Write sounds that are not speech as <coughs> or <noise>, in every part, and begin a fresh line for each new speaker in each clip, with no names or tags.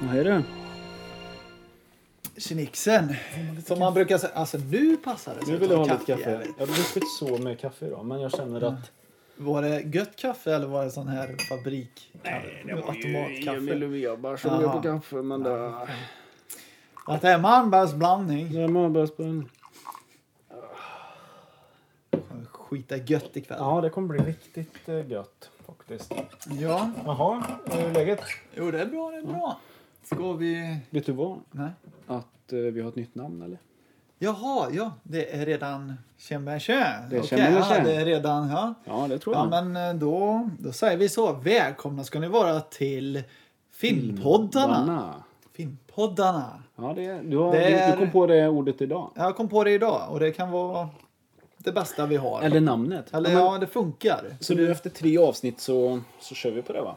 Vad är det?
Kinixen. Som man brukar säga. Alltså nu passar det sig
Nu
att
vill jag
ta
ha lite kaffe.
jag vet.
Jag har druckit så mycket kaffe idag men jag känner att
Var det gött kaffe eller var det sån här fabrik? Nej, Automatkaffe.
Weber
som bjöd på
kaffe men det...
Att det är Malmbergsblandning.
jag mår bäst på en...
Skita gött ikväll.
Ja, det kommer bli riktigt eh, gött faktiskt.
Ja.
Jaha, eh, hur är läget?
Jo, det är bra, det är bra. Ska vi...
Vet du vad?
Nej.
Att eh, vi har ett nytt namn eller?
Jaha, ja. Det är redan Tjembertjö.
Det är
Okej,
Tjembertjö.
ja, det är redan, ja.
Ja, det tror
Ja,
jag.
men eh, då, då säger vi så. Välkomna ska ni vara till Filmpoddarna.
Banna.
Filmpoddarna.
Ja, det, du, har,
Det
du,
är-
du kom på det ordet idag.
Jag kom på det idag och det kan vara det bästa vi har.
Eller namnet.
Eller
Ja, men-
ja, det funkar.
Så nu efter tre avsnitt så, så kör vi på det va?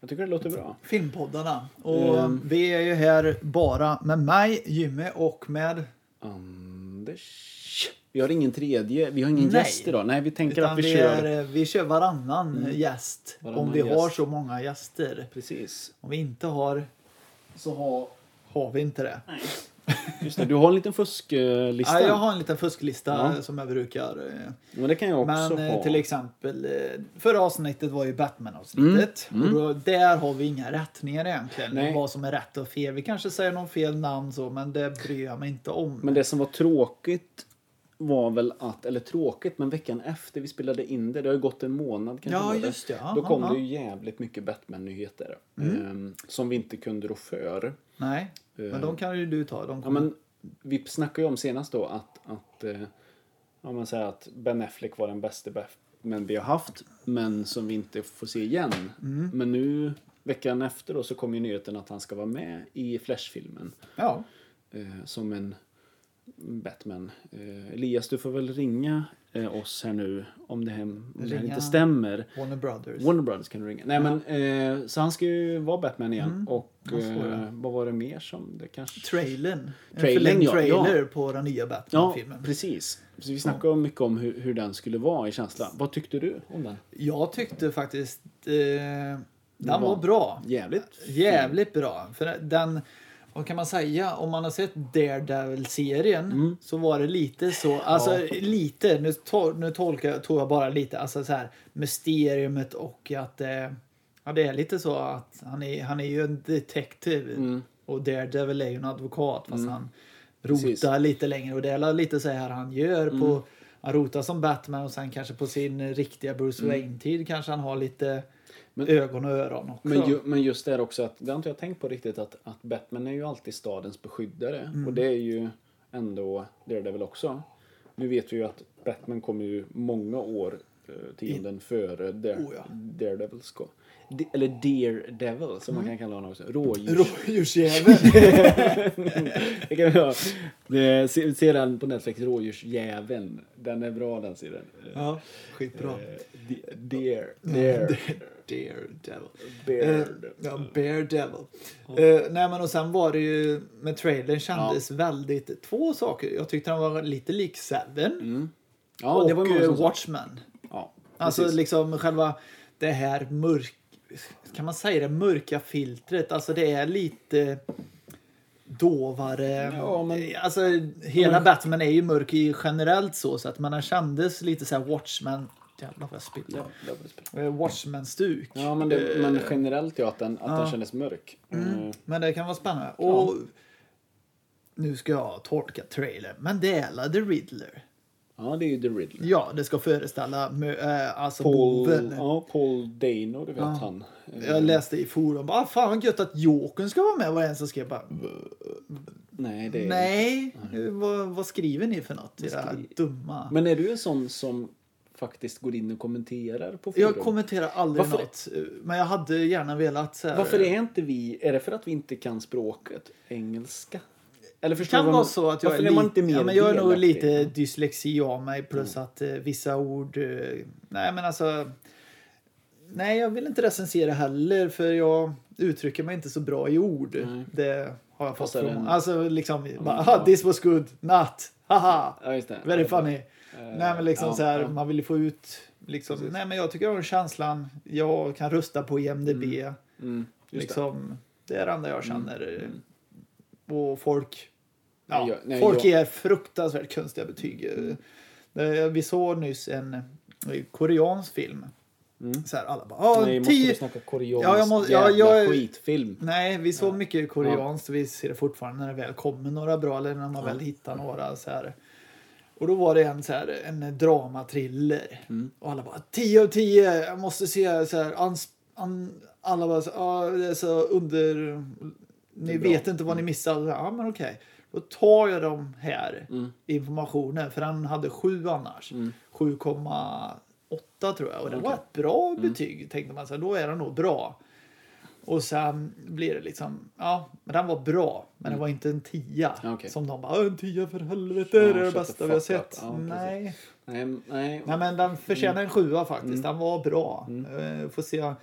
Jag tycker det låter bra.
Filmpoddarna. Och
Ehm.
vi är ju här bara med mig, Jimmy och med...
Anders. Vi har ingen tredje, vi har ingen
Nej.
gäst idag. Nej, vi tänker
Utan
att vi,
vi,
kör. Mm.
är, vi kör varannan gäst. om
Varannan
vi har
gäst.
så många gäster.
Precis.
Om vi inte har så har, har vi inte det.
Just det, du har en liten fusklista.
Ja, jag har en liten fusklista
Ja.
som jag brukar. eh,
Men det kan jag också
Men eh,
ha.
till exempel, eh, förra avsnittet var ju Batman-avsnittet. Och då, där har vi inga rättningar egentligen.
Mm, Nej.
Vad som är rätt och fel. Vi kanske säger någon fel namn så, men det bryr jag mig inte om.
Men det som var tråkigt var väl att, eller tråkigt, men veckan efter vi spelade in det, det har ju gått en månad kanske.
Ja,
bara där.
just det. Ja,
Då
ja,
kom
ja.
det ju jävligt mycket Batman-nyheter. ehm, som vi inte kunde rå för.
Nej,
Eh.
men de kan ju du ta. De
Ja,
kommer...
men vi snackade ju om senast då att, att eh, ja, men säga att Ben Affleck var den bästa Batman vi har haft, men som vi inte får se igen.
Mm.
Men nu, veckan efter då, så kom ju nyheten att han ska vara med i Flash-filmen
ja.
eh, som en Batman. Eh, Elias, du får väl ringa eh, oss här nu om det här, om det här
Ringa.
inte stämmer.
Warner Brothers.
Warner Brothers kan du ringa. Nej, men, eh, så han ska ju vara Batman igen. Och
Mm. han ska
eh,
det.
vad var det mer som det kanske...
Trailern. En
Trailern,
förlängd
ja, ja.
trailer på den nya
Ja,
Batman-filmen.
precis. Så vi snackade om mycket om hur, hur den skulle vara i känslan. Vad tyckte du om den?
jag tyckte faktiskt eh, den
var-
var bra.
Jävligt.
Jävligt bra. För den, vad kan man säga, om man har sett Daredevil-serien
Mm.
så var det lite så, alltså lite, nu, tol- nu tolkar jag, tog jag bara lite, alltså så här mysteriet och att eh, ja, det är lite så att han är, han är ju en detektiv
Mm.
och Daredevil är ju en advokat fast han rotar
Precis. Mm.
lite längre och det är väl lite så här han gör på han rotar som Batman och sen kanske på sin eh, riktiga Bruce Wayne-tid kanske han har lite
Mm. Men-
ögon och öron också.
Men, ju, men just det här också att, det har inte jag tänkt på riktigt, att, att Batman är ju alltid stadens beskyddare.
Mm.
Och det är ju ändå Daredevil också. Nu vet vi ju att Batman kommer ju många år eh, tionden före Dare,
Oh, ja.
Daredevil. Ska. De, eller Daredevil som man kan
Mm.
kalla honom också. Rådjurs... <laughs>
Rådjursjäveln.
Det kan vi göra. Det- se- Se den på Netflix, Rådjursjäveln. Den är bra den serien. Eh,
<laughs> ja, skitbra.
de- Dare. Dare.
Daredevil.
Bear
Eh, ja, Daredevil. Eh, nej men och sen var det ju med trailern kändes väldigt två saker. Jag tyckte den var lite lik Seven
Ja,
och
det var många
eh,
som sa.
Watchmen.
Ja,
Alltså
precis.
liksom själva det här mörk... Kan man säga det mörka filtret? Alltså det är lite dovare.
Ja, men-
Alltså hela Batman är ju mörk i generellt så, så att man kändes lite så här Watchmen. Jävlar vad jag spillde.
Jävlar vad det spelar.
Eh, Watchmen-stuk.
Ja, men, det, men generellt ja, att den, att den
Eh, ja.
kändes mörk. Mm.
Men det kan vara spännande. Och nu ska jag tolka trailern. Men det är la The Riddler.
Ja, det är ju The Riddler.
Ja, det ska föreställa mö- eh, alltså
Paul,
boven.
ja, Paul Dano, du vet han. Eh,
Jag läste i forum. Bara, "Ah, fan vad gött att Jokern ska vara med. Var det en som skrev bara,
Nej, det Mm. är...
nej, nu, vad, vad skriver ni för något? i Det här
skriver-
dumma.
Men är du en sån som faktiskt går in och kommenterar på forum?
Jag kommenterar aldrig
Varför-
något. eh, Men jag hade gärna velat. Så här,
Varför är inte vi... Är det för att vi inte kan språket? Engelska? Eller
Det
förstår
kan
du vad-
vara så att jag
Varför
är,
är man
lite,
inte mer
ja, men jag är nog
delaktig? Mm.
lite dyslexi av mig plus att eh, vissa ord... Eh, nej men alltså... Nej jag vill inte recensera heller för jag uttrycker mig inte så bra i ord.
Nej.
Det har jag fått
Fast är det
från...
en-
Alltså liksom bara,
men
"Aha,
bra."
this was good, not, haha,
Ja, just det.
very funny. nej men liksom
Eh, ja,
så här,
ja.
man vill ju få ut liksom,
Precis.
nej men jag tycker om känslan, jag kan rösta på IMDB.
Mm, just det. Mm.
liksom, det är det enda jag känner. Och folk... Ja,
Nej, jag- Mm. nej,
folk
jag- Mm.
ger fruktansvärt konstiga betyg. Eh, Vi såg nyss en eh, koreansk film. Så här, alla bara... "Ah,
Mm. Nej, måste
tio...
du snacka koreansk
Ja, jag må- ja,
jävla
jag-
skitfilm?
Nej, vi såg mycket koreanskt. Vi ser det fortfarande när det väl kommer några bra eller när man väl hittar några. Så här. Och då var det en, så här, en dramatriller. Och alla bara 10 av 10, jag måste se så här. Ans, an, alla bara så, ah, det är så under... Ni
bra.
vet inte vad ni missade. Ja, ah, men okej. Då tar jag de här informationen. För han hade 7 annars. 7,8 tror jag. Och det var ett bra betyg tänkte man. Så här, då är den nog bra. Och sen blir det liksom, ja, men den var bra, men det var inte en tia.
Mm. Ja, okej.
Som de bara, "Åh, en tia för helvete,
Ja,
det är det
shut the
bästa vi har
fuck
sett.
up. Ja, precis. Mm.
nej.
Nej, nej.
nej, men den förtjänar en sjua faktiskt. Den var bra.
Mm.
Eh, får se,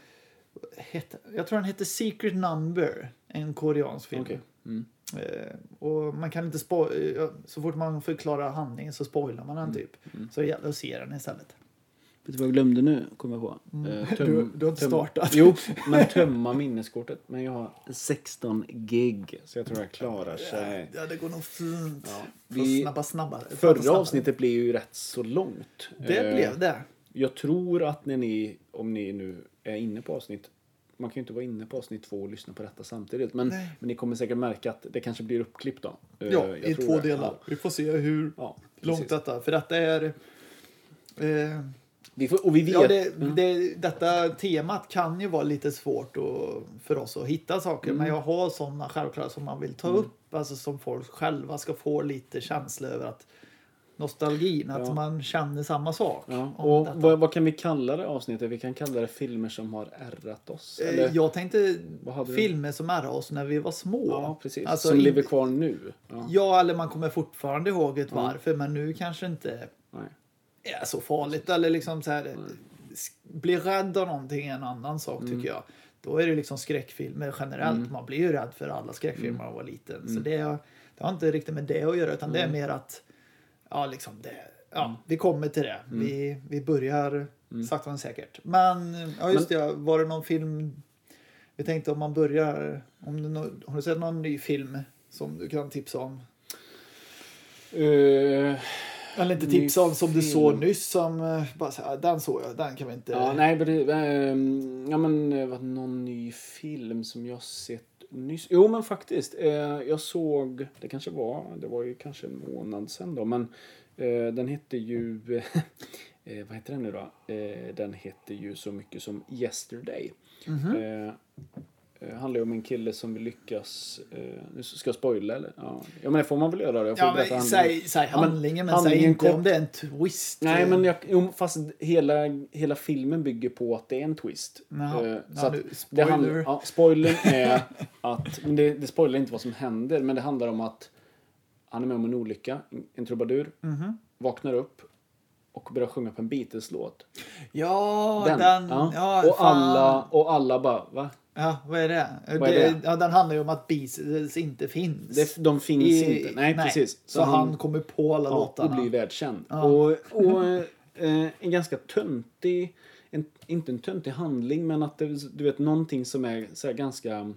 het, jag tror den hette Secret Number, en koreansk film.
Okej. Mm.
Eh, och man kan inte spo- eh, så fort man förklarar handlingen så spoilar man
Mm.
den typ. Så det gäller att se den istället.
Vet du vad jag glömde nu? Kommer jag på. Eh, töm-
Mm. <laughs> Du- du har inte
töm-
startat. <laughs>
Jo, men tömma minneskortet. Men jag har 16 gig. Så jag tror jag klarar sig.
Ja, det går nog fint. Ja,
vi-
snabba, snabbare.
Förra
Snabbare.
avsnittet blev ju rätt så långt.
Det
Eh,
blev det.
Jag tror att när ni, om ni nu är inne på avsnitt, man kan ju inte vara inne på avsnitt två och lyssna på detta samtidigt, men,
Nej.
men ni kommer säkert märka att det kanske blir uppklippt då. Eh,
Ja,
jag
i
tror
två
det.
delar. Vi får se hur
Ja,
långt
precis.
detta... För detta är... Eh,
Vi får, och vi vet, Mm.
ja, det, det, detta temat kan ju vara lite svårt att, för oss att hitta saker.
Mm.
Men jag har sådana självklara som man vill ta upp. Alltså som folk själva ska få lite känsla över att nostalgin, att
Ja.
man känner samma sak.
Ja,
om
och
detta.
vad, vad kan vi kalla det avsnittet? Vi kan kalla det filmer som har ärrat oss.
Eh,
Eller?
jag tänkte
Vad hade du?
filmer som ärrar oss när vi var små.
Ja, precis.
Alltså,
som
in-
lever kvar nu. Ja,
Ja, eller man kommer fortfarande ihåg
Mm.
ett varför, men nu kanske inte
nej.
liksom liksom liksom
Eh,
Eller inte
Ny
tipsa om som du
film.
såg nyss som eh, bara så här, den såg jag, den kan vi inte...
ja, nej, men det, ehm, ja, men eh, vad, någon ny film som jag sett nyss. Jo, men faktiskt. eh, jag såg, det kanske var, det var ju kanske en månad sedan då, men eh, den hette ju, <laughs> eh, vad heter den nu då? Eh, den hette ju så mycket som Yesterday.
Mhm. Mm.
Eh, eh, handlar ju om en kille som vill lyckas... Eh, nu ska jag spoila eller? Ja, ja men det får man väl göra då. Jag får
Ja,
berätta
men,
handlingen.
säg, säg
Ja, men
handlingen men, säg
handlingen
inte
kort.
om det är en twist.
Nej, men jag, jo, fast hela, hela filmen bygger på att det är en twist.
Jaha.
Eh,
Ja,
så att
du,
det handlar-
spoiler.
ja, spoilern är att... Men det, det spoilar inte vad som händer, men det handlar om att han är med om en olycka, en trubadur,
Mhm.
vaknar upp och börjar sjunga på en Beatles-låt.
Ja, den. ja.
och,
fan.
alla, och alla bara, va?
Ja, vad är det?
Vad är
det,
det?
Ja, den handlar ju om att Beatles inte finns.
Det, de finns
I-
inte. Nej, precis.
Så, han, kommer på alla
ja, och
låtarna.
blir världskänd.
<laughs>
Och, och eh, en ganska töntig, en, inte en töntig handling, men att det, du vet någonting som är så här ganska...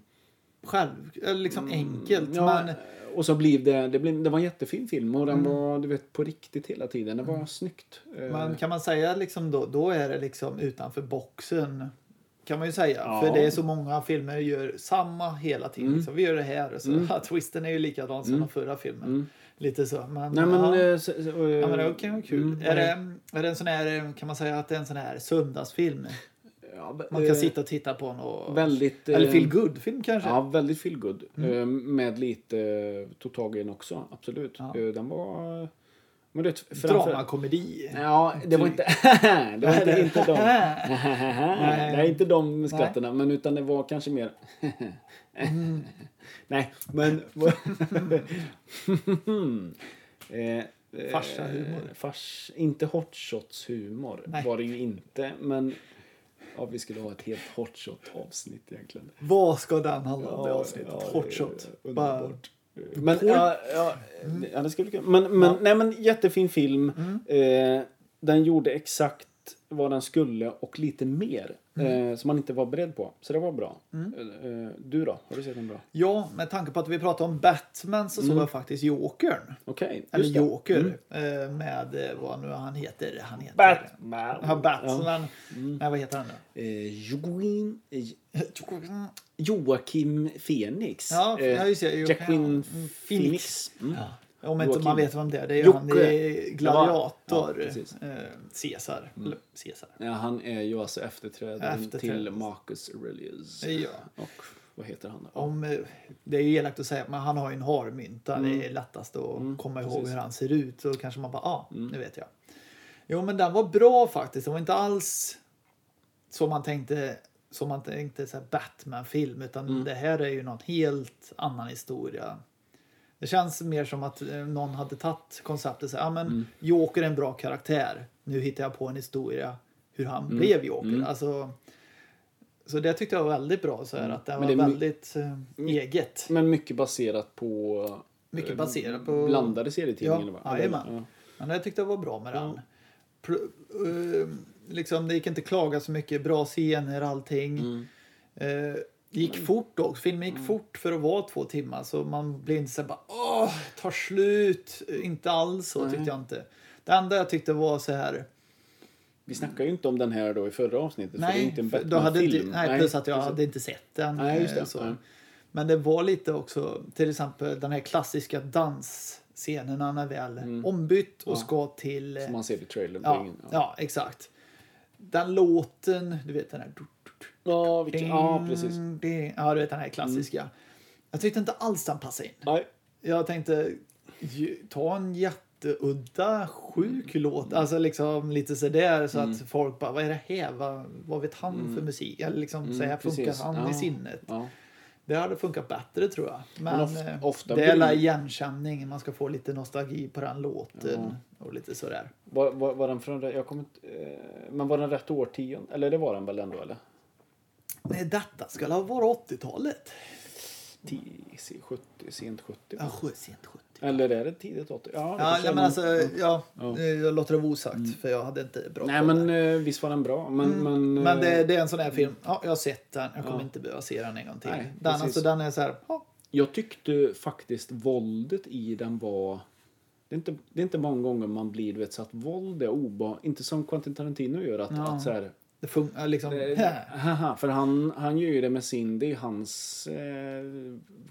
Själv, eller liksom enkelt.
Mm, Ja,
men,
och så blev det, det, blev, det var en jättefin film och den
Mm.
var du vet på riktigt hela tiden. Det var snyggt. Eh,
men kan Mm. man säga liksom då, då är det liksom utanför boxen. Kan man ju säga.
Ja. Mm.
För det är så många filmer gör samma hela tiden. Liksom, vi gör det här. Så, <laughs> twisten är ju likadan som den förra filmen. Lite så. Men,
Mm. Nej men...
ja.
eh, så- så, eh,
Ja, men det kan vara kul.
Mm,
är, det, är det en sån här, kan man säga att det är en sån här söndagsfilm?
ja,
Man
eh,
kan sitta och titta på en och...
Väldigt... eh,
Eller feel good film kanske? Mm.
Ja, väldigt feel good. Eh, Med lite eh, tog tag i den också, absolut.
Ja.
Eh, Den var... Men du vet, framför-
Dramakomedi?
Ja, det var inte... <laughs> det var inte, inte
<laughs>
de... Nej, det är inte de skratterna, men utan det var kanske mer...
Mm.
Nej, men... <laughs> Eh, eh,
Farsahumor.
Fars, inte hot shots humor
Nej.
var det ju inte, men... Ja, vi skulle ha ett helt hot shot avsnitt egentligen.
Vad ska den handla om det Eh,
Ja,
avsnittet?
ja, det är
Hot shot. Bara,
underbart. Men, ja, ja, eh, ja, det skulle bli kul. Men, men, nej, men jättefin
Mm.
film. Eh, den gjorde exakt vad den skulle och lite mer.
Mm.
eh, som man inte var beredd på. Så det var bra. Eh, eh, du då? Har du sett någon bra?
Ja, med tanke på att vi pratade om Batman så såg jag faktiskt Jokern.
Okej,
Eller
Mm. just det. Mm.
Joker. eh, Med eh, vad nu han heter. Han heter...
Batman.
Ja, Batman.
Mm.
Nej, vad heter han då?
Eh, Joaquin, eh, Joakim Phoenix. Eh,
Ja, ja, just det. Joaquin mm,
Joaquin
Phoenix.
Phoenix. Mm.
Om inte man
Joakim.
vet vem det är. Det är ju
Jocke.
han i
Ja,
Gladiator.
precis. Mm.
eh, Caesar. Eller Caesar.
Ja, han är ju alltså efterträdaren
Efterträdaren.
till Marcus Aurelius.
Ja.
Och vad heter han då?
Om, eh, det är ju elakt att säga, men han har ju en harmynta. Det är lättast att komma
Mm. precis.
ihåg
Mm.
hur han ser ut. Så kanske man bara, ja, ah, nu vet jag. Jo, men den var bra faktiskt. Det var inte alls som man tänkte, som man tänkte så här Batman-film. Utan
Mm.
det här är ju någon helt annan historia. Det känns mer som att eh, någon hade tagit konceptet så här, ah, men
Mm.
Joker är en bra karaktär. Nu hittar jag på en historia hur han
Mm.
blev Joker. Alltså, så det tyckte jag var väldigt bra. Så här, att det
Mm. Men det
var
är my-
väldigt eh, eget.
Men mycket baserat på...
Mycket
eh,
baserat på-
Blandade serietidningar va?
Ja, jajamän. Men jag tyckte det var bra med den. Pl- eh, liksom, det gick inte att klaga så mycket. Bra scener, allting. Eh, det gick fort också. Filmen gick fort för att vara två timmar. Så man blev inte så här bara åh, tar slut. Eh, Inte alls så tyckte jag inte. Det enda jag tyckte var så här.
Vi snackade ju inte om den här då i förra avsnittet. för det är
Nej,
inte en
för då hade inte,
Batman-film.
nej, plus att jag
precis.
hade inte sett den.
Nej, just det.
eh, Så.
Nej.
Men det var lite också, till exempel den här klassiska dansscenen när han är väl ombytt och ska till... eh,
Mm. Som man ser i trailern.
Ja,
Ja,
ja. exakt. Den låten, du vet den här...
ja, vilket, ja precis. Mm.
Ding, ja, du vet den här klassiska. Jag tyckte inte alls den passade in.
Nej.
Jag tänkte ju- ta en jätteudda, sjuk låt. Alltså liksom lite sådär så
Mm.
att folk bara, vad är det här? Vad, vad vet han för musik? Eller liksom så här funkar
Mm, precis.
han
Ja.
i sinnet?
Ja.
Det hade funkat bättre tror jag. Men,
Men of-
eh,
ofta
det
blir
är
det-
la igenkänning, man ska få lite nostalgi på den låten och lite sådär.
Var, var, var den från... Jag kommer inte, eh, men var den rätt årtionde? Eller det var den väl ändå eller?
Nej, detta skulle ha varit 80-talet.
10, se- 70, sent 70.
Ja, sju- sent 70.
Eller är det tidigt 80? Ja, det
Ja,
kanske
nej,
är
men
någon-
alltså, ja,
Ja. Mm.
eh, jag låter det vara osagt för jag hade inte bra
Nej
koll
men
där.
eh, visst var den bra. Men, men,
Mm. men det,
eh,
det är en sån här film, ja, jag har sett den, jag kommer inte behöva se den en gång till.
Nej,
den,
precis.
alltså, den är så här, ja,
Jag tyckte faktiskt våldet i den var... Det är, inte, det är inte många gånger man blir du vet, så att våld är obehagligt. Inte som Quentin Tarantino gör att,
Ja.
att så här,
det funkar liksom.
Eh, Haha, för han, han gör ju det med sin, det är hans eh,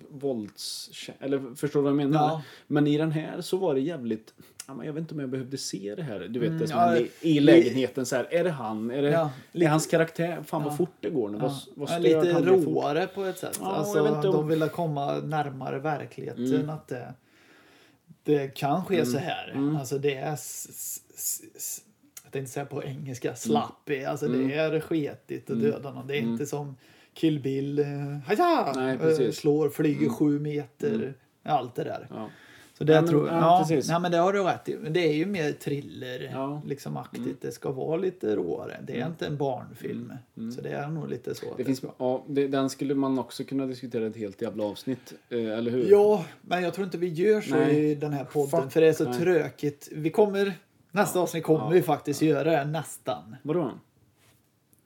vålds... Eller förstår du vad jag menar?
Ja.
Men i den här så var det jävligt... ja, men Jag vet inte om jag behövde se det här. Du vet det som
Mm, ja,
hände i, i lägenheten så här. Är det han? Är det,
Ja,
är hans karaktär? Fan vad fort det går nu. Vad, vad
Ja,
stört
lite
han blir fort.
råare på ett sätt.
Ja, jag
alltså,
vet inte om-
De ville komma närmare verkligheten.
Mm.
Att det, det kan ske så här.
Mm.
Alltså det är... S, s, s, s, jag tänkte säga på
Mm.
engelska, slappy. Alltså det är sketigt och döda någon. Det är inte som Kill Bill, eh, haja,
Nej,
eh,
precis. Mm.
slår, flyger sju meter. Allt det där.
Ja.
Så det
Ja, men-
tror jag.
ja,
Ja,
precis.
nej, men det har du rätt i. Men Det är ju mer thriller
Ja. Mm.
liksom aktigt. Det ska vara lite råare. Det är inte en barnfilm. Så det är nog lite så. att
Mm. Det finns, ja, det, den skulle man också kunna diskutera ett helt jävla avsnitt. Eh, eller hur?
Ja, men jag tror inte vi gör så
Nej.
i den här podden
Fuck,
för det är så
nej.
trökigt. Vi kommer, nästa avsnitt kommer vi faktiskt göra det, nästan.
Vadå?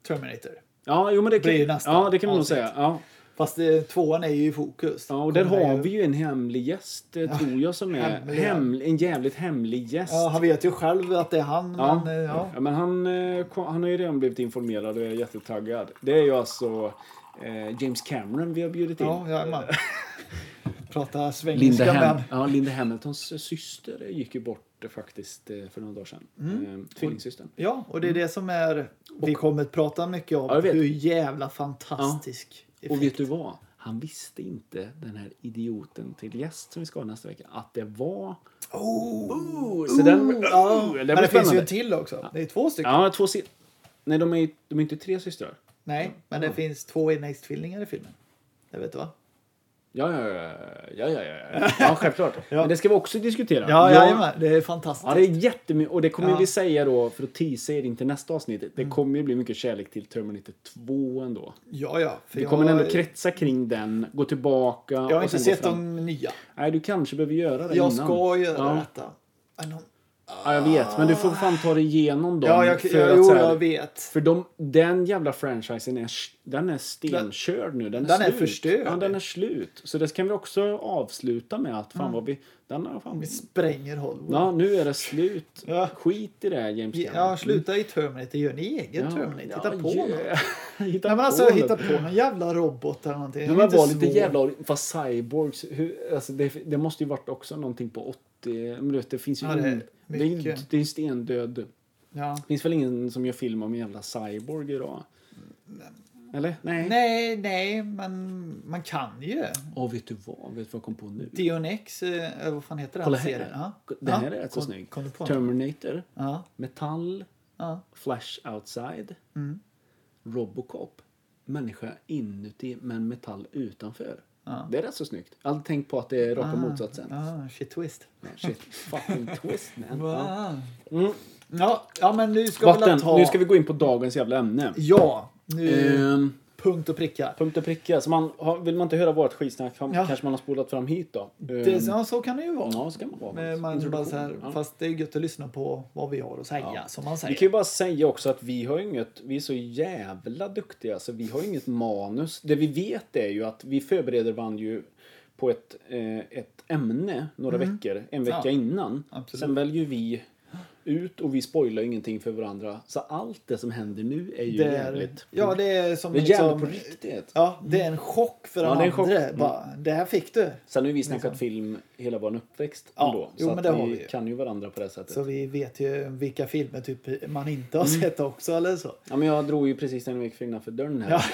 Terminator.
Ja, jo, men det
Blir ju
kan,
nästa
ja, det kan man nog
avsnitt.
säga. Ja.
Fast eh, tvåan är ju i fokus.
Ja, och där
Kommer
har
ju-
vi ju en hemlig gäst, eh, tror jag, som är
hemlig, ja.
heml- en jävligt hemlig gäst.
Ja, han vet ju själv att det är han,
Ja.
men eh, ja.
Ja, men han, eh, kom- han har ju redan blivit informerad och är jättetaggad. Det är ju alltså eh, James Cameron vi har bjudit in. <laughs>
Ja, jajamän. Prata
Linda,
svengelska
Ham-
men.
ja, Linda Hamiltons syster gick ju bort eh, faktiskt eh, för några dagar sedan. Mm. Tvillingsystern.
Ja, och det är det som är, vi kommer att prata mycket om
Mm. Ja, jag vet.
hur jävla fantastisk
Och
effekt.
vet du vad? Han visste inte, den här idioten till gäst som vi ska ha nästa vecka, att det var... Oh! Så den, oh,
Ja,
den
men
blir
det finns ju
spännande.
en till också. Det är två stycken.
Ja, två si- Nej, de är, ju- de är inte tre systrar.
Nej, men det finns två enäggstvillingar i filmen. Det vet du va?
Ja, ja, ja, ja, ja, ja, ja. ja
<laughs>
självklart. Men det ska vi också diskutera.
Ja,
Jag-
jajamän. Det är fantastiskt.
Ja, det är jättemycket. Och det kommer
Ja. Mm.
vi säga då, för att teasa er in till nästa avsnitt. Det kommer ju bli mycket kärlek till Terminator 2 ändå.
Ja, ja. För
Vi kommer
jag,
ändå kretsa kring den, gå tillbaka.
Jag har
och
inte
sen gå
sett
fram.
de nya.
Nej, du kanske behöver göra det
Jag
innan.
ska göra
Ja.
detta. Men de,
Ja, jag vet. Men du får fan ta dig igenom dem.
Ja, jag,
för
jag,
att
jo,
så här-
jag vet.
För de, den jävla franchisen är, den är stenkörd nu. Den är,
Den är
slut.
förstörd.
Ja, den är slut. Så det kan vi också avsluta med att fan vad vi... Den har fan...
Mm. Vi spränger Hollywood.
Ja, nu är det slut.
Ja.
Skit i det här James Cameron.
Ja, sluta i Terminator. Gör ni egen Terminator? Hitta
<laughs>
på något.
något. hitta
Nej, men alltså,
något.
hitta på någon jävla robot eller någonting.
Ja, men
Inte
var lite
svår.
jävla... Vad cyborgs... Hur, alltså det, det måste ju varit också någonting på 80... Men du vet, det finns ju...
Ja, det är
ingen- det, är, ju-
mycket.
det är ju stendöd.
Ja.
Det finns väl ingen som gör film om en jävla cyborg idag? Eller? Nej.
Mm. Nej, nej, men man kan ju.
Åh, vet du vad? Vet du vad jag kom på nu?
Dionex, eh, vad fan heter den
Kolla
serien?
här.
Ja.
Den här
Ja,
är rätt så
kom-
snygg.
Kom du på något?
Terminator,
Ja,
Metall,
ja.
Flash Outside,
Mm.
Robocop. Människa inuti men metall utanför.
Ja.
Det är rätt så snyggt. Jag hade tänkt på att det är raka
Ah,
motsatsen.
Ah, shit twist.
Shit, fucking twist man. Ja.
Wow.
Mm.
Ja, ja, men nu ska vi
Vatten,
väl ta...
nu ska vi gå in på dagens jävla ämne.
Ja, nu
Ehm,
punkt och pricka.
punkt och pricka. Så man, har- vill man inte höra vårt skitsnack kan-
Ja.
kanske man har spolat fram hit då. Ehm,
Det, ja, så kan det ju vara. Eh,
ja, så kan man vara.
Men Man bara så här,
Ja.
Fast det är gött att lyssna på vad vi har att säga,
Ja.
som man
Vi
säger.
kan ju bara säga också att vi har ju inget, vi är så jävla duktiga så vi har ju inget manus. Det vi vet är ju att vi förbereder varandra ju på ett, eh, ett ämne några veckor, en vecka
Mm. Ja.
innan.
Absolut.
Sen väljer vi ut och vi spoilar ju ingenting för varandra. Så allt det som händer nu är ju
Det är,
jävligt.
ja, det är som
det är jävligt på
liksom,
riktigt.
Ja, det är en chock för
Ja,
den
det är en chock.
andra.
Mm.
Bara, det här fick du.
Sen har ju vi snackat film hela vår uppväxt
Ja,
ändå.
jo,
så
men
att
det har vi
vi
ju.
kan ju varandra på det sättet.
Så vi vet ju vilka filmer typ man inte
Mm.
har sett också eller så.
Ja, men jag drog ju precis när vi gick innanför dörren här.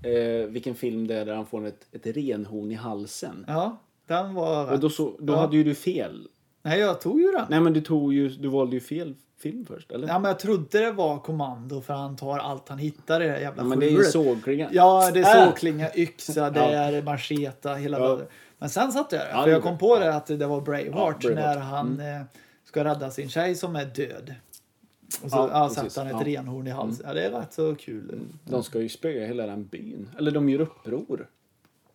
<laughs> eh, vilken film det är där han får ett, ett renhorn i halsen.
Ja, den
Och
var...
då så, då
Ja.
hade ju du fel.
Nej, jag tog ju den.
Nej men du tog ju, du valde ju fel film först eller?
Ja, men jag trodde det var kommando för han tar allt han hittar i det här jävla
Ja, men det är ju
skjulet.
sågklinga.
Ja, det
Äh!
är sågklinga, yxa, det
Ja.
är macheta, hela
Ja.
vädret. Men sen satt jag där.
Ja,
för
det
jag
gjorde
kom på det att det var Braveheart,
Ja, Braveheart. Mm.
när han eh, ska rädda sin tjej som är död. Och så
Ja,
ja,
precis.
satte han ett
Ja. Mm.
renhorn i halsen. Ja, det är rätt så kul.
De ska ju spöa hela den byn. Eller de gör uppror.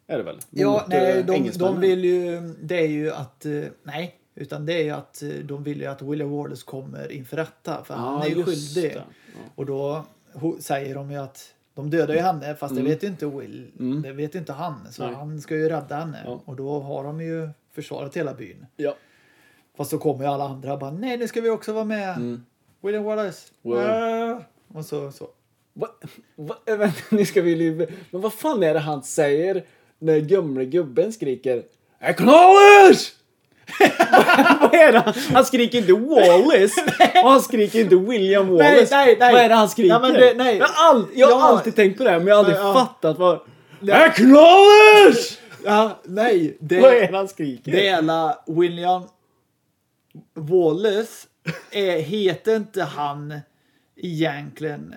Är det väl?
Ja,
Mot,
nej,
eh,
de, de
engelsmännen.
vill ju... Det är ju att... eh, Nej, utan det är ju att eh, de vill ju att William Wallace kommer inför rätta. För han
Ja,
är ju
just
skyldig.
det. Ja.
Och då ho- säger de ju att de dödar ju henne fast det vet ju inte Will. Det vet ju inte han. Så
Mm. Nej.
han ska ju rädda henne.
Ja.
Och då har de ju försvarat hela byn.
Ja.
Fast så kommer ju alla andra och bara nej nu ska vi också vara med.
Mm.
William Wallace.
Wow.
Äh. Och så, så.
Va, va, <laughs> äh, vänta, nu ska vi liv... Men vad fan är det han säger när gamle gubben skriker Acknowledge! <laughs> vad är det? han- Han skriker inte Wallace och han skriker inte William Wallace.
nej, nej.
Vad är det han skriker?
Nej, men det- nej.
Jag, har all, jag har
Ja.
alltid tänkt på det här men jag har aldrig
Ja.
fattat vad...
Nej.
Acknowledge!
Ja, nej.
Vad är det han skriker?
Det är alla William Wallace. Är, heter inte han egentligen...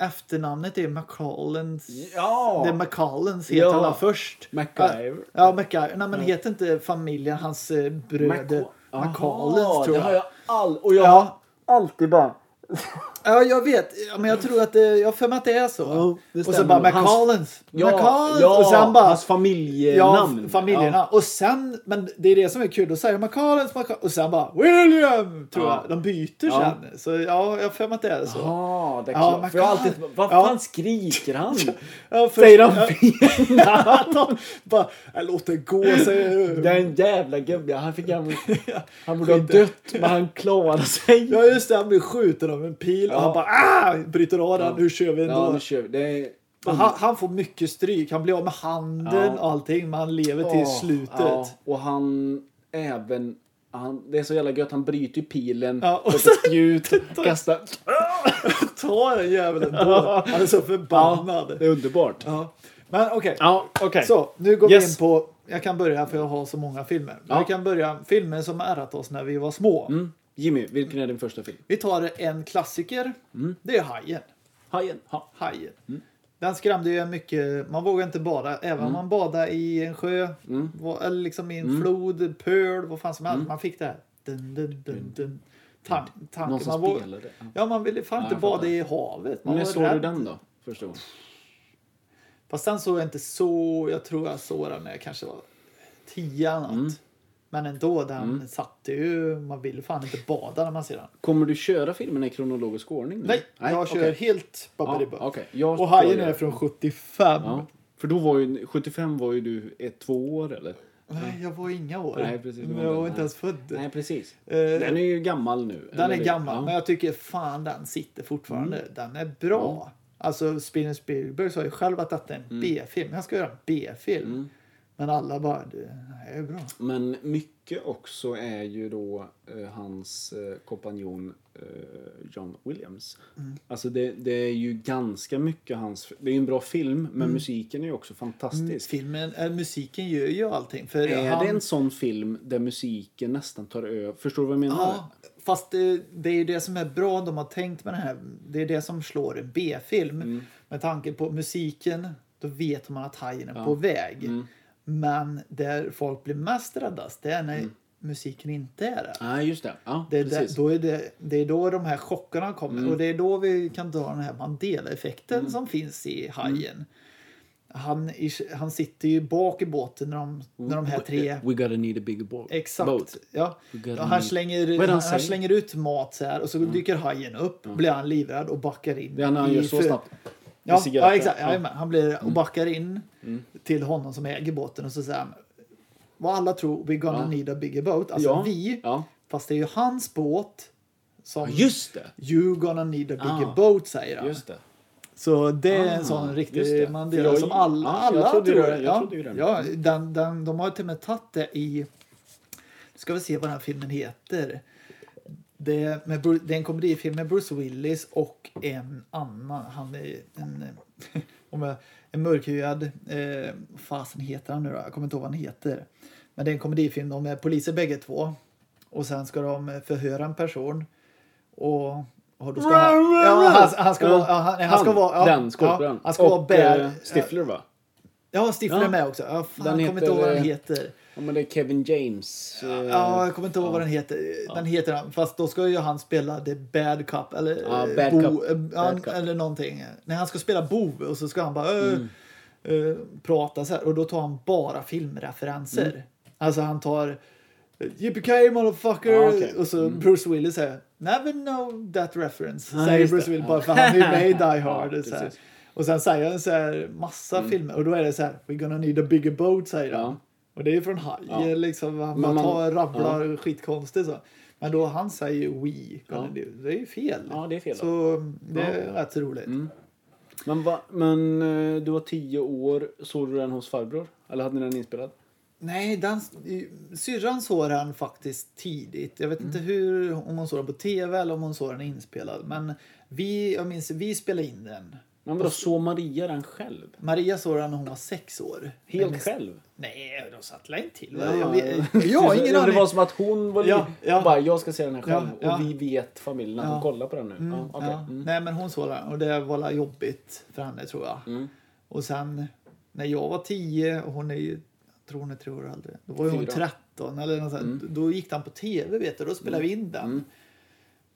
Efternamnet är McCallens.
Ja!
Det är McCallens heter
Ja.
alla först.
MacGyver.
Ja, MacGyver. Nej, men heter inte familjen hans eh, bröder
Maca-
McCallens
Aha,
tror
Det har
jag.
jag all... Och jag
Ja.
har alltid bara...
Ja, jag vet. Ja, Men jag tror att det, jag har för mig att det är så.
Ja, det
och så
stämmer.
bara
Hans-
McCallens. McCallens.
ja,
och sen bara...
hans familjenamn.
Ja, familjerna. Och sen, men det är det som är kul, då säger man Karlens, man och sen bara William, tror
Ja.
jag. De byter
Ja.
sen. Så ja, jag har för mig att det är så.
Jaha, det är
Ja,
klart.
man
För jag har
kan-
alltid... Vad
Ja.
fan skriker <laughs> han?
Ja, för-
Säger han
ja,
<laughs> fel
<laughs>
namn?
bara, jag låter gå,
<laughs>
säger
Den jävla gubben, han fick <laughs> han... Han borde ha
Skit.
dött, men han klarade sig.
Ja, just det, han blir skjuten av en pil
Ja.
och han bara ah! Bryter av den,
Ja.
hur kör vi ändå?
Ja, nu kör vi. Det är...
Men han, han får mycket stryk, han blir av med handen
Ja.
och allting, men han lever till
Åh,
slutet.
ja, och han även... Han, det är så jävla gött, han bryter ju pilen
Ja, och
och <laughs>
sen-
ett spjut, kastar...
Ta den jäveln då! Han är så
<laughs>
förbannad.
Det är underbart.
Ja. Men okej.
Ja, okej.
Så, nu går vi
Yes.
in på... Jag kan börja för jag har så många filmer.
Ja.
Vi kan börja filmer som har ärrat oss när vi var små.
Mm. Jimmy, vilken är din första film?
Vi tar en klassiker.
Mm.
Det är Hajen.
Hajen. Ha.
Hajen.
Mm.
Den skrämde ju en mycket. Man vågade inte bada. Även om man badade i en sjö.
Mm.
var- Eller liksom i en flod, pöl, vad fan som helst. Man fick det här. Dun, dun, dun, dun. Tan- tanken.
Mm. Någon som
man våg-
spelade. Ja.
Ja, man ville fan
Ja,
inte
jag
bada
fattar.
i havet. Man
När
var
såg du
rädd.
den då? Första gången? Mm.
Fast sen såg jag inte så... Jag tror jag såg den när jag kanske var tio eller något. Men ändå, den satte ju... Man vill fan inte bada när man ser den.
Kommer du köra filmerna i kronologisk ordning? Nu?
Nej, jag kör
Mm. okej.
helt babberibba.
Ja, okej. Jag
Och Hajen
tror-
är från 75.
Ja. För då var ju, 75 var ju du ett, två år eller?
Nej, jag var inga år.
Nej, precis, det var
jag
den.
var inte ens född.
Nej precis.
Eh,
Den är ju gammal nu.
Den
eller?
är gammal, men
Ja. Mm.
jag tycker fan den sitter fortfarande. Den är bra. Alltså, Steven Spielberg sa ju själv att detta är
Mm.
en B-film. Jag ska göra en B-film. Men alla bara, det här är bra.
Men mycket också är ju då eh, hans eh, kompanjon eh, John Williams.
Mm.
Alltså det, det är ju ganska mycket hans... Det är ju en bra film men
Mm.
musiken är ju också fantastisk.
Filmen, äh, musiken gör ju allting. För
Är
Mm. han,
det en sån film där musiken nästan tar över? Förstår du vad jag menar?
Ja, fast det, det är ju det som är bra de har tänkt med den här. Det är det som slår en B-film.
Mm.
Med tanke på musiken, då vet man att hajen är på väg.
Mm.
Men där folk blir mest räddast, det är när musiken inte är där.
Nej, just det. Ja,
Det är,
Mm. precis. Mm.
där, då är det, det är då de här chockerna kommer och det är då vi kan dra den här Mandela-effekten som finns i
Mm.
Hajen. Han, i- han sitter ju bak i båten när de, när de här
Mm.
tre...
We gotta need a bigger boat.
Exakt.
Boat.
Ja.
got
Ja,
me.
han,
Vad är
slänger,
det han
han,
säger?
han slänger ut mat så här och så dyker hajen upp, blir han livrädd och backar in.
Det är när han
i
gör så
fö-
snabbt. Med Mm.
Ja,
cigaretten.
ja exakt. Ja. Han blir och backar in
Mm.
till honom som äger båten och så säger han vad alla tror, we're gonna
Ja.
need a bigger boat. Alltså
Ja.
vi,
Ja.
fast det är ju hans båt som
Ja, just det!
You're gonna need a bigger
Ah.
boat, säger han.
Just det.
Så det är en
Ah,
sån
just det.
riktig
För
Mandela
jag-
som alla,
ja, jag
alla
trodde ju
tror.
det, jag
ja,
trodde ju det.
ja, den, den, de har till och med tagit det i... Nu ska vi se vad den här filmen heter. Det är, med, Bru- det är en komedifilm med Bruce Willis och en annan. Han är en, eh, om jag, en mörkhyad... Eh, vad fasen heter han nu då? Jag kommer inte ihåg vad han heter. Men det är en komedifilm. De är poliser bägge två. Och sen ska de förhöra en person. Och... och då ska han, ja, han, han ska vara... Ja, han, nej, han ska vara... Ja,
den skådespelaren.
Ja, han ska vara
och eh,
bär...
Stifler va?
Ja, Stifler
Ja.
är med också. Ja, fan,
Den eh,
jag kommer inte ihåg vad den heter.
Ja men det är Kevin James. eh,
Ja, jag kommer inte ihåg vad den heter. Den heter han. Fast då ska ju han spela The Bad Cup. Eller,
Ja,
eh,
Bad
bo,
Cup.
eh,
Bad
ja,
Cup. Mm.
eller någonting. Nej, han ska spela bov och så ska han bara eh, eh, prata så här. Och då tar han bara filmreferenser.
Mm.
Alltså han tar eh, Yippee motherfucker!
Ja, okej. Mm.
Och så Bruce Willis säger Never know that reference.
Ja,
säger
just
Bruce
det.
Willis
Ja.
bara för han är ju med
<laughs>
i Die Hard.
Ja,
så här.
precis. Mm.
Och sen säger han så här massa filmer och då är det så här We're gonna need a bigger boat säger han.
Ja.
Och det är ju från Haj.
Ja.
Liksom, man,
Men
man
man-
tar, rabblar skitkonstigt. Så. Men då han säger ju we.
Ja.
Det det är ju fel.
Ja, det är fel.
Så det är
Ja. Mm.
rätt roligt.
Men, va, men eh, du var tio år. Såg du den hos farbror? Eller hade ni den inspelad?
Nej, den, syrran såg den faktiskt tidigt. Jag vet
Mm.
inte hur, om hon såg den på tv eller om hon såg den inspelad. Men vi, jag minns, vi spelade in den.
Men vadå, såg Maria den själv?
Maria såg den när hon var sex år. Jag
Helt
minns-
själv?
Nej, de satt väl till? Ja. Jag, vet- jag har ingen
<laughs> Det var
aning.
som att hon var
Ja,
li-
ja.
bara jag ska se den här själv.
Ja, ja.
Och vi vet familjen att hon
Ja.
kollar på den nu. ja, okej.
Ja.
Mm.
Nej, men hon såg den och det var la jobbigt för henne tror jag.
Mm.
Och sen när jag var 10 och hon är ju, jag tror hon är tre år äldre, då var ju hon
Fyra. Mm.
13 eller något sånt. Då gick den på tv vet du, då spelade vi in den.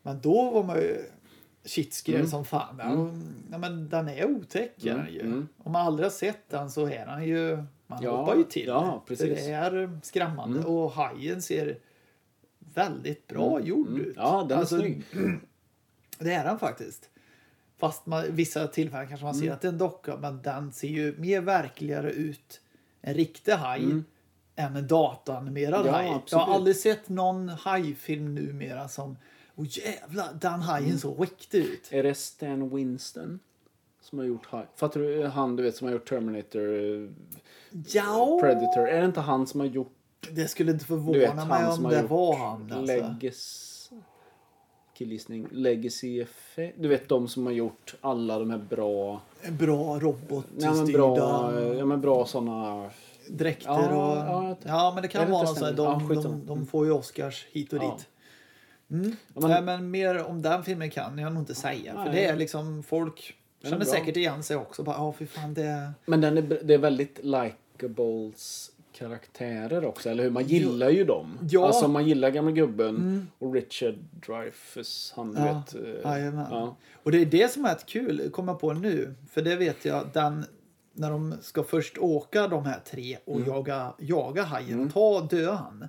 Men då var man ju shitskrev som fan. Den, ja, men den är otäck är den ju.
mm.
Om man aldrig har sett den så är den ju, man
Ja,
hoppar ju till.
ja,
För
precis. Mm.
det är skrämmande och hajen ser väldigt bra gjord ut.
Mm.
Alltså,
Ja, den är snygg.
Det är den faktiskt. Fast man, vissa tillfällen kanske man
Mm.
ser att det är en docka men den ser ju mer verkligare ut en riktig haj än en dataanimerad
Mm. Ja,
haj. Jag
absolut.
har aldrig sett någon hajfilm numera som Åh jävlar, den hajen
Mm.
såg riktig ut.
Är det Stan Winston? Som har gjort Hi- Fattar du? eh, Han du vet som har gjort Terminator, eh,
Ja,
Predator. Är det inte han som har gjort
det skulle inte
Du vet,
förvåna
han
mig
som
om
har
det
gjort
var han. Alltså.
Legacy... Killgissning. Legacy Effect. Du vet de som har gjort alla de här bra...
Bra
Nej, men
robotstyrda
bra, ja, men bra såna...
dräkter.
Ja,
och,
ja,
ja,
jag-
men det
jag
kan
vet
vara
inte
någon sån här,
stämningen. Ja,
de,
skitsamma.
de, de får ju Oscars hit och
Ja.
dit. Mm.
Ja, men-
Nej, men mer om den filmen kan jag nog inte säga. För
Nej.
det är liksom folk
är
känner
bra.
säkert igen sig också. Bara, ja, fy fan det...
Men den är, br- det är väldigt likables karaktärer också, eller hur? Man gillar ju dem.
Ja. Mm.
Alltså man gillar gamla gubben och Richard Dreyfuss, han du
Ja.
vet... eh,
Jajamän.
ja.
Och det är det som är ett kul, kommer jag på nu. För det vet jag, den, när
Mm.
de ska först åka de här tre och jaga, jaga hajen och ta dö han.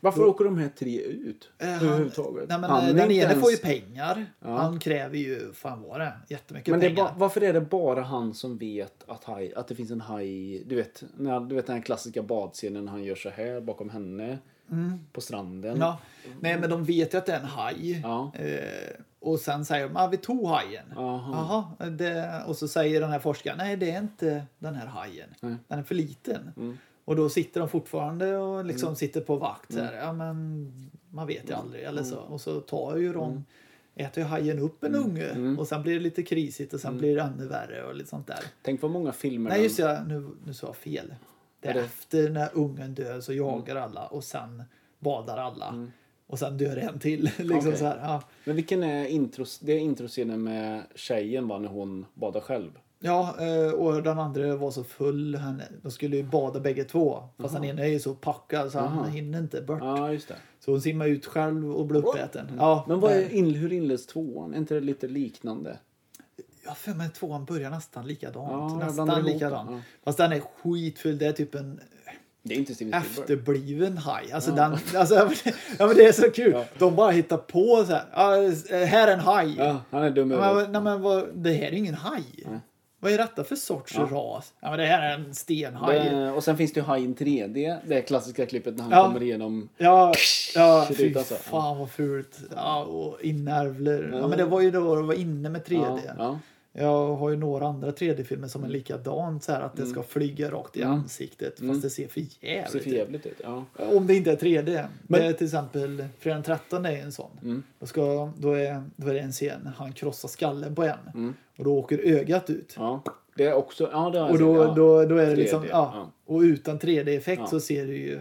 Varför åker de här tre ut?
Eh, han-
Överhuvudtaget?
Nej, men,
Han
eh,
är
den
inte
ene
ens-
får ju pengar.
Ja.
Han kräver ju, fan var det, jättemycket
Men det är
pengar.
ba, varför är det bara han som vet att, haj, att det finns en haj? Du vet, när, du vet den här klassiska badscenen när han gör så här bakom henne på stranden.
Mm. Ja. Nej, men de vet ju att det är en haj.
Ja.
Eh, och sen säger de, ah, vi tog hajen.
Aha.
Jaha, det, och så säger den här forskaren, nej det är inte den här hajen.
Nej. Mm.
Den är för liten. Och då sitter de fortfarande och liksom sitter på vakt.
Mm.
Så här. Ja, men man vet ju aldrig. Eller så. Och så tar ju de,
Mm.
äter ju hajen upp en unge. Och sen blir det lite krisigt och sen
Mm.
blir det ännu värre och lite sånt där.
Tänk vad många filmer
Nej,
den-
just det. Nu, nu sa jag fel. Det är
Är det-
efter när ungen dör så jagar
Mm.
alla och sen badar alla. Och sen dör en till. <laughs> liksom
Okej.
så här. Ja.
Men vilken är intros, det är introscenen med tjejen va, när hon badar själv?
ja, eh, och den andra var så full. Han, de skulle ju bada bägge två. Fast han ena är ju så packad så han hinner inte bort.
Ja, just det.
Så hon simmar ut själv och blir uppäten. Ja, eh,
Men vad
där.
är, in, hur inleds tvåan? Är inte det lite liknande?
Jag har för mig att tvåan börjar nästan likadant.
Ja, jag blandar
nästan
ihop
likadan.
dem, ja.
Fast den är skitfull. Det är typ en
Det är inte Steven Spielberg.
efterbliven haj. Alltså, den, alltså, <laughs> ja, men det- ja, men det är så kul.
Ja.
De bara hittar på så här. "Ja, eh, här är en haj.
Ja, han är dum i
Ja,
huvudet.
men, nej, men vad, det här är ingen haj. Vad är detta för sorts ras? Ja, men det här är en stenhaj.
Det- Eh, Och sen finns det ju Hajen 3D, det klassiska klippet när han
Ja.
kommer igenom.
Ja, ja
Shit,
fy
alltså.
fan vad fult. Ja, och inärvlor. Ja, men det var ju då det var inne med 3D.
Ja, ja.
Jag har ju några andra 3D-filmer som är likadant. Så här, att det ska flyga rakt i ansiktet. Fast Mm. det ser för
Det ser
jävligt
för
ut.
jävligt ut. Ja.
Om det inte är 3D. Det är till exempel Fredag den 13 är en sån. Då, ska, då, är, då är det en scen när han krossar skallen på en. Och då åker ögat ut.
Ja, det är också... Ja, det har jag
och då,
sett, Alltså, ja.
då, då är det liksom,
3D,
ja.
ja.
Och utan 3D-effekt
Ja.
så ser det ju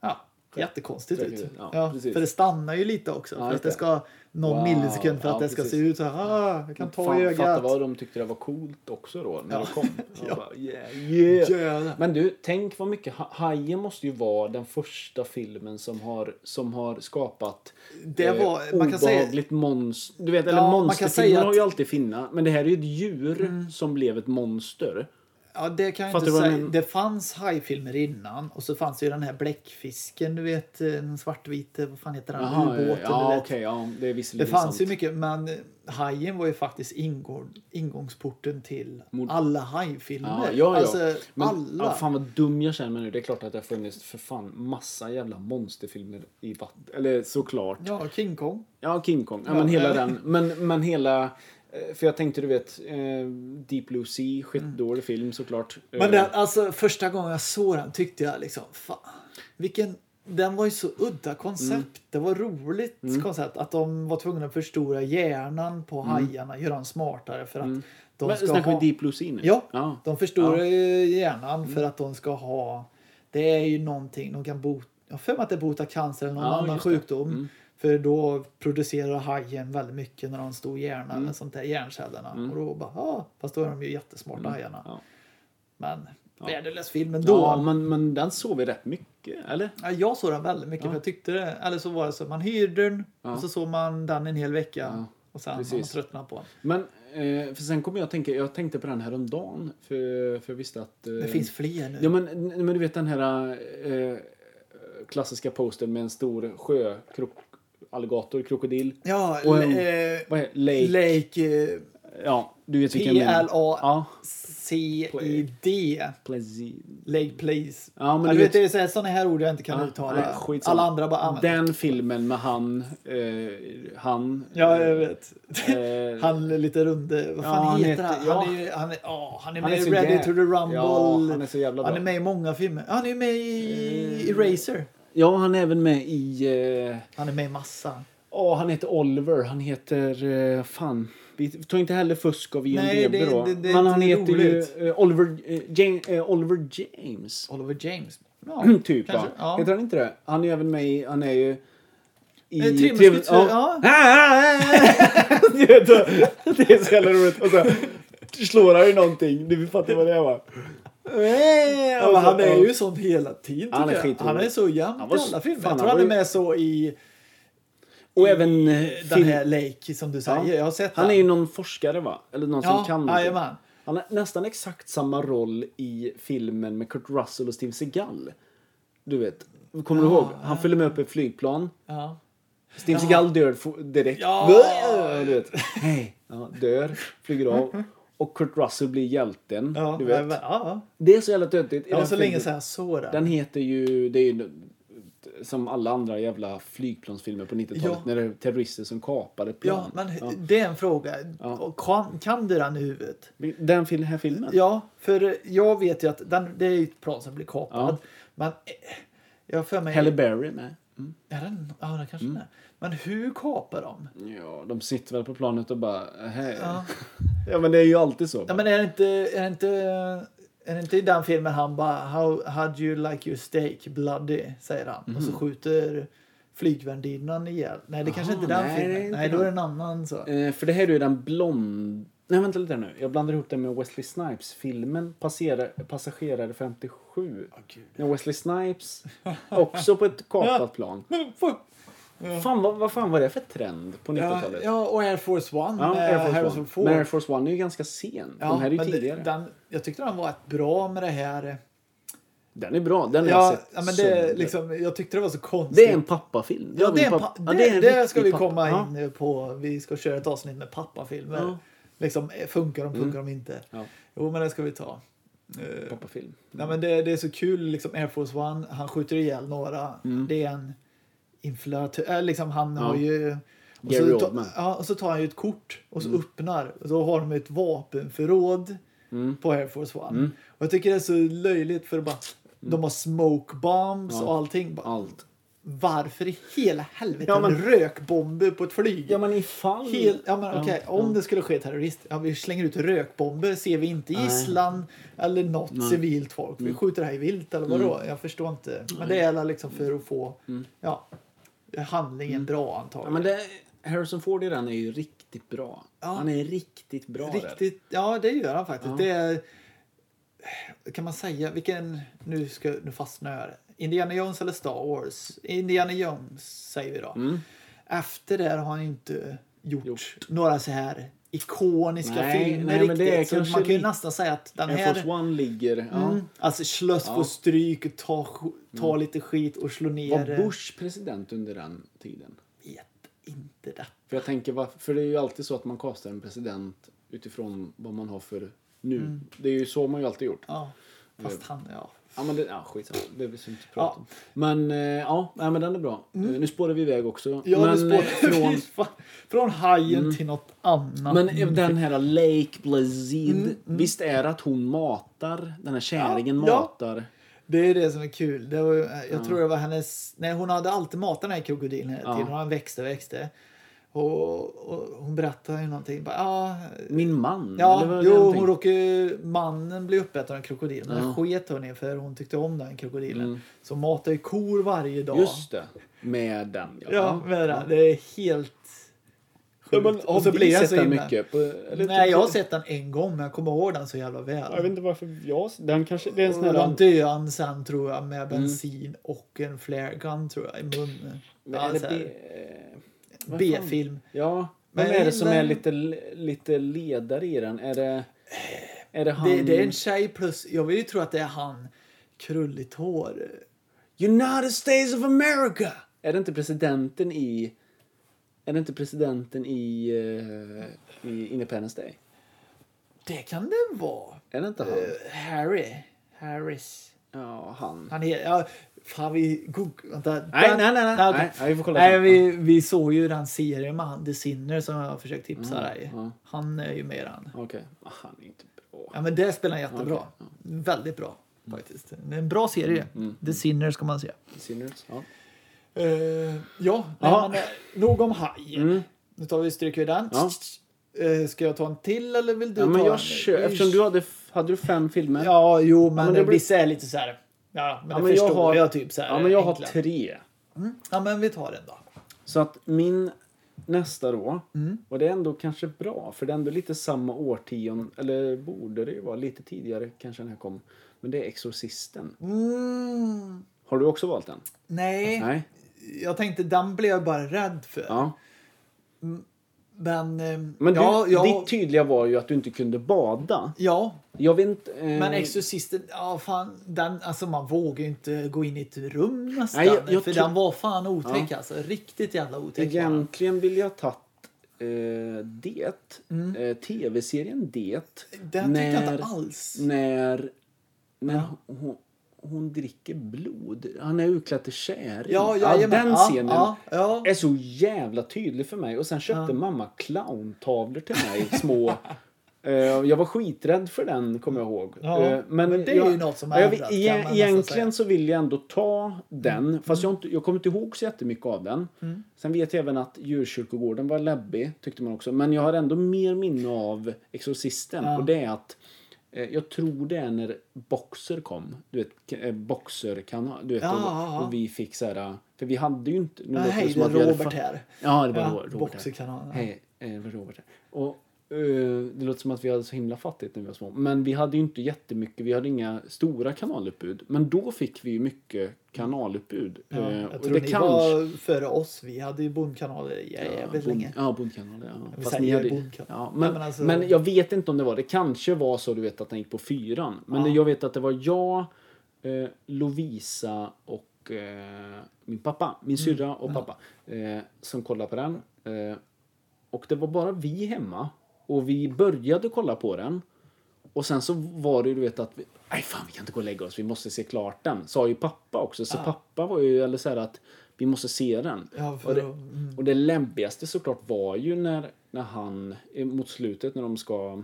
ja, jättekonstigt
Tråkigt
ut.
ut, ja,
Ja,
precis.
för det stannar ju lite också. för att
just
det
det.
ska någon
Wow,
millisekund för att
ja,
det ska se
precis.
ut så här. Ah, jag kan ta i
Fan, fatta
ögat.
vad de tyckte det var coolt också då när det
<laughs>
kom. Jag Bara, yeah, yeah.
Jävlar.
Men du, tänk vad mycket... Ha- Hajen måste ju vara den första filmen som har, som har skapat eh,
Det var- man kan säga-
obehagligt monster. Du vet, eller
Ja, man kan säga
monsterfilmer
att- Mm.
har ju alltid finna. Men det här är ju ett djur som blev ett monster.
Ja, det kan jag
Fattar
inte
du vad jag
säga.
menar?
Det fanns hajfilmer innan och så fanns ju den här bläckfisken, du vet, eh, den svartvita, vad fan heter den,
Jaha,
ubåten,
ja,
du
okej,
vet.
ja, det är
Det
visserligen
fanns ju
sant.
mycket, men hajen var ju faktiskt ingång, ingångsporten till
Mord.
alla hajfilmer.
Ja, ja, ja.
Alltså,
men,
alla.
Ja, fan vad dum jag känner mig nu. Det är klart att det har funnits för fan massa jävla monsterfilmer i vatten. Eller såklart.
Ja, King Kong.
Ja, King Kong. Ja,
Ja,
men hela
ja.
den. Men, men hela... eh, För jag tänkte, du vet, eh, Deep Blue Sea, skitdålig film såklart.
Mm. Men
Eh,
den, alltså, första gången jag såg den tyckte jag liksom, fan, vilken... Den var ju så udda koncept.
Mm.
Det var roligt koncept att de var tvungna att förstora hjärnan på hajarna, göra dem smartare för att de
Mm. men
ska
snackar
ha...
vi Deep Blue Sea nu?
Ja,
ja. Mm.
de förstorar ju hjärnan för att de ska ha... Det är ju någonting de kan bota... Jag har för mig att det botar cancer eller någon
Ja,
annan
just det. Mm.
sjukdom. För då producerar hajen väldigt mycket när de har en stor hjärna
Mm.
eller sånt där, hjärncellerna. Och då bara, ah, fast då är de ju jättesmarta
Mm.
hajarna.
ja.
Men värdelös film ändå.
ja men, men den såg vi rätt mycket, eller?
Ja, jag såg den väldigt mycket för jag tyckte det. Eller så var det så man hyrde den och så såg man den en hel vecka. Och sen har man
precis.
tröttnat på den.
Men, eh, för sen kommer jag att tänka, jag tänkte på den här om dagen för, för jag visste att... Eh,
Det finns fler nu.
Ja, men, men du vet den här eh, klassiska posten med en stor sjö, krok, alligator, krokodil.
Ja,
Och en-
eh,
Vad är Lake.
Lake eh,
ja, du vet vilken
PLA.
Ja.
C-I-D.
Plazin.
E Lake Place.
Ja, men
ja,
du
du
vet-
vet, det är sådana här ord jag inte kan uttala. Alla andra bara "Ah, använder.
Den filmen med han, eh, han...
Ja,
eh,
jag vet.
eh,
Han är lite runde. Vad
Ja,
fan
han heter-
heter, han?
ja.
Han är, ju- han är, ja, han är
Han
med
är så
i Ready
jä-
to the Rumble.
Ja, han är så jävla
Han
bra. Eh.
är med i många filmer. Han är med i Eraser.
ja, han är även med i... eh,
Han är med i massa.
Åh, han heter Oliver. Han heter... eh, fan. Vi tar inte heller fusk av IMDB
Nej, det-
då.
det- det är
Men han
inte
heter
roligt.
ju eh, Oliver, eh, James, eh, Oliver James. <clears throat>
Oliver James. Ja,
typ va?
kanske. Ja.
Heter han inte det? Han är ju även med i... Han är ju... I
Eh, Tre
Tre-
musketörer,
Ja. <laughs> Du vet, det är så jävla roligt. Och så slår han ju någonting. Du fattar vad det är va?
Ja, men han är ju sån hela tiden.
Eh, alltså, Han är
tycker jag.
skitrolig.
han är så jämn
Han var
i alla
s-
filmer.
fan,
jag tror
han
han är
var ju-
med så i
Och även... eh,
den
Phil-
här Lake som du säger. Jag har sett
Han är
den.
ju någon forskare va? Eller någon
Ja,
som kan
jajamän.
Han har nästan exakt samma roll i filmen med Kurt Russell och Steve Seagal. Du vet. Kommer du
Ja,
ihåg? Han följer med upp i ett flygplan.
Ja.
Steam Seagal dör fo- direkt.
Ja.
Bäh! Du vet. Hej. Ja, dör. Flyger av. Och Kurt Russell blir hjälten.
Ja,
du vet.
ja, ja.
Det är så jävla töntigt. i
Det var
den
så länge
filmen.
sedan jag såg den.
Den heter ju... Det är ju som alla andra jävla flygplansfilmer på 90-talet.
Ja.
När det är terrorister som kapar ett
Ja,
plan.
men det är en fråga. Och Kan, kan du den i huvudet?
Den fil- här filmen?
Ja, för jag vet ju att den, det är ju ett plan som blir kapad. Men eh, jag har för mig...
Halle Berry? Nej.
Är den, ja, den kanske den är. Men hur kapar de?
Ja, de sitter väl på planet och bara... Hej.
Ja.
Ja. men det är ju alltid så.
Ja, men är det inte... Är det inte är det inte i den filmen han bara How how'd you like your steak bloody? Säger han. Och så skjuter flygvärdinnan ihjäl. Nej det kanske
Aha,
inte är den
nej, det är
filmen.
inte
Nej då är det
den.
en annan så.
Eh, för det här är ju den blond... Nej, vänta lite nu. Jag blandar ihop det med Wesley Snipes-filmen Passerare, Passagerare 57. När Wesley
<laughs>
Snipes också på ett kapat plan. Fan, vad, vad fan var det för trend på
Ja,
90-talet?
ja och Air Force One
Ja,
med
Air Force
Harrison
One.
Ford.
Men Air Force One är ju ganska sen.
Ja,
De här är ju
men det-
tidigare. Den,
Den, jag tyckte den var ett bra med det här. eh,
är bra. Den har
Ja,
jag sett
ja, men
sönder.
det, liksom, jag tyckte det var så konstigt.
det är en pappafilm.
Ja, det, är en
pappa-
pa-
ja,
det,
en
det
riktig
ska vi
pappa-
komma
Ja.
in på. Vi ska köra ett avsnitt med pappafilmer.
Ja. Mm.
Liksom, eh, funkar de, funkar de inte?
Ja.
Jo, men det ska vi ta. Eh,
Pappafilm.
nej, men det, det är så kul, liksom Air Force One, han skjuter ihjäl några. Det är en inflatör, äh, liksom han
Mm. Ja.
har ju... och
Gary
så ta-
Oldman. Mm.
Ja, och så tar han ju ett kort och så öppnar. Och så har de ett vapenförråd
Mm.
på Air Force One. Och jag tycker det är så löjligt för att bara... De har smoke bombs
Mm. Ja.
och allting. Bara,
Allt.
varför i hela helvete
Ja, men-
rökbomber på ett flyg?
men ifall...
Hel, ja, men, okej,
Ja,
Om det skulle ske terrorist, ja, vi slänger ut rökbomber, ser vi inte gisslan eller något civilt folk.
Mm.
Vi skjuter det här i vilt eller vadå? Jag förstår inte. Men det är alla liksom för att få ja, handlingen bra
Mm. Ja,
antagligen.
men det, Harrison Ford i den är ju riktigt bra. Han är riktigt bra där.
Riktigt, ja det gör han faktiskt. Det är, kan man säga, vilken, nu, ska, nu fastnar jag här. Indiana Jones eller Star Wars? Indiana Jones säger vi då.
Mm.
Efter det har han inte gjort,
Gjort.
några så här ikoniska
Nej,
filmer
nej, men
riktigt.
det är
så
kanske
man kan ju
li-
nästan säga att den
Air
här...
Force One ligger... Ja.
Mm, alltså Schlöss får stryk, ta, sk- ta lite skit och slå ner...
Var Bush president under den tiden?
Vet inte det.
För jag tänker, va- för det är ju alltid så att man kastar en president utifrån vad man har för nu.
Mm.
Det är ju så man ju alltid gjort.
Ja, fast han, ja.
Ja men det, ja, skitsamma, det behöver vi inte prata
Ja. Mm.
om. Men eh, ja, nej, men den är bra. Eh, Nu spårar vi iväg också.
Ja,
men,
men,
eh,
<laughs> från... från hajen till något annat.
Mm.
Mm.
Men eh, den här Lake Blazid, visst är det att hon matar, den här käringen
Ja, ja.
matar?
Det är det som är kul. Det var, ju- jag tror det var hennes... Nej, hon hade alltid matat den här krokodilen hela tiden. Och han växte och växte. Och, och hon berättade ju någonting. Bara, ja,
Min man? eller
ja
vad är det
jo,
någonting?
hon råkade ju- Mannen blev uppäten av en krokodil. Men det
Ja. Mm.
sket hon i för hon tyckte om den krokodilen. Så hon matar ju kor varje dag.
Just det, med den ja.
Ja, med det. Det är helt...
Ja, men,
sjukt.
har vi
jag
sett den
himla-
mycket? På, eller,
Nej, jag har sett den en gång men jag kommer ihåg den så jävla väl.
Jag vet inte varför jag... Den kanske... Det är en sån
Och
här... Mm.
de döde han sen tror jag med bensin och en flare gun tror jag i munnen. Ja,
Eller
så
B-
här,
eh, vad fan?
B-film.
Ja.
Men
Vem
jag
är det som
gillar-
är lite, lite ledare i den? Är det... Är det han...
Det, det är en tjej plus, jag vill ju tro att det är han, krulligt hår.
United States of America! Är det inte presidenten i... Är det inte presidenten i, eh, i Independence Day?
Det kan det vara.
Är det inte han?
Eh, Harry. Harris.
Ja, han.
Han heter, ja, fan vi googlar, vänta. Nej,
nej, nej, nej.
okej.
Nej, nej, vi får kolla
Nej,
sen.
vi, vi såg ju den serien med han, The Sinner, som jag har försökt tipsa dig.
ja.
Han är ju med i den.
Okej. Ah, Han är inte bra.
Ja, men det spelar han jättebra.
Okej,
Väldigt bra faktiskt. Det är en bra serie. The Sinner ska man se.
Sinners. Ja.
Mm, Eh, ja, nej,
Ja.
men, eh, nog om haj. Nu tar vi stryker vi den.
Ja.
Eh, ska jag ta en till eller vill du
ja,
ta
men
en?
jag kör.
Vi-
Eftersom du hade... Hade du fem filmer?
Ja, jo, men,
men det
det
blir-
vissa är lite så här. Ja, men
Ja,
det
men
förstår
jag
jag,
har-
typ så här.
Ja, men jag har
enkla.
tre.
Ja, men vi tar den då.
Så att min nästa då,
Mm.
och det är ändå kanske bra för det är ändå lite samma årtionde, eller borde det ju vara, lite tidigare kanske den här kom. Men det är Exorcisten.
Mm,
Har du också valt den?
nej.
Alltså, Nej?
jag tänkte den blev jag bara rädd för.
Ja.
Men, eh,
Men du,
ja, jag,
ditt tydliga var ju att du inte kunde bada.
ja,
Jag vet inte... eh,
Men Exorcisten, ja fan, den, alltså man vågar ju inte gå in i ett rum nästan.
Nej, jag- jag
för
tror-
den var fan otäck alltså. Riktigt jävla otäck var den.
Egentligen vill jag tagit eh, Det. Eh, Tv-serien Det.
Mm. Den tyckte jag inte alls.
Mm. När, när hon, hon dricker blod. Han är utklädd till käring.
Ja, jajamän.
den
Ja,
scenen typ
ja, ja.
är så jävla tydlig för mig. Och sen köpte mamma clowntavlor till mig. Små. <laughs> Eh, Jag var skiträdd för den, kommer jag ihåg.
Ja,
Eh,
men det är
jag,
ju något som har
jag,
ändrats, kan man
e-
nästan
Egentligen
säga. Mm.
så vill jag ändå ta den. Fast jag, har inte, jag kommer inte ihåg så jättemycket av den. Sen vet jag även att djurkyrkogården var läbbig, tyckte man också. Men jag har ändå mer minne av Exorcisten. Och det är att eh, jag tror det är när Boxer kom. Du vet, k- eh, Boxer-kanal. Du vet,
Ja,
och,
ja, ja.
och vi fick så här... eh, För vi hade ju inte... Nu
Ja,
låter
hej,
som
det är
att vi hade
Robert
fa-
här.
Ja, det var
Ja,
Ro- Robert.
Boxerkanalen, ja.
här. Hej, eh, det var Robert här. Och, eh, det låter som att vi hade så himla fattigt när vi var små. Men vi hade ju inte jättemycket. Vi hade inga stora kanalutbud. Men då fick vi ju mycket kanalutbud.
Ja,
Eh,
jag
och
tror
det
ni
kanske-
var före oss. Vi hade ju bondkanaler i jävligt
Bond-
länge.
Ja, bondkanaler. Ja.
Vi
Fast
säger
ni hade,
bondkanal.
ja,
Nej,
men,
men
men,
alltså-
jag vet inte om det var det. kanske var så du vet att den gick på fyran. Men
Ja.
jag vet att det var jag, eh, Lovisa och eh, min pappa.
Mm.
Min syrra och pappa. Eh, som kollade på den. Eh, och det var bara vi hemma. Och vi började kolla på den. Och sen så var det ju du vet att vi, nej fan vi kan inte gå och lägga oss, vi måste se klart den. Sa ju pappa också. Så pappa var ju, eller så här att vi måste se den.
Ja, för
och, det,
att- mm.
och det lämpligaste såklart var ju när, när han, eh, mot slutet när de ska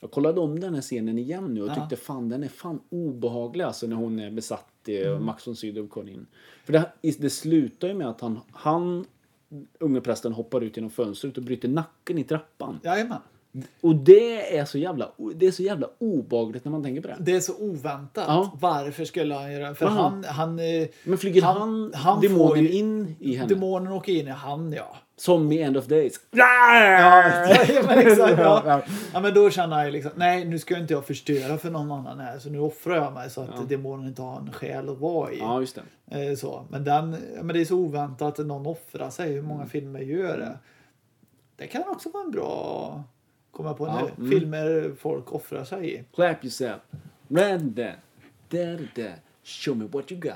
jag kollade om den här scenen igen nu och tyckte fan den är fan obehaglig alltså när hon är besatt eh,
Mm.
och Max von Sydow kommer in. För det, det slutar ju med att han, han unge prästen hoppar ut genom fönstret och bryter nacken i trappan.
Jajamän.
Och det är så jävla, det är så jävla obagligt när man tänker på det.
Det är så oväntat.
Ja.
Varför skulle han göra det? För
Aha.
han, han, eh,
Men flyger
Han-
han,
han får
demonen
ju-
in i henne?
demonen åker in i han
<laughs>
ja.
Som i End of Days.
Ja, <laughs> men exakt, ja.
Ja.
ja, men då känner jag ju liksom, nej nu ska inte jag förstöra för någon annan här så nu offrar jag mig så att demonen inte har en själ att vara i.
Ja, just det.
Eh, Så. Men, den, ja, men det är så oväntat att någon offrar sig, hur
Mm.
många filmer gör det? Det kan också vara en bra, komma på
Ja, mm.
nu, filmer folk offrar sig i.
Clap yourself. Run that. Da, da, da. Show me what you
<laughs>
got.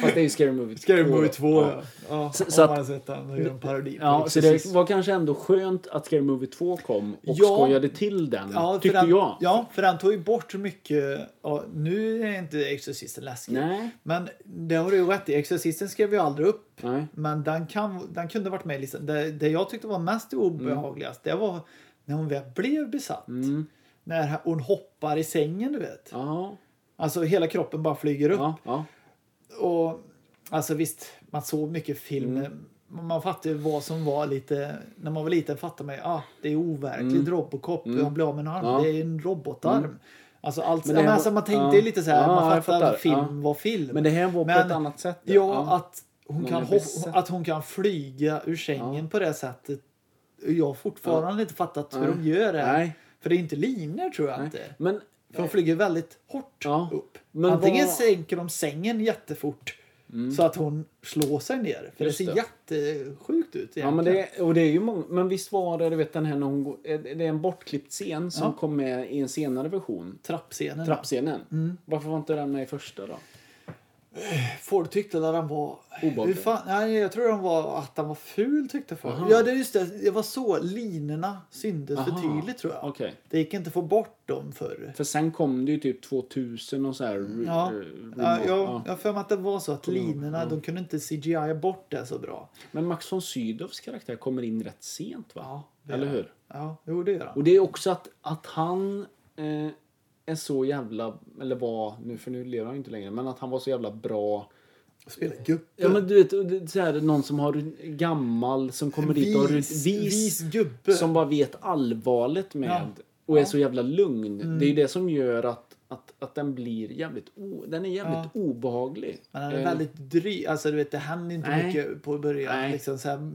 Fast det är ju Scary Movie 2.
Scary Movie 2 ja.
Ja,
ja.
Så-
om
så att-
man har sett den och gör en parodi på
ja så
Exorcist.
det var kanske ändå skönt att Scary Movie 2 kom och
Ja.
skojade till den,
Ja, för
tyckte
den,
jag.
Ja, för den tog ju bort mycket. Ja, nu är inte Exorcisten läskig.
Nej.
Men det har du ju rätt i. Exorcisten skrev vi aldrig upp.
Nej.
Men den, kan, den kunde varit med i listan. Det, det jag tyckte var mest obehagligast det var när hon väl blev besatt.
Mm.
När hon hoppar i sängen, du vet.
Ja,
Alltså hela kroppen bara flyger upp.
ja, ja.
Och alltså visst, man såg mycket film.
Mm.
Men Man fattade ju vad som var lite, när man var liten fattade man ju, ah, det är overkligt Robocop, han blir av med en arm,
Mm. Ja. Mm.
det är en robotarm. Alltså allt,
Men
ja,
det
men
här
alltså
var-
man tänkte ju
ja.
lite så här,
Ja,
man
jag
fattade
fattar.
att film
Ja.
var film.
Men det här var på ett annat sätt,
Ja,
ja. Ja.
att hon
Man
kan,
är
hop-
besatt.
att hon kan flyga ur sängen på det sättet. Jag har fortfarande inte fattat hur de
Nej.
gör det.
Nej.
För det är inte linor tror jag inte.
Men
För de flyger väldigt hårt
Ja,
upp.
men
Antingen
vad-
sänker de sängen jättefort så att hon slår sig ner. För
Mm. Just
det ser
det.
jättesjukt ut
Ja, men,
egentligen.
det, och det är ju många, men visst var det, du vet den här när hon går, är det är en bortklippt scen som
Ja. Mm.
kom med i en senare version.
Trappscenen.
Trappscenen.
Mm.
Varför var inte den med i första då?
Folk tyckte att han var...
Obehaglig.
Hur fan... Nej, jag tror de var... att han var ful tyckte folk. Ja, det är just det. Det var så. Linorna syntes för
Aha.
tydligt tror jag.
Okej.
Det gick inte att få bort dem förr.
För sen kom det ju typ 2000 och så här. re-
Ja,
eh,
ja,
remote-
jag
ja.
jag har för mig att det var så att linorna, de kunde inte CGI bort det så bra.
Men Max von Sydows karaktär kommer in rätt sent va?
Ja, det
Eller
gör
hur?
Ja, jo det gör han.
Och det är också att, att han eh, är så jävla, eller var, nu, för nu lever han ju inte längre, men att han var så jävla bra
Spelar gupp.
Ja men du vet, det är så här, någon som har en gammal som kommer dit och har ett
Vis, vis gubbe.
som bara vet allvaret med
Ja. Mm.
och är så jävla lugn. Det är ju det som gör att, att, att den blir jävligt, o, den är jävligt obehaglig.
Men han är
Eh,
väldigt dryg. Alltså du vet, det hände inte
Nej.
mycket på början.
Nej.
Liksom, så här,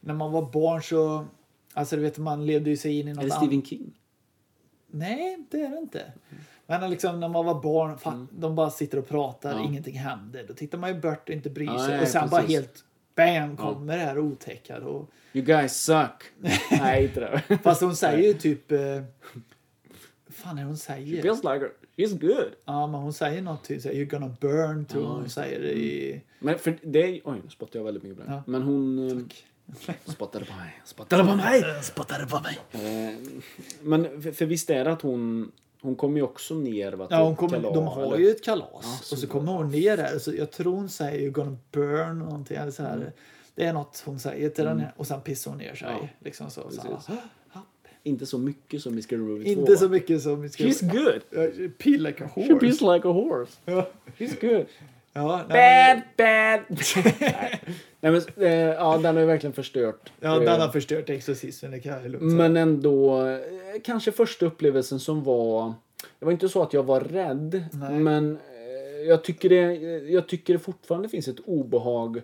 när man var barn så... Alltså du vet, man levde ju sig in i
är det
något annat.
Eh, Stephen King?
Nej, det är det inte. Men liksom, när man var barn, fan, de bara sitter och pratar,
Mm. Ja.
ingenting händer. Då tittar man ju bort och inte bryr
Ja,
sig.
nej,
och sen bara
precis.
helt bam kommer det här otäcka. då. <laughs>
You guys suck! Nej, inte det.
Fast hon säger ju typ... eh, fan är det hon säger?
Feels like her. She's good.
Ja, men hon säger något till sig. You're gonna burn, tror jag hon säger det i...
Men för det är, oj, nu spottade jag väldigt mycket på den.
Ja.
Men hon eh, spottade på mig. Spottade på mig!
Spottade på mig!
Eh, Men för, för visst är det att hon, hon kommer ju också ner va, till
Ja, hon kommer,
Kalar,
de har
eller?
ju ett kalas
så
och så kommer hon ner där. Så jag tror hon säger you're gonna burn och någonting. Eller så här. Det är något hon säger till den här och sen pissar hon ner sig.
Mm. Ja,
Liksom så, så
precis.
här. "Ah,
Inte så mycket som i Scary Movie 2.
Inte
va?
så mycket som vi ska...
She's good.
Peel like a
She
horse.
pees like a horse.
<laughs> Ja.
She's good.
Ja, nej,
Bad,
men,
bad.
<laughs>
Nej men, eh, ja den har ju verkligen förstört.
ja,
eh,
den har förstört exorcismen, det kan jag lugnt säga.
Men ändå, eh, kanske första upplevelsen som var... Det var inte så att jag var rädd,
Nej.
men eh, jag tycker, det, eh, jag tycker det fortfarande finns ett obehag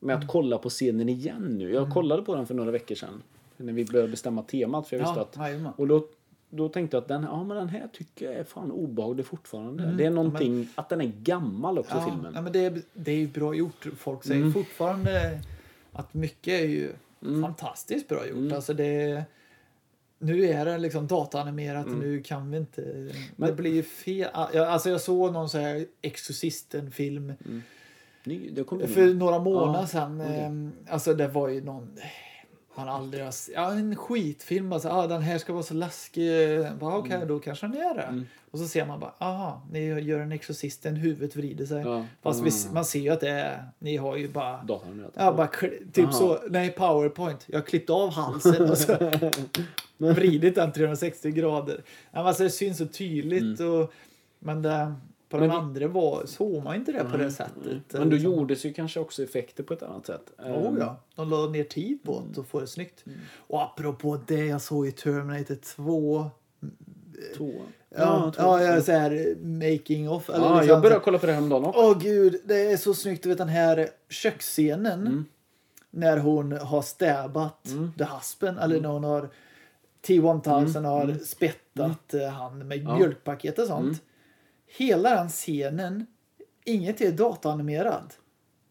med
Mm.
att kolla på scenen igen nu. Jag kollade på den för några veckor sedan, när vi började bestämma temat. För jag visste
ja,
att,
jajamän.
och då, då tänkte jag att den, ja, men den här tycker jag är fan obehaglig fortfarande. Det är någonting, att den är gammal också,
Mm, Ja,
filmen. Mm.
nej, men det, är, det är ju bra gjort. Folk säger fortfarande att mycket är ju fantastiskt bra gjort.
Mm.
Alltså det, nu är det liksom dataanimerat och nu kan vi inte... det
Mm. Men-
blir ju fel. Ah, jag- Alltså jag såg någon så här Exorcisten-film
Ny, det kom ju
för
nu.
några månader
Mm. Ja,
sedan. ehm, Alltså det var ju någon... Man aldrig har se- ja, en skitfilm. Alltså, ah, den här ska vara så läskig. Bara, Okej,
Mm.
då kanske den är det. Och så ser man bara, aha, ni gör en exorcisten, huvudet vrider sig.
Ja. Mm.
Fast vi, man ser ju att det är, ni har ju bara...
Datorn nu.
Ja, bara kli- typ
Aha.
så, nej powerpoint, jag klippte av halsen och så
<laughs>
vridit den 360 grader. Ja, men Alltså det syns så tydligt. Och, men det, på den
Mm. Men vi-
andra var, såg man inte det på det sättet.
Mm. Men då
Liksom.
gjordes ju kanske också effekter på ett annat sätt. Ehm,
Jo, Oh, ja. De la ner tid på
mm.
det och få det snyggt. Och apropå det, jag såg ju Terminator 2.
Två.
Ja, ja, jag är så här making off. Eller
Ja,
liksom
jag
så här-
började kolla på det häromdagen också.
Åh gud, det är så snyggt. Du vet den här köksscenen.
Mm.
När hon har stäbat the
Mm.
husband. Eller när hon har T-1000 har spettat
Mm.
eh, han med mjölkpaket och sånt. Hela den scenen, inget är dataanimerad.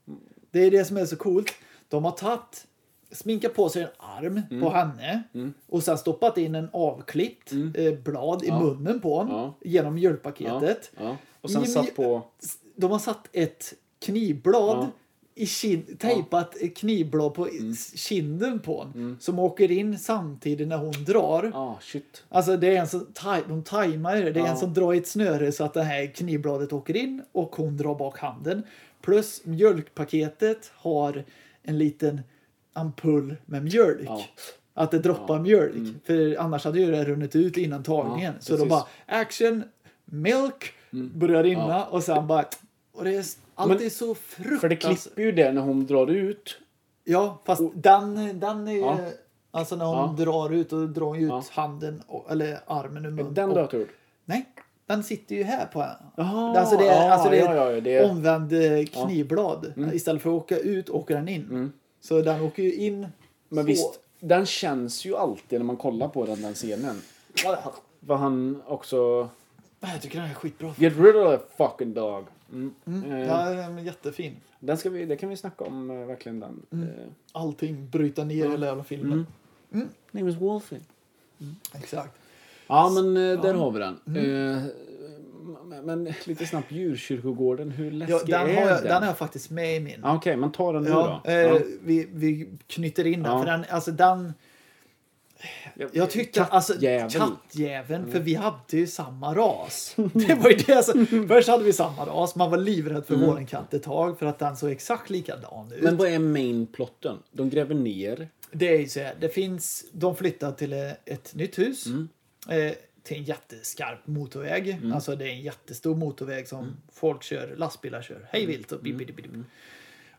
Mm.
Det är det som är så coolt. De har tagit, sminkat på sig en arm
Mm.
på henne och sen stoppat in en avklippt eh, blad i munnen på honom
Ja.
genom mjölkpaketet.
Ja, ja. Och sen
I mj-
satt på...
de har satt ett knivblad
Ja.
i kin- tejpat ett knivblad på s- kinden på hon, som åker in samtidigt när hon drar.
Ah, shit.
Alltså det är en som taj- de tajmar ju det. Det är
Ja.
en som drar i ett snöre så att det här knivbladet åker in och hon drar bak handen. Plus mjölkpaketet har en liten ampull med mjölk.
Ja. Mm.
Att det droppar mjölk. För annars hade ju det runnit ut innan tagningen.
Ja,
så då
precis. Mm.
bara action, milk, börjar rinna och sen bara... Och det är, allt
Men-
är så fruktansvärt.
För det klipper ju det när hon drar ut.
Ja, fast den, den är ju...
Ja.
Alltså när hon drar ut och drar hon ju ut
Ja.
handen och, eller armen ur munnen.
Den
och-
datorn.
Nej, den sitter ju här på
Jaha,
alltså det är,
ja,
alltså det är
ja, ja, Mm. ja, det är-
omvänd eh, knivblad. Istället för att åka ut åker den in. Så den åker ju in.
Mm. Men
så.
visst, den känns ju alltid när man kollar på den, den scenen. Vad han också...
Jag tycker den är skitbra.
Get rid of the fucking dog. Mm. Eh,
Ja, den är jättefin.
den ska vi, det kan vi snacka om, eh, verkligen den. Eh,
Allting bryta ner
Mm.
hela jävla filmen.
Name is Wolfie.
Exakt.
Mm. Ja, men eh, där har vi den. Eh, men, men lite snabbt, djurkyrkogården, hur läskig
Ja, den, har
är
jag,
den?
den har jag faktiskt med i min.
Ja, Okej, men ta den nu
Ja,
då.
eh,
Ja.
Vi, vi knyter in den.
Ja.
För den, alltså den Jag tyckte alltså
Kattjävel.
kattjäveln, för vi hade ju samma ras. <laughs> Det var ju det alltså, Först hade vi samma ras, man var livrädd för våran katt ett tag för att den såg exakt likadan ut.
Mm. Men vad är main plotten? De gräver ner.
Det är ju så här, det finns, de flyttar till eh, ett nytt hus.
Mm.
Eh, till en jätteskarp motorväg. Alltså det är en jättestor motorväg
Mm.
som folk kör, lastbilar kör hej vilt och bip, bip, bip, bip.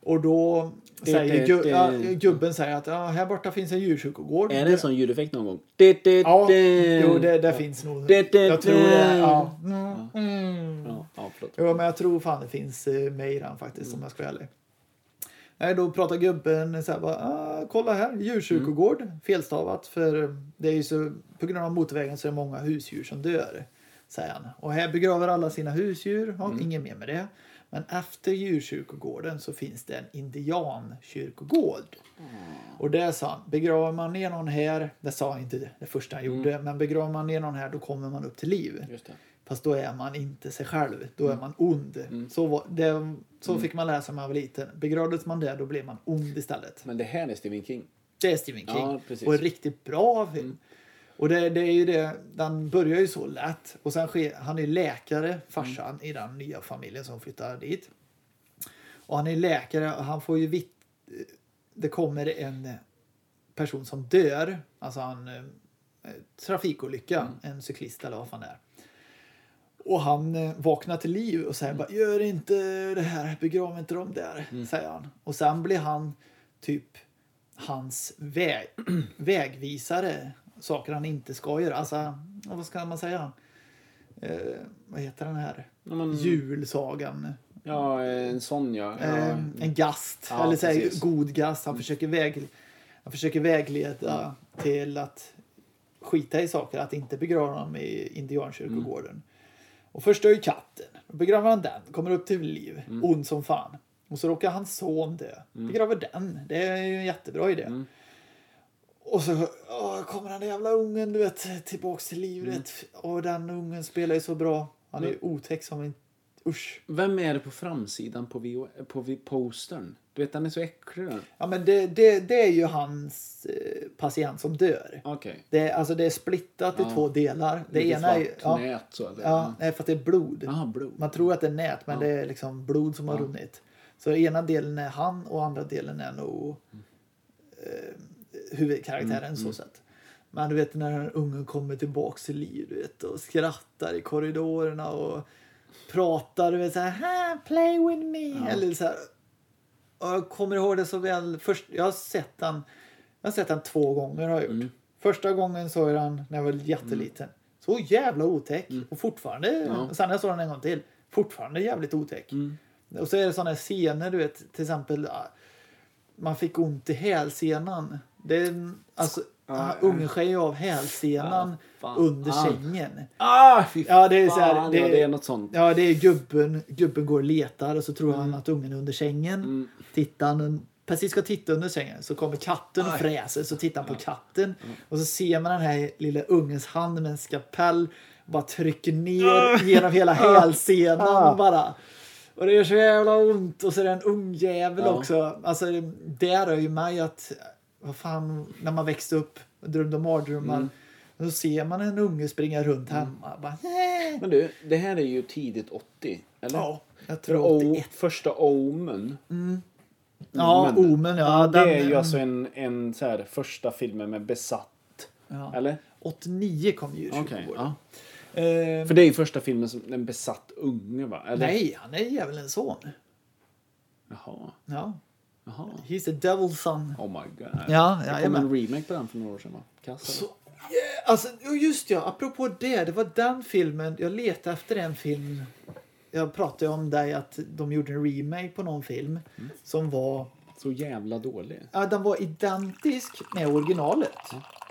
Och då
Det-
säger
det-
gu,
det-
ja, gubben säger att ja, här borta finns en djurkyrkogård.
Är det en sån ljudeffekt någon gång? Det, det,
Ja,
det.
jo, det, det finns nog.
Det- det-
jag tror det.
det-
Ja. Mm, mm.
Ja, ja, förlåt.
Jo, men jag tror fan det finns eh, med i den faktiskt om jag ska vara ärlig. Nej, då pratar gubben så här bara, ah, kolla här, Mm. eh, djurkyrkogård, felstavat för det är ju så, på grund av motorvägen så är det många husdjur som dör. säger han. Och här begraver alla sina husdjur. Ja, Inget mer med det. Men efter djurkyrkogården så finns det en indiankyrkogård. Och där sa han, begraver man ner någon här, det sa han inte det första han gjorde,
Mm.
men begraver man ner någon här då kommer man upp till liv.
Just det.
Fast då är man inte sig själv, då är
Mm.
man ond. Så, var, det, så fick man läsa när man var liten. Begravdes man där då blev man ond istället.
Men det här är Stephen King.
Det är Stephen King.
Ja, precis. Mm.
och en riktigt bra film. Och det, det är ju det, den börjar ju så lätt. Och sen sker, han är läkare, farsan,
Mm.
i den nya familjen som flyttar dit. Och han är läkare och han får ju vitt... Det kommer en person som dör. Alltså han... eh, Trafikolycka.
Mm.
En cyklist eller vad fan det är. Och han eh, vaknar till liv och
Mm.
säger bara gör inte det här, begrav inte dem där, säger han. Och sen blir han typ hans väg, <clears throat> vägvisare, saker han inte ska göra. Alltså, vad ska man säga? Eh, vad heter den här
Ja, men-
julsagan?
Ja, en sån ja. ja.
Eh, en gast,
Ja,
eller så här,
precis. Mm.
god gast. Han, försöker väg, han försöker vägleda till att skita i saker, att inte begrava honom i indiankyrkogården.
Mm.
Och först dör ju katten. Då begraver han den, kommer upp till liv,
Mm.
ond som fan. Och så råkar hans son dö. Begraver den. Det är ju en jättebra idé.
Mm.
Och så åh, kommer den där jävla ungen du vet, tillbaks till
Mm.
livet. Och den ungen spelar ju så bra. Han är ju otäck som en... Usch.
Vem är det på framsidan på, VO, på vi- postern? Du vet, den är så äcklig den.
Ja, men det, det, det är ju hans eh, patient som dör.
Okej.
Det, är- alltså, det är splittat i
Ja.
två delar. Det
Lite
ena är ju...
svart
Ja,
nät så eller?
ja, nej, för att det är blod.
Ah, blod.
Man tror att det är nät, men det är liksom blod som har runnit. Så ena delen är han och andra delen är nog eh, huvudkaraktären så sett. Men du vet när den här ungen kommer tillbaks till liv du vet, och skrattar i korridorerna och pratar du vet, så här "Ha, play with me. Eller så här. Och jag kommer ihåg det så väl. Först, jag har sett den, jag har sett den två gånger har jag gjort.
Mm.
Första gången såg jag den när jag var jätteliten. Så jävla otäck.
Mm.
Och fortfarande, och sen när jag såg den en gång till, fortfarande jävligt otäck.
Mm.
Och så är det sådana scener du vet, till exempel ah, man fick ont i hälsenan. Det är, en- alltså, ah, ungen skär ju av hälsenan
fan.
under
Ah.
sängen.
Ah, fy
Ja, det är så
fan,
här, det-
ja, det är något sånt.
Ja, det är gubben. Gubben går och letar och så tror han att ungen är under sängen. Tittar han un- precis ska titta under sängen så kommer katten och
Aj.
fräser. Så tittar han på katten och så ser man den här lilla ungens hand med en skapell. Bara trycker ner genom hela hälsenan bara. Och det gör så jävla ont. Och så är det en ung jävel
Ja.
också. Alltså, där är ju mig att... Vad fan, när man växte upp och drömde mardrömmar. Så ser man en unge springa runt hemma. Bara, "Nej."
Men du, det här är ju tidigt 80, eller?
Ja, jag
För
tror
O-
81.
första Omen,
Ja,
Omen.
Omen. Ja,
det
den,
är ju alltså en, en så här första filmen med besatt.
ja.
Eller?
89 kom ju okay,
ja.
eh,
För det är ju första filmen som en besatt unge, va? Eller?
Nej, han är djävulens son.
Jaha.
Ja.
Jaha.
He's the devil's son.
Oh my god.
Ja,
det kom
jajamän.
en remake på den för några år sedan, va? Kass, eller?
Så, yeah, alltså, jo, just ja, apropå det. Det var den filmen. Jag letade efter en film. Jag pratade ju om dig att de gjorde en remake på någon film som var
så jävla dålig.
Ja, den var identisk med originalet.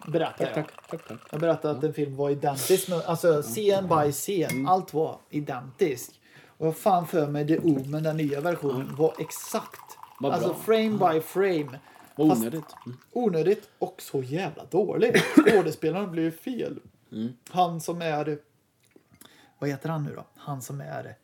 Berättade jag.
Tack, tack, tack.
Jag berättade att en film var identisk. Med, alltså scen by
Mm.
scen. Allt var identisk. Och jag har fan för mig det Omen, den nya versionen, var exakt.
Mm. Vad bra. Mm.
alltså frame by frame.
Vad
Fast
onödigt. Mm.
onödigt och så jävla
<coughs>
dålig. Skådespelaren blev ju fel.
Mm.
Han som är... Vad heter han nu då? Han som är...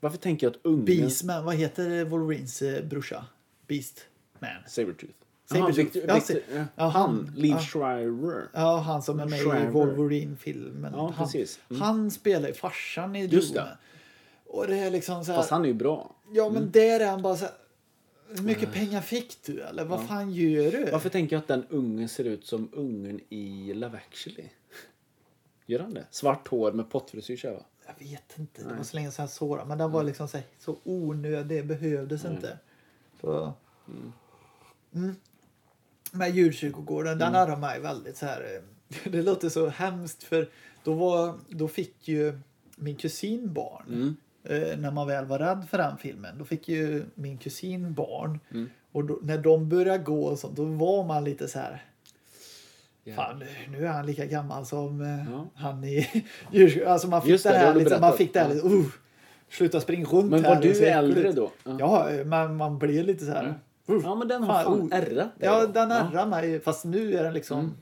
Varför tänker jag att ungen...
Beastman. Vad heter Wolverines eh, brorsa? Beastman.
Sabretooth.
Sabretooth.
Jaha, Victor,
Ja,
Victor,
se-
ja,
ja,
han.
han.
Lee
Ja.
Schreier.
Ja, han som är med i
Shriver.
Wolverine-filmen.
Ja,
han,
precis. Mm.
han spelar ju farsan i
Just
Dune.
det.
Och det är liksom så här,
Fast han Mm. är ju bra.
Ja, men där är han bara så här, Hur mycket pengar fick du? Eller vad fan gör du?
Varför tänker jag att den ungen ser ut som ungen i Love actually? Gör han det? Svart hår med pottfrisyr så här, va?
Jag vet inte. Det var så länge sedan jag såg den. Men
Mm.
den var liksom så, här, så onödig. Det behövdes inte. Så... Mm. Men djurkyrkogården, den
Mm.
hade mig väldigt så här... eh, <laughs> Det låter så hemskt för då, var, då fick ju min kusin barn.
Mm.
Eh, när man väl var rädd för den filmen. Då fick ju min kusin
Mm.
barn. Och då, när de började gå och sånt, då var man lite så här... Fan, nu är han lika gammal som eh,
Ja.
han i <laughs> djurs... Alltså man fick
Just
det,
det, det har
här
du
lite, man
berättat.
fick det här
Ja.
lite, uh, sluta springa runt
Men
här.
var
det är så
du äldre
äckligt.
då? Ja. Mm.
Ja, eh, man, man blir lite så här. Uh,
Ja, men den har
Fan,
fan
oh.
ärrat dig
ja,
då.
den
Ja. Mm.
ärrar mig. Fast nu är den liksom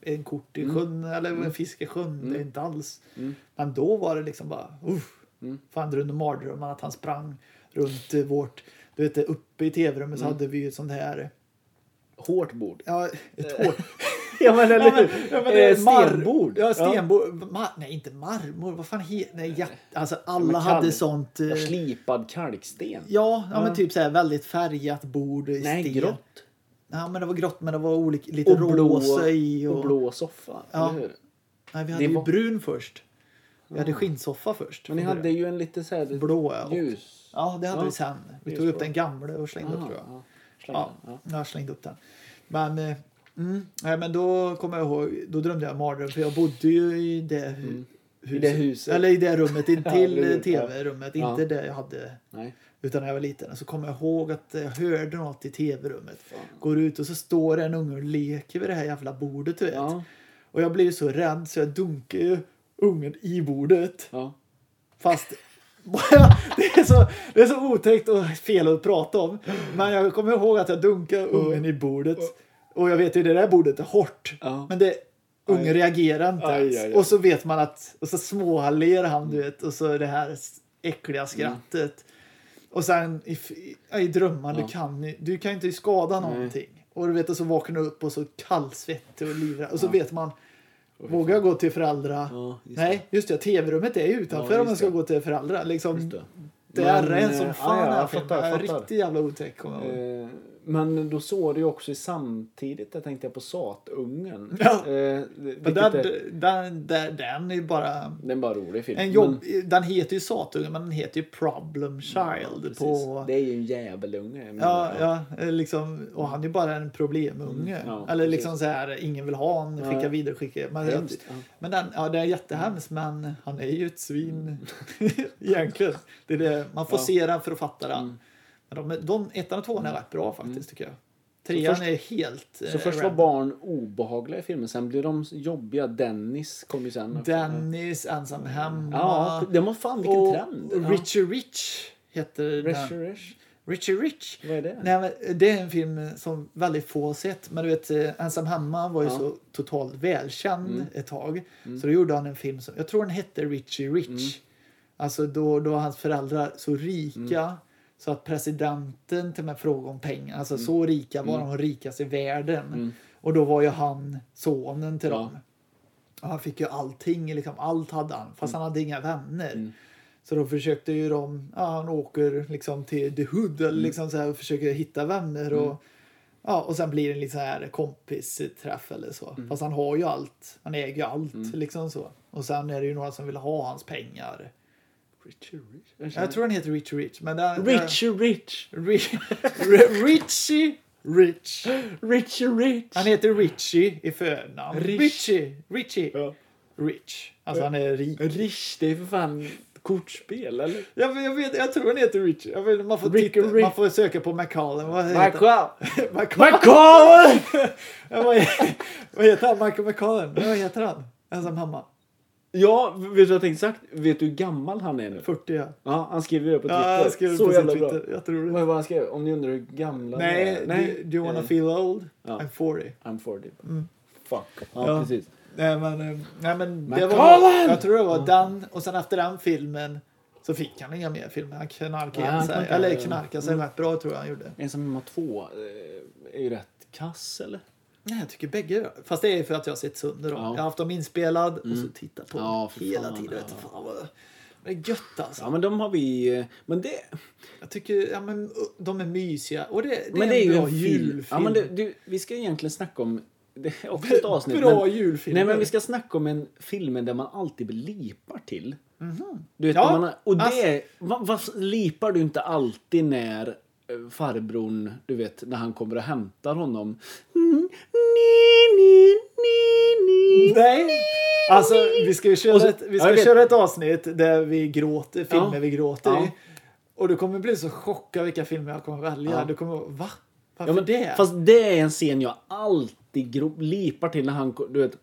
en kort i sjön eller en fisk i sjön.
Mm.
Det är inte alls. Men då var det liksom bara uh,
Mm.
Fan, drömde mardrömmar att han sprang runt eh, vårt... Du vet, uppe i tv-rummet så
Mm.
hade vi ju ett sånt här...
Hårt bord.
Ja, ett
<laughs>
hårt...
eh, Ja, men
Ja, men, ja, men det är
Eh,
mar-
stenbord. Eh,
Ja, stenbord. Ma- nej, inte marmor. Vad fan heter nej, jät- Alltså alla
Men kalk.
hade sånt. eh,
Ja, Slipad kalksten.
Ja, ja men typ så här väldigt färgat bord. i
Nej,
sten.
grått.
Ja, men det var grått men det var olika, lite
Och blå-
rosa i. Och,
Och blå soffa,
Ja.
eller hur?
Nej, vi
Det
hade ju
var-
brun först. Vi hade skinnsoffa först.
Men ni
från
hade
början.
ju en lite så här
blå. ja, Och,
ljus...
ja, det hade
Ja.
vi sen. Vi tog
Ljusblå.
upp den gamla och slängde upp
Ah,
tror jag.
ja. Släng
Ja,
den, ja.
jag slängde upp den. Men, eh, mm, nej, men då kommer jag ihåg, då drömde jag en mardröm för jag bodde ju i det hu- huset.
Mm. I det huset.
Eller i
<laughs>
det rummet intill
Ja, det-
eh, tv-rummet,
ja.
inte det jag hade
Nej.
utan när jag var liten. Och så kommer jag ihåg att jag hörde något i tv-rummet. Går ut och så står det en unge och leker vid det här jävla bordet du vet.
Ja.
Och jag blir ju så rädd så jag dunkar ju ungen i bordet.
Ja.
Fast <laughs> det, är så, det är så otäckt och fel att prata om. Men jag kommer ihåg att jag dunkade ungen i bordet. Och jag vet ju det där bordet är hårt.
Ja.
Men det, ungen
Aj.
reagerar inte
Aj,
ens.
aj, aj.
Och så vet man att, och så småler han du vet. Och så det här äckliga
Mm.
skrattet. Och sen i, i drömmar,
Ja.
du, kan, ju- du kan ju inte skada någonting. Och du vet, och så vaknar du upp och så kallsvettig och livrädd. Och så vet man, vågar jag gå till föräldrar?
Ja, just
Nej, just det. TV-rummet är ju utanför
Ja,
om man
just
ska
det.
gå till föräldrar. Liksom,
Just det.
det är
Men,
en som
eh,
fan
ja,
den
jag
här filmen.
fattar, jag
Den är
fattar.
Riktigt jävla otäck kommer jag ihåg.
Eh, Men då såg du ju också samtidigt, jag tänkte jag på Satungen.
<laughs> Ja.
Eh,
Men
vilket
den,
är,
den, den, den är ju bara...
det är en bara rolig film.
En jobb, Den heter ju Satungen men den heter ju Problem Child.
precis.
på,
Det är ju en djävulunge. jag menar.
ja, ja, eh, liksom, och han är ju bara en problemunge.
Mm, ja,
Eller
precis.
liksom så här, ingen vill ha han, skicka
Nej.
vidare, skicka. Men,
Hemskt, ja.
men den, ja, det är jättehemskt men han är ju ett svin. <laughs> Egentligen. Det är det, man får
Mm. Ja. Mm.
se den för att fatta den. Men de, de, ettan och tvåan är rätt bra faktiskt tycker jag. Trean
först-
är helt...
Så
eh,
först var
random.
barn obehagliga i filmen, sen blev de jobbiga. Dennis kom ju sen. också.
Dennis, ensam hemma.
Ja, det var fan vilken
och
trend.
Richie Rich heter
Rich,
den.
rich.
Richie Rich.
Vad är det?
Nej, men det är en film som väldigt få har sett. Men du vet, eh, Ensam hemma var ju
Ja. Mm.
så totalt välkänd ett tag. Så då gjorde han en film som, jag tror den hette Richie Rich.
Mm.
Alltså då, då var hans föräldrar så rika så att presidenten till och med frågade om pengar. Alltså så rika var de rikaste i världen. Och då var ju han sonen till
Ja.
dem. Och han fick ju allting, liksom, allt hade han. Fast han hade inga vänner. Så då försökte ju de, ja, han åker liksom till the hood eller liksom så här, och försöker hitta vänner. Och, ja, och sen blir det lite så här kompisträff eller så. Fast han har ju allt, han äger ju allt liksom så. Och sen är det ju några som vill ha hans pengar.
Richie Rich.
Jag tror han heter Rich Rich. Men där,
Richie <laughs> Rich.
Där, Rich, Ri- Richie Rich.
Richie Rich.
Han heter Richie i förnamn.
Rich.
Richie. Richie.
Ja.
Rich. Alltså han är rik.
Rich, det är för fan kortspel, eller?
Jag, jag, vet, jag tror han heter Richie. Jag vet, man, får
Rick
titta,
och Rick.
man får söka på McCallum. Vad heter
Michael!
McCall.
Michael!
vad, heter, vad heter han? Michael McCallum? Vad heter han? Ensam mamma.
Ja, vet du vad jag tänkte sagt? Vet du hur gammal han är nu?
40 ja.
Ja, han skriver det på Twitter.
Ja, jag skrev det
Så
på sin
jävla bra.
Twitter. Jätteroligt.
Vad var han skrev? Om ni undrar hur gamla ni
Nej,
är?
nej, do you wanna
eh,
feel old?
ja.
I'm 40.
I'm 40. Fuck. Mm. Ja,
Ja.
precis.
Nej men, eh, nej, men det var,
McCallum!
jag tror det var den och sen efter den filmen så fick han inga mer filmer. Han knarkade
Ja,
igen
han
sig.
knarkade,
Eller
ja.
knarkade sig rätt bra tror jag han gjorde.
En som hemma två eh, är ju rätt kass, eller?
Nej, jag tycker bägge då. Fast det är för att jag har sett sönder dem.
Ja.
Jag har haft dem inspelad och så tittat på dem
Ja, för
hela
fan,
tiden.
ja.
Vet du, Mm. fan vad... Det är gött alltså.
Ja, men de har vi... eh, Men det...
Jag tycker ja, men, de är mysiga. Och det, det,
men det är ju
en bra
en
julfilm.
julfilm. Ja, men det, du, vi ska egentligen snacka om... Det är också ett avsnitt.
bra
men,
julfilm.
Nej, men vi ska snacka om en film där man alltid lipar till. Du vet,
Mhm. Ja,
om man, har- och det...
alltså-
vad, vad lipar du inte alltid när eh, farbrorn, du vet, när han kommer och hämtar honom? Mm, ni, ni, ni, ni.
Nej! Alltså, vi ska ju köra,
Och så-
ett, vi
Ja,
ska
jag vet.
köra ett avsnitt där vi gråter, filmer
Ja.
vi gråter
Ja.
i. Och du kommer bli så chockad vilka filmer jag kommer välja.
Ja.
Du kommer va? Varför
Ja, men,
det?
Fast det är en scen jag alltid gro- lipar till när han ko- du vet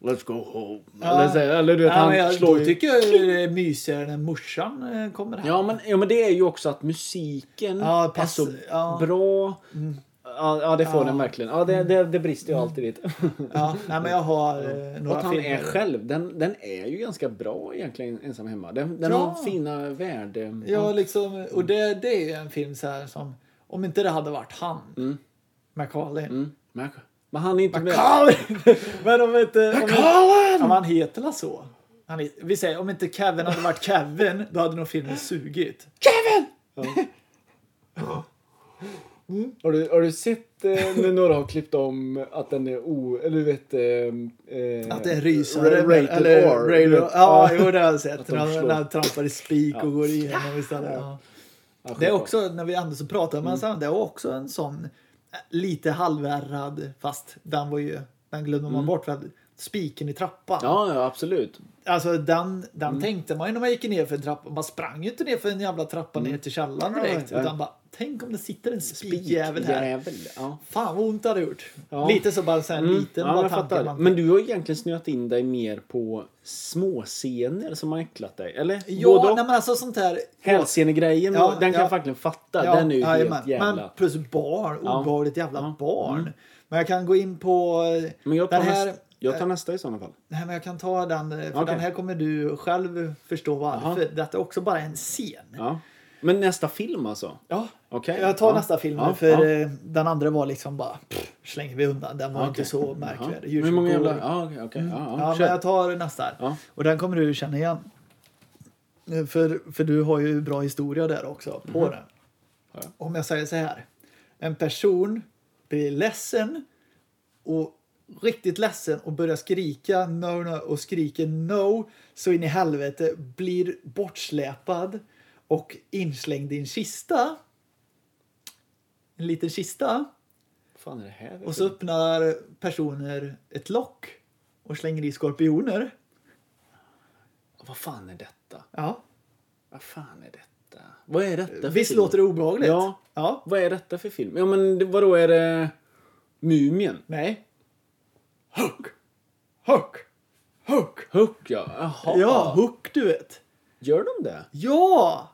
Let's go home. Eller, så, eller du vet,
ja,
han
men jag,
slår
då
ju...
tycker jag det är mysigare när morsan eh, kommer hem.
Ja men, ja, men det är ju också att musiken
Ja, pass-
är så
ja. Mm.
bra. Ja, ja, det får den verkligen. Ja, det, det, det brister ju alltid
<laughs>
lite.
Ja, nej, men jag har eh,
Och
några
att han
filmer.
är själv, den, den är ju ganska bra egentligen, ensam hemma. Den, den
Ja.
har fina värde...
Ja, liksom, och det, det är ju en film så här som, om inte det hade varit han, mm. Macaulay.
Mm. Men, men han är inte med.
Macaulay!
<laughs>
men om inte... Om inte
Colin!
om han heter la så. Han är, vi säger, om inte Kevin hade varit Kevin, då hade nog filmen sugit.
Kevin! Har, du, har du sett eh, när några har klippt om att den är o... Eller du vet... Eh, eh,
Att det är en rysare.
ra- Rated
eller,
R.
rated-
du vet.
ja, jo, det har jag sett.
Att de
När han-
slår.
när han trampar i spik och går igenom istället. Ja.
Ja,
Det är
självklart.
också, när vi ändå så pratar om mm. det är också en sån eh, lite halvärrad, fast den var ju, den glömde man bort. För att spiken i trappan.
Ja, ja, absolut.
Alltså den, den tänkte man ju när man gick ner för en trappa. Man sprang ju inte ner för en jävla trappa ner till källaren direkt.
Ja, ja.
Utan bara, tänk om det sitter en Mm. spikjävel här.
Jävel, ja.
Fan vad ont det hade gjort.
Ja.
Lite så bara så här,
Mm.
liten
ja,
bara
jag
tanken.
fattar.
Man,
Men du har egentligen snöat in dig mer på småscener som har äcklat dig, eller?
ja,
Både
nej, men alltså sånt här.
Hälsenegrejen,
Ja,
den kan
ja.
jag verkligen fatta.
Ja,
den är ju helt
jajamän.
jävla...
Men plus barn,
Ja.
obehagligt jävla
Ja. Mm.
barn. Men jag kan gå in på eh,
Men jag tar,
den här.
nästa, jag tar nästa i sådana fall.
Nej, men jag kan ta den. eh, För
Okej.
den här kommer du själv förstå varför. Detta är också bara en scen.
Ja. Men nästa film alltså?
Ja,
Okej.
jag tar
Ja.
nästa film nu,
Ja,
för
ja.
eh, den andra var liksom bara pff, slänger vi undan. Den var
Okej.
inte så
Ja.
märkvärdig.
Hur många
Djurkyrkogård.
jävla... Ja, okej. okej. Ja,
Mm. Ja,
ja,
men
kör.
jag tar nästa här.
Ja.
Och den kommer du känna igen. Eh, För, för du har ju bra historia där också på den.
Har jag?
Om jag säger så här. En person blir ledsen och riktigt ledsen och börjar skrika no, no och skriker no så in i helvete blir bortsläpad och inslängd i en kista. En liten kista.
Vad fan är det här?
Och så öppnar personer ett lock och slänger i skorpioner.
Vad fan är detta?
Ja.
Vad fan är detta? Vad är detta för
Visst
film?
låter det obehagligt?
Ja.
ja.
Vad är detta för film? Ja, men det- vadå, är det Mumien?
Nej. Hook! Hook! Hook!
Hook, ja. Jaha.
Ja, Hook du vet.
Gör de det?
Ja!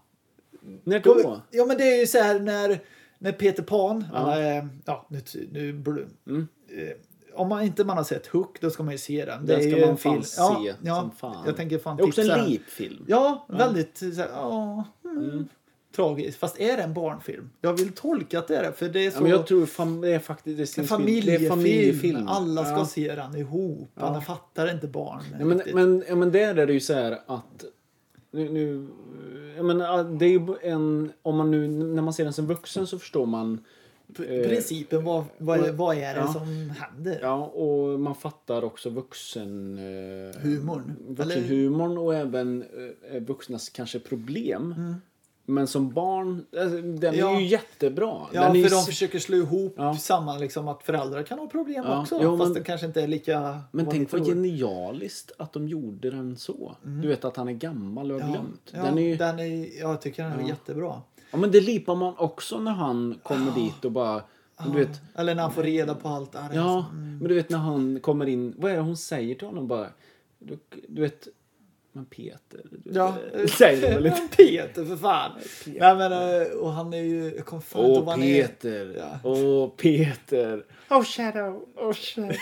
När då?
Ja men det är ju så här när, när Peter Pan, alla, eh, ja nu, nu bl-
Mm.
eh, om man inte man har sett Hook då ska man ju se den. Det
Den
är
ska
ju
man
en
fan
film.
se
ja, ja,
som fan.
Jag tänker fan
Det är också
tipsa
en
den.
lipfilm.
Ja, väldigt så här, ja, mm, tragiskt. Fast är det en barnfilm? Jag vill tolka att det är det för det är så...
Ja, men jag tror fam- det är faktiskt det är sin
En
film.
familjefilm.
Det är familjefilm.
Alla ska
ja.
se den ihop. Alla fattar inte barn.
Ja, men,
riktigt.
men, ja, men där är det ju så här att... Nu, nu, jag menar, det är ju en... Om man nu, när man ser den som vuxen så förstår man... eh,
Principen, vad, vad, är- vad är det
Ja.
som händer?
Ja, och man fattar också vuxen... Eh,
Humorn, eller?
Vuxenhumorn och även eh, vuxnas kanske problem. Men som barn, alltså, den
Mm. Ja.
är ju jättebra.
Ja,
den är ju
för de
s-
försöker slå ihop
Ja.
samman liksom att föräldrar kan ha problem
Ja.
också.
Jo,
fast
men-
det kanske inte är lika
Men
vad ni
tänk vad
tror. Mm.
genialiskt att de gjorde den så. Du vet att han är gammal och har
ja.
glömt.
Ja,
Den är ju,
den är, jag tycker den är jättebra.
ja, men det lipar man också när han kommer dit och bara... Du vet,
Eller när han får reda på allt. Arg,
ja,
Mm.
men du vet när han kommer in. Vad är det hon säger till honom bara? Du, du vet, men Peter. Du,
Ja,
eh, säger hon väl inte?
Men <laughs> Peter för fan. Nej, men, eh, och han är ju... Jag kommer fan inte ihåg
Åh
vad han är.
Peter!
Ja.
Åh Peter! Oh Shadow! Oh Shadow!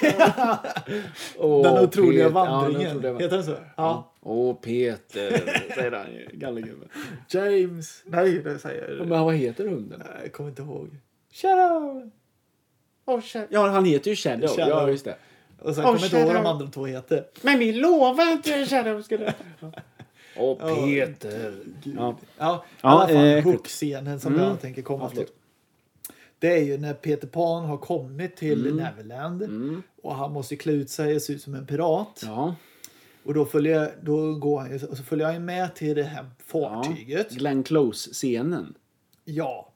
Åh,
Den otroliga
Peter.
vandringen.
Ja, den otroliga
Heter den så? Ja.
Åh Peter! Säger han ju, gallegubben.
James. Nej, det säger
Men vad heter hunden?
Nej, Jag kommer inte ihåg. Shadow!
Oh, ja, han heter ju Shadow.
Shadow.
Ja, just det.
Och sen
Oh,
kommer jag inte ihåg vad de
Shadow.
andra två heter.
Men vi lovade inte Shadow skulle... Åh, Peter. Ja.
Ja, i
Ja,
alla fall
eh,
Hook-scenen som jag tänker komma till. Det är ju när Peter Pan har kommit till
Mm.
Neverland och han måste klä ut sig och se ut som en pirat.
Ja.
Och då, följer, jag- då går han, ju- och så följer han ju med till det här fartyget. Ja,
Glenn Close-scenen.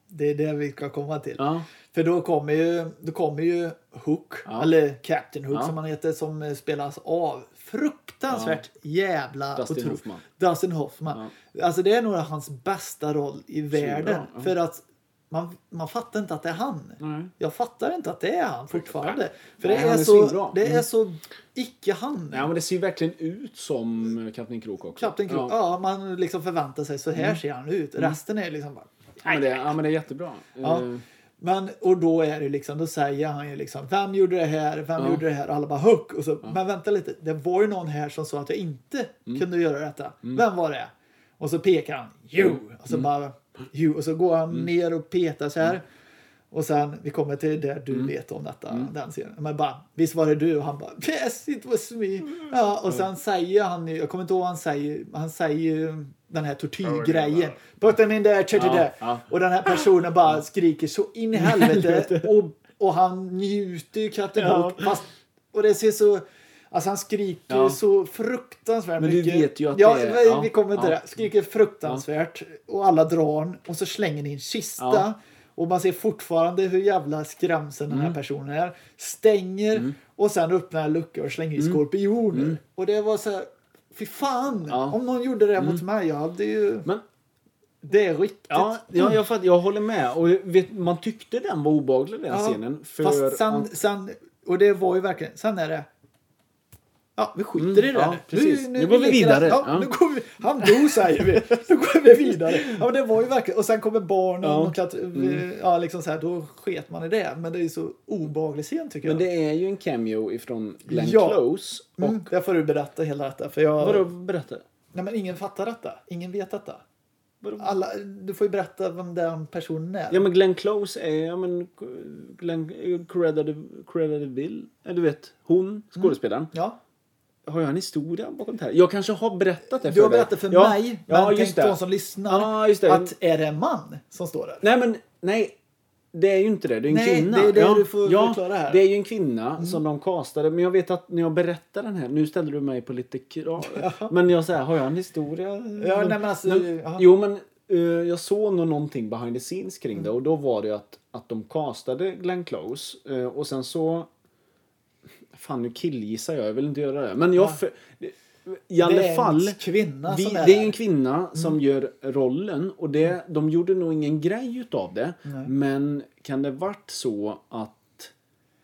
det är det vi ska komma till.
Ja.
För då kommer ju, då kommer ju Hook,
Ja.
eller Captain Hook
Ja.
som han heter, som eh, spelas av fruktansvärt jävla...
Dustin
otro-
Hoffman.
Dustin Hoffman. Alltså det är nog hans bästa roll i världen.
ja.
För att man, man fattar inte att det är han.
Nej.
Jag fattar inte att det är han fortfarande. För det
Nej, han
är
är
så,
svinbra.
det är
Mm.
så icke han.
Nej, men det ser ju verkligen ut som eh, Kapten Krok också.
Kapten Krok.
Ja. Mm.
Ja. man liksom förväntar sig så här ser han ut. Resten är liksom bara...
Ja, men det, ja, men det är jättebra.
Ja.
Eh,
Men, och då är det liksom, då säger han ju liksom Vem gjorde det här? Vem
Ja.
gjorde det här? Och alla bara huck. Och så, Men vänta lite, det var ju någon här som sa att jag inte
Mm.
kunde göra detta. Vem var det? Och så pekar han, you! Och
Mm.
så bara, you! Och så går han ner och petar så här. Och sen, vi kommer till det du
Mm.
vet om detta, den scenen. Men bara, visst var det du? Och han bara, yes it was me. Ja, och sen säger han ju, jag kommer inte ihåg vad han säger, han säger ju den här tortyrgrejen. Put them in there, chut, chut,
Ja,
där.
ja.
Och den här personen bara skriker så in
<laughs>
i helvete. och, och han njuter ju katten
Ja.
Hook, fast, Och det ser så... Alltså han skriker
Ja.
så fruktansvärt
Men du
mycket.
vet ju att
ja,
det är-
men
ja,
Vi kommer till
ja.
det. Skriker fruktansvärt. Och alla drar han, Och så slänger ni en kista.
Ja. Mm.
Och man ser fortfarande hur jävla skrämsen den här personen är. Stänger och sen öppnar luckor och slänger i
Mm.
skorpioner. Och det var så här, fy fan!
Ja. Mm.
Om någon gjorde det mot mig, jag hade ju...
Men
Det är riktigt.
Ja, jag, jag, fatt, jag håller med. Och vet, man tyckte den var obehaglig den
Ja,
scenen. För
Fast sen,
att-
sen, och det var ju verkligen, sen är det Ja, vi skiter
Mm,
i det.
ja,
nu.
precis. Nu går vi
leker-
vidare.
Ja,
Ja.
Nu går vi, han
<laughs>
dog säger vi. Nu går vi vidare. Ja, men det var ju verkligen. Och sen kommer barnen
Ja. Mm.
och klatt, ja, liksom så här, då sket man i det. Men det är ju så obehaglig scen tycker
Men
jag.
det är ju en cameo ifrån Glenn
Ja.
Close. Och,
Mm, där får du berätta hela detta. För jag,
Vadå, berätta.
Nej, men ingen fattar detta. Ingen vet detta.
Vadå?
Alla, du får ju berätta vem den personen är.
Ja men Glenn Close är, ja men Glenn, Coretta de- Coretta DeVille, ja, du vet
Mm.
hon, skådespelaren.
Ja.
Har jag en historia bakom det här? Jag kanske har berättat det
Du har
dig.
berättat för
ja.
mig, men
ja, just
tänk
det.
på de som lyssnar,
Ja, just det.
att är det en man som står där?
Nej men, nej. Det är ju inte det, det är en
Nej,
kvinna.
det är det
ja,
du får
ja,
förklara här. Mm.
Det är ju en kvinna som de castade. Men jag vet att när jag berättar den här, nu ställer du mig på lite
<laughs>
krav. Men jag säger, har jag en historia?
Ja, nej, men alltså, ja.
Jo men eh, jag såg nog någonting behind the scenes kring
Mm.
det och då var det ju att, att de castade Glenn Close eh, och sen så... Fan nu killgissar jag, jag vill inte göra det. Men jag... För, I alla
det är
fall...
en kvinna
Vi,
som
det är
är där. Mm.
ju en kvinna som gör rollen och det, de gjorde nog ingen grej utav det. Men kan det varit så att...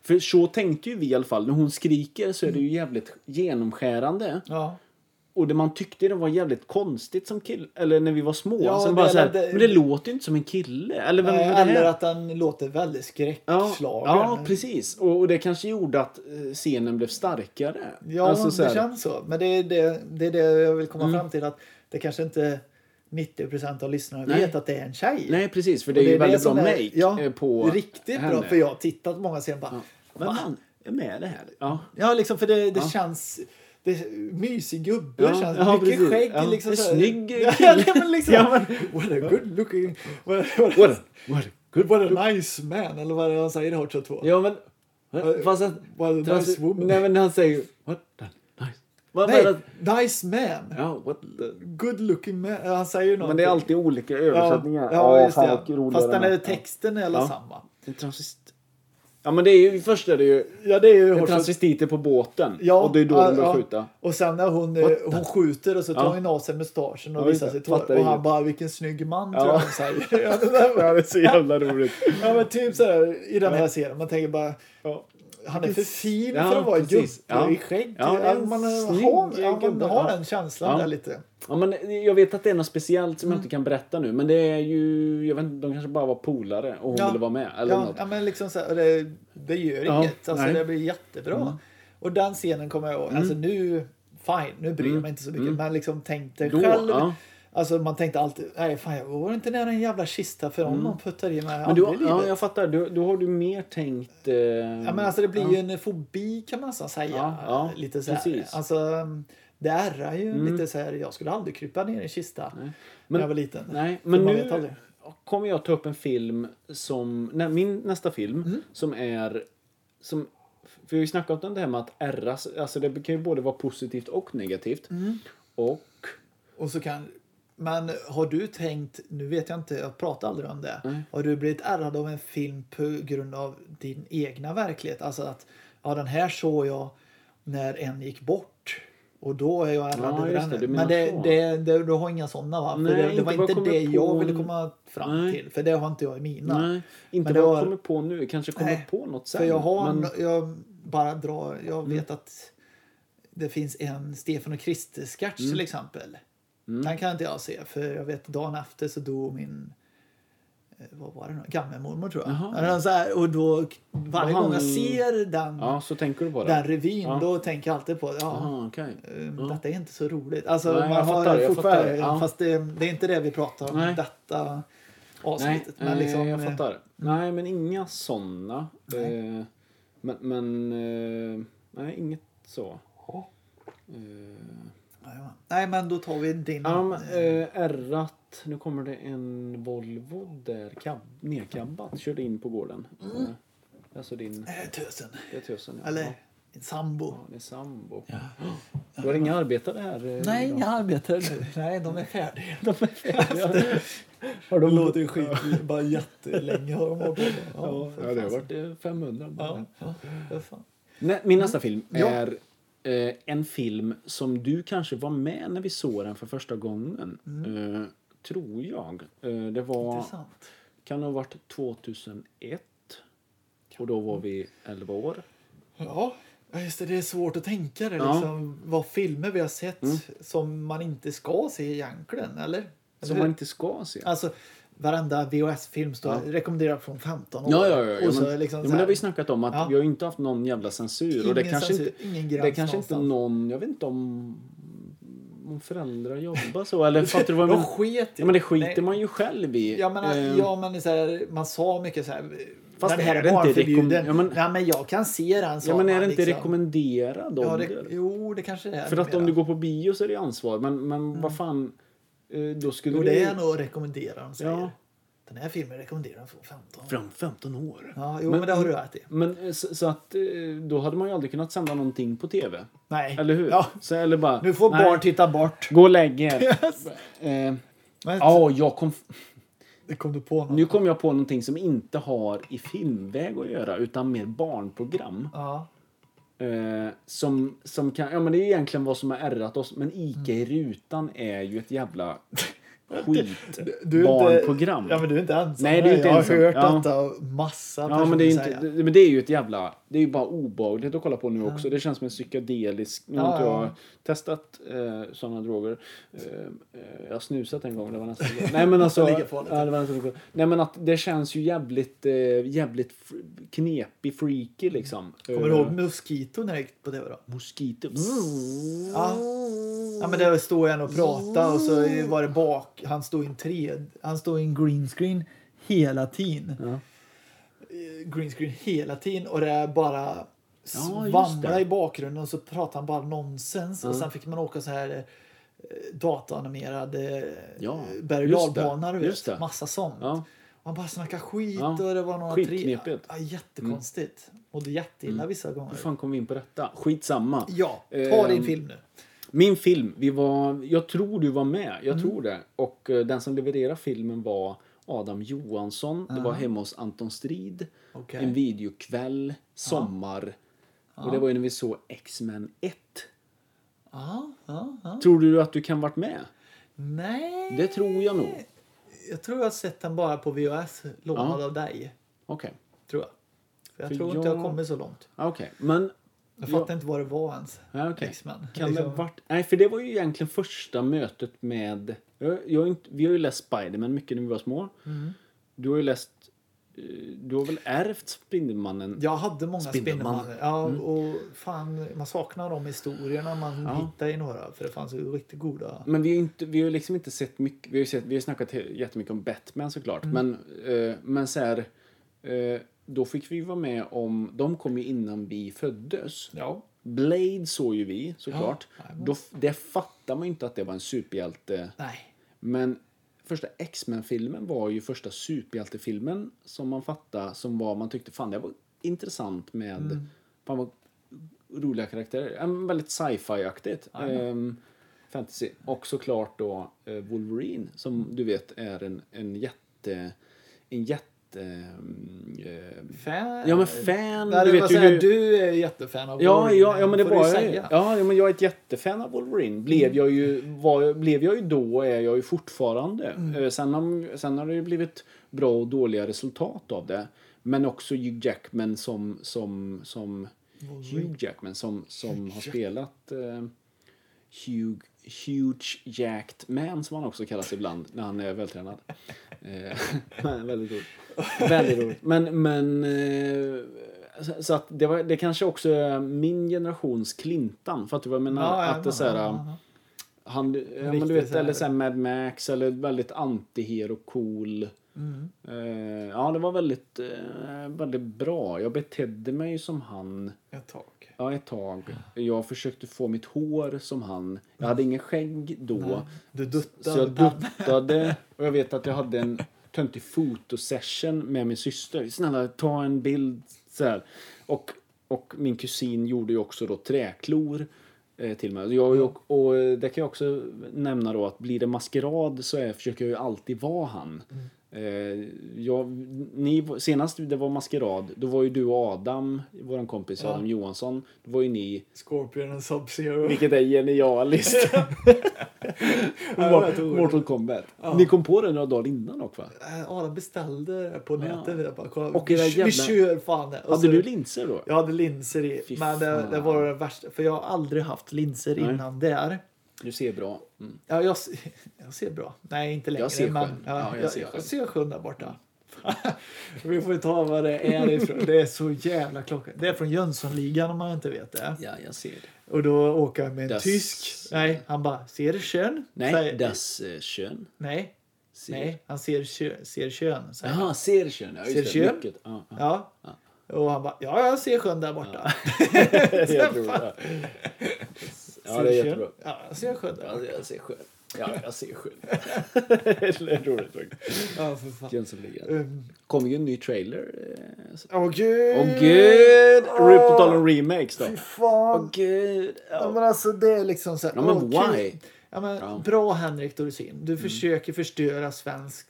För så tänkte ju vi i alla fall. När hon skriker så är det
Mm.
ju jävligt genomskärande.
Ja.
Och det man tyckte det var jävligt konstigt som kille. Eller när vi var små.
Ja,
sen
det-
bara så här,
eller det-
men det låter ju inte som en kille. Eller vem
Nej,
är det
eller
här?
att den låter väldigt
Ja,
skräckslagen.
ja, precis. Och, och det kanske gjorde att eh, scenen blev starkare.
Ja,
Alltså så Mm.
det
här-
känns så. Men det är det, det är det jag vill komma fram till. Att det kanske inte 90 av lyssnarna
Nej.
vet att det är en tjej.
Nej, precis. För det är
Och
ju väldigt bra
som är-
make
ja,
eh, på
Riktigt bra.
henne.
För jag har tittat på många scener bara.
Vem fan är med det här? Ja.
Ja, liksom för det, det känns... Det, mysig gubbe
Ja,
känns.
ja,
mycket
precis.
skägg.
Ja,
Liksom,
en
så här.
snygg
<laughs> ja,
kille.
ja, men liksom,
Ja, men-
What a good looking... What a, what a,
What a, what a
good, what a nice man. Eller vad är det han säger i Hot Shot 2.
Ja, men... eh, Fast att...
Well, nice
trans-
woman.
Nej, men han säger... What the... Nice. Vad
Nej,
menar-
nice man.
Ja, what the...
Good looking man. Han säger ju någonting.
Men det är alltid olika
ja,
översättningar.
ja, just
fan, vad
det.
roligare
Fast den
än-
är texten är alla
Ja.
samma.
En transist... Ja, men det är ju... Först är det ju...
Ja, det är ju
Det är
Hot Shot-
transvestiter på båten.
Ja,
och det är då de börjar skjuta.
Och sen när hon, eh, hon skjuter och så tar
Ja.
hon av sig mustaschen och
Ja,
visar
just det.
sitt hår.
Fattar
Och han
inget.
bara vilken snygg man tror
Ja.
jag han säger. <laughs> Ja, det där var-
det är så <laughs> jävla roligt.
ja men typ sådär i den här serien. Man tänker bara
Ja.
han är för fin
Ja,
för att vara en gubbe
precis. Ja.
i skägg.
Ja, det är en
man,
snygg
har, ja, man
gubbe.
har
Ja.
den känslan
Ja.
där lite.
Ja, men jag vet att det är något speciellt som jag inte kan berätta nu. Men det är ju... Jag vet inte, de kanske bara var polare och hon
Ja.
ville vara med. Eller
Ja,
något.
ja men liksom såhär, och det, det gör
Ja,
inget. Alltså
nej. Mm.
det blir jättebra. Och den scenen kommer jag ihåg. Alltså nu, fine, nu bryr jag mig inte så mycket. Men liksom tänkte
Mm. Då,
själv.
ja.
Alltså man tänkte alltid, nej fan jag går inte nära en jävla kista för om någon puttar i mig
Mm. Men du,
aldrig i livet.
ja, jag fattar. Du, då har du mer tänkt... Eh,
Ja, men alltså det blir ju en fobi kan man nästan säga.
Ja, ja,
lite så här.
precis. Mm.
Alltså, det ärrar ju lite så här. Jag skulle aldrig krypa ner i en kista när
Men-
jag var liten.
nej,
För
men
man vet aldrig.
nu kommer jag ta upp en film som... Nej, min nästa film
Mm.
som är... Som, för vi har ju snackat om det här med att ärras. Alltså det kan ju både vara positivt och negativt.
Mm.
Och...
Och så kan, men har du tänkt, nu vet jag inte, jag pratar aldrig om det. Har du blivit ärrad av en film på grund av din egna verklighet? Alltså att, ja den här såg jag när en gick bort. Och då är jag ärrad
Ja,
över
just
den.
det, du
men
menar
det,
så.
det, det, du har inga sådana va? För
Nej,
det, det
inte
var
vad
inte
jag
det
kommer
jag
på.
ville komma fram
Nej.
till. För det har inte jag i mina.
Nej, inte
Men det
vad jag
har-
kommer på nu. Kanske kommer
Nej,
på något sen.
För jag har,
men, Mm.
en- jag bara drar, jag vet att det finns en Stefan och Krister-sketch
Mm.
till exempel. Den kan inte jag se för jag vet dagen efter så dog min eh, vad var det nu? Gammelmormor tror jag.
Jaha.
Eller Så här, och då, varje
Vad
gång jag
han-
ser den,
ja, så tänker du på det.
den revyn
Ja.
då tänker jag alltid på ja,
Aha, okej.
ehm,
Ja.
detta är inte så roligt. Alltså,
Nej,
man
jag
har
fattar, jag
fortfarande,
fattar. Ja.
Fast det, det är inte det vi pratar om
Nej.
detta
Nej,
avsnittet.
eh,
men liksom,
jag
eh,
fattar. Nej, men inga sådana. Eh, men, men eh, nej, inget så.
Ja.
Eh,
jajamän. Nej men då tar vi din.
Ja, men, eh, ärrat. Nu kommer det en Volvo där. Cab, nedcabbat. Körde in på gården.
Mm.
Eh, alltså din...
eh, Tösen.
Det är tusen, ja.
Eller
Ja,
en sambo.
Ja, det är sambo. Du har inga arbetare här? eh,
Nej,
idag?
inga arbetare nu. <laughs> Nej, de är färdiga.
De är färdiga. <laughs> Har
De
de
låter ju skit, bara jättelänge har de hållit <laughs> på.
Ja,
för
ja, det har
fan.
varit eh, 500. bara.
Ja, ja, för fan.
Nej, min nästa film
Mm. Ja.
är eh, en film som du kanske var med när vi såg den för första gången. Eh, tror jag. Eh, det var...
Mm. Intressant.
Kan det ha varit 2001? Och då var vi 11 år.
Ja, just det. Det är svårt att tänka det.
Ja. Mm.
Liksom, Vad filmer vi har sett som man inte ska se egentligen, eller?
Som
Eller
man
hur?
inte ska se.
Alltså, varenda VHS-film står
Ja.
rekommenderad från 15 år.
Ja, ja, ja.
Och så
ja, men,
liksom
ja,
så
men det har
här,
vi snackat om att
Ja.
vi har ju inte haft någon jävla censur. och det
Ingen
kanske
censur,
inte,
ingen
det
gräns
kanske inte
någonstans.
någon, jag vet inte om, om föräldrar jobbar så. Eller fattar
<laughs>
du vad jag
De
menar?
sket
Ja, men det
Nej.
skiter man ju själv i.
Ja men,
Eh,
ja, men så här, man sa mycket så här.
Fast
den här
är
är
det inte
barnförbjuden.
rekomm- ja, men-
Nej men jag kan se den. sa
ja, men är
man,
det inte
liksom.
rekommenderad
Ja,
ålder?
det, jo, det kanske det är.
För att om
numera.
du går på bio så är det ansvar. Men, men vad fan, eh, då skulle
Mm. Jo,
du...
det är nog rekommenderar de säger.
Ja.
Den här filmen rekommenderar de från 15.
Fram 15 år.
Ja, jo men, det har du rätt i.
Men eh, så, så att eh, då hade man ju aldrig kunnat sända någonting på tv.
Nej.
Eller hur?
Ja.
Så, eller bara,
Nu får
nej,
barn titta bort.
Gå och lägg
<laughs>
er. Eh,
Men,
Ja, jag kom,
Det kom du på något?
nu kom jag på någonting som inte har i filmväg att göra utan mer barnprogram.
Ja.
Eh, som, som kan, ja men det är egentligen vad som har ärrat oss. Men Ica
Mm.
i rutan är ju ett
<laughs>
jävla
Du är inte-
skitbarnprogram.
Ja men du är inte ensam.
Nej, du är inte
jag
ensam.
har hört
Ja.
detta av massa
Ja, men det är, ju
säga.
inte, det, men det är ju ett jävla... Det är ju bara obehagligt att kolla på nu också. Det känns som en psykedelisk... Nu har
Ja,
inte
ja,
jag
ja.
testat eh, sådana droger. Eh, eh, jag har snusat en gång. Det var nästan... Nej, men alltså...
Det <laughs> ligger farligt.
ja, det var nästan, nej, men att det känns ju jävligt, eh, jävligt fr- knepig, freaky liksom.
Kommer du
Eh,
ihåg Mosquito när det gick på tv då?
Mosquito. Mm.
Ja. Ja men där stod han och pratade och så var det bak. Han stod i en tred, han stod i en green screen hela tiden.
Ja.
Eh, Green screen hela tiden och det är bara
just
svamla
det.
i bakgrunden och så pratade han bara nonsens. Och sen fick man åka så här eh, dataanimerad eh,
Ja,
berg och
just det.
dalbana, du
Just det.
vet. Massa sånt.
Ja.
Och han bara snackade skit
Ja,
och det var några
skitknepigt.
Ja, jättekonstigt. Och det är jätteilla vissa gånger.
Hur Mm. fan kom vi in på detta? Skitsamma.
Ja, ta din
Ehm,
film nu.
Min film, vi var, jag tror du var med, jag
Mm.
tror det. Och eh, den som levererade filmen var Adam Johansson. Det var hemma hos Anton Strid.
Okej.
En videokväll, sommar. Och det var ju när vi såg X-Men 1.
Ja, ja, ja.
Tror du att du kan varit med?
Nej.
Det tror jag nog.
Jag tror jag har sett den bara på VHS, lånad av dig.
Okej.
Tror jag. För jag
För
tror inte jag
jag-
kommit så långt.
Ja, Okej, men...
Jag
Ja.
fattar inte vad det var ens.
Ja, okej.
X-Men.
Kan det
Liksom.
varit... Nej, för det var ju egentligen första mötet med... Jag, jag har inte, vi har ju läst Spiderman mycket när vi var små.
Mm.
Du har ju läst... eh, Du har väl ärvt Spindelmannen?
Jag hade många
Spindelman.
Spindelmannen. Ja,
Mm.
och fan, man saknar de historierna man hittar i några. För det fanns ju riktigt goda.
Men vi har ju inte, vi har ju liksom inte sett mycket, vi har ju sett, vi har ju snackat he- jättemycket om Batman såklart,
Mm.
men, eh, men så här, eh, då fick vi ju vara med om, de kom ju innan vi föddes.
Ja.
Blade såg ju vi såklart.
Ja,
Då, f- det fattar man ju inte att det var en superhjälte.
Nej.
Men första X-Men-filmen var ju första superhjältefilmen som man fattade, som var, man tyckte fan det var intressant med, fan vad roliga karaktärer. Ja, men Väldigt sci-fi-aktigt. Ehm, fantasy. Och såklart då eh, Wolverine som du vet är en, en jätte, en jätte ett... ehm, eh,
Fan?
ja men fan,
Nej,
du
du,
vet ju
här,
hur...
du är jättefan av
Ja,
Wolverine,
ja, ja, men det
får du
var jag. ju.
säga.
Ja, ja, men jag är ett jättefan av Wolverine. Blev jag ju, var, jag- blev jag ju då och är jag ju fortfarande.
Mm.
Eh, Sen, har, sen har det ju blivit bra och dåliga resultat av det. Men också Hugh Jackman som, som, som Hugh Jackman som, som har spelat eh, Hugh, Huge Jacked Man som han också kallas ibland när han är vältränad. Eh, <laughs> men, väldigt roligt. Väldigt roligt. Men, men eh, så, så att det, var, det kanske också är min generations Clintan. Fattar du vad jag menar?
Ja, ja,
att det så
ja,
här, um,
ja, ja.
han, ja, men du
Riktigt
vet,
så här-
eller så här Mad Max eller väldigt antihero cool.
Mm.
Eh, ja, det var väldigt, eh, väldigt bra. Jag betedde mig som han.
Ett tag.
Ja, ett tag. Jag försökte få mitt hår som han. Jag hade ingen skägg då.
Du duttade.
Så jag duttade och jag vet att jag hade en töntig fotosession med min syster. Snälla, ta en bild. Så här. Och, och min kusin gjorde ju också då träklor eh, till mig. Jag, jag, och eh, det kan jag också nämna då att blir det maskerad så är, försöker jag ju alltid vara han. Eh, jag, ni, senast det var maskerad, då var ju du och Adam, vår kompis Adam Johansson, då var ju ni
Scorpion och Sub-Zero.
vilket är
<laughs>
genialiskt.
otroligt.
Mortal Kombat. Ni kom på det några dagar innan dock va?
Äh, Adam beställde det på nätet. Jag bara, kolla,
Och
vi,
era
vi
jävla-
kör fan det. Och
Hade
så-
du linser då?
Jag hade linser i.
Fy
men det, det
fan.
var det värsta. För jag har aldrig haft linser
Nej.
innan där.
Du ser bra. Mm.
Ja, jag, se- <laughs> jag ser bra. Nej, inte längre.
ser
men,
sjön.
Ja,
Ja, jag
jag,
ser
jag,
sjön.
ser sjön där borta. <laughs> Vi får ta vad det är ifrån. Det är så jävla klockan. Det är från Jönssonligan om man inte vet det.
Ja, jag ser det.
Och då åker jag med en
Das-
tysk. Nej, han bara ser du kön?
Nej,
Säger-
das eh, Schön.
nej,
Ser.
nej, han ser kö, ser kön. Säger. han.
Jaha, ser Schön. Ja,
Ser
just det.
Schön?
Mycket. Ja,
<laughs>
ja.
Ja. Och han bara, ja, jag ser sjön där borta.
Jag tror det. Ja, det är
Ser du sjön?
jättebra.
Ja, jag ser sjön där
Ja,
borta.
jag ser Schön. Ja, jag ser Schön. <laughs> det är roligt faktiskt.
Ja, för fan.
Jönssonligan.
Um,
Kommer ju en ny trailer. eh, så-
Åh gud!
Åh gud! Rip på tal om remakes då.
Fy fan!
gud.
Ja, men alltså det är liksom så här,
Ja, men
åh,
why?
kul. Ja, men,
Ja. Mm.
Bra Henrik Dorsin. Du försöker förstöra svenskt.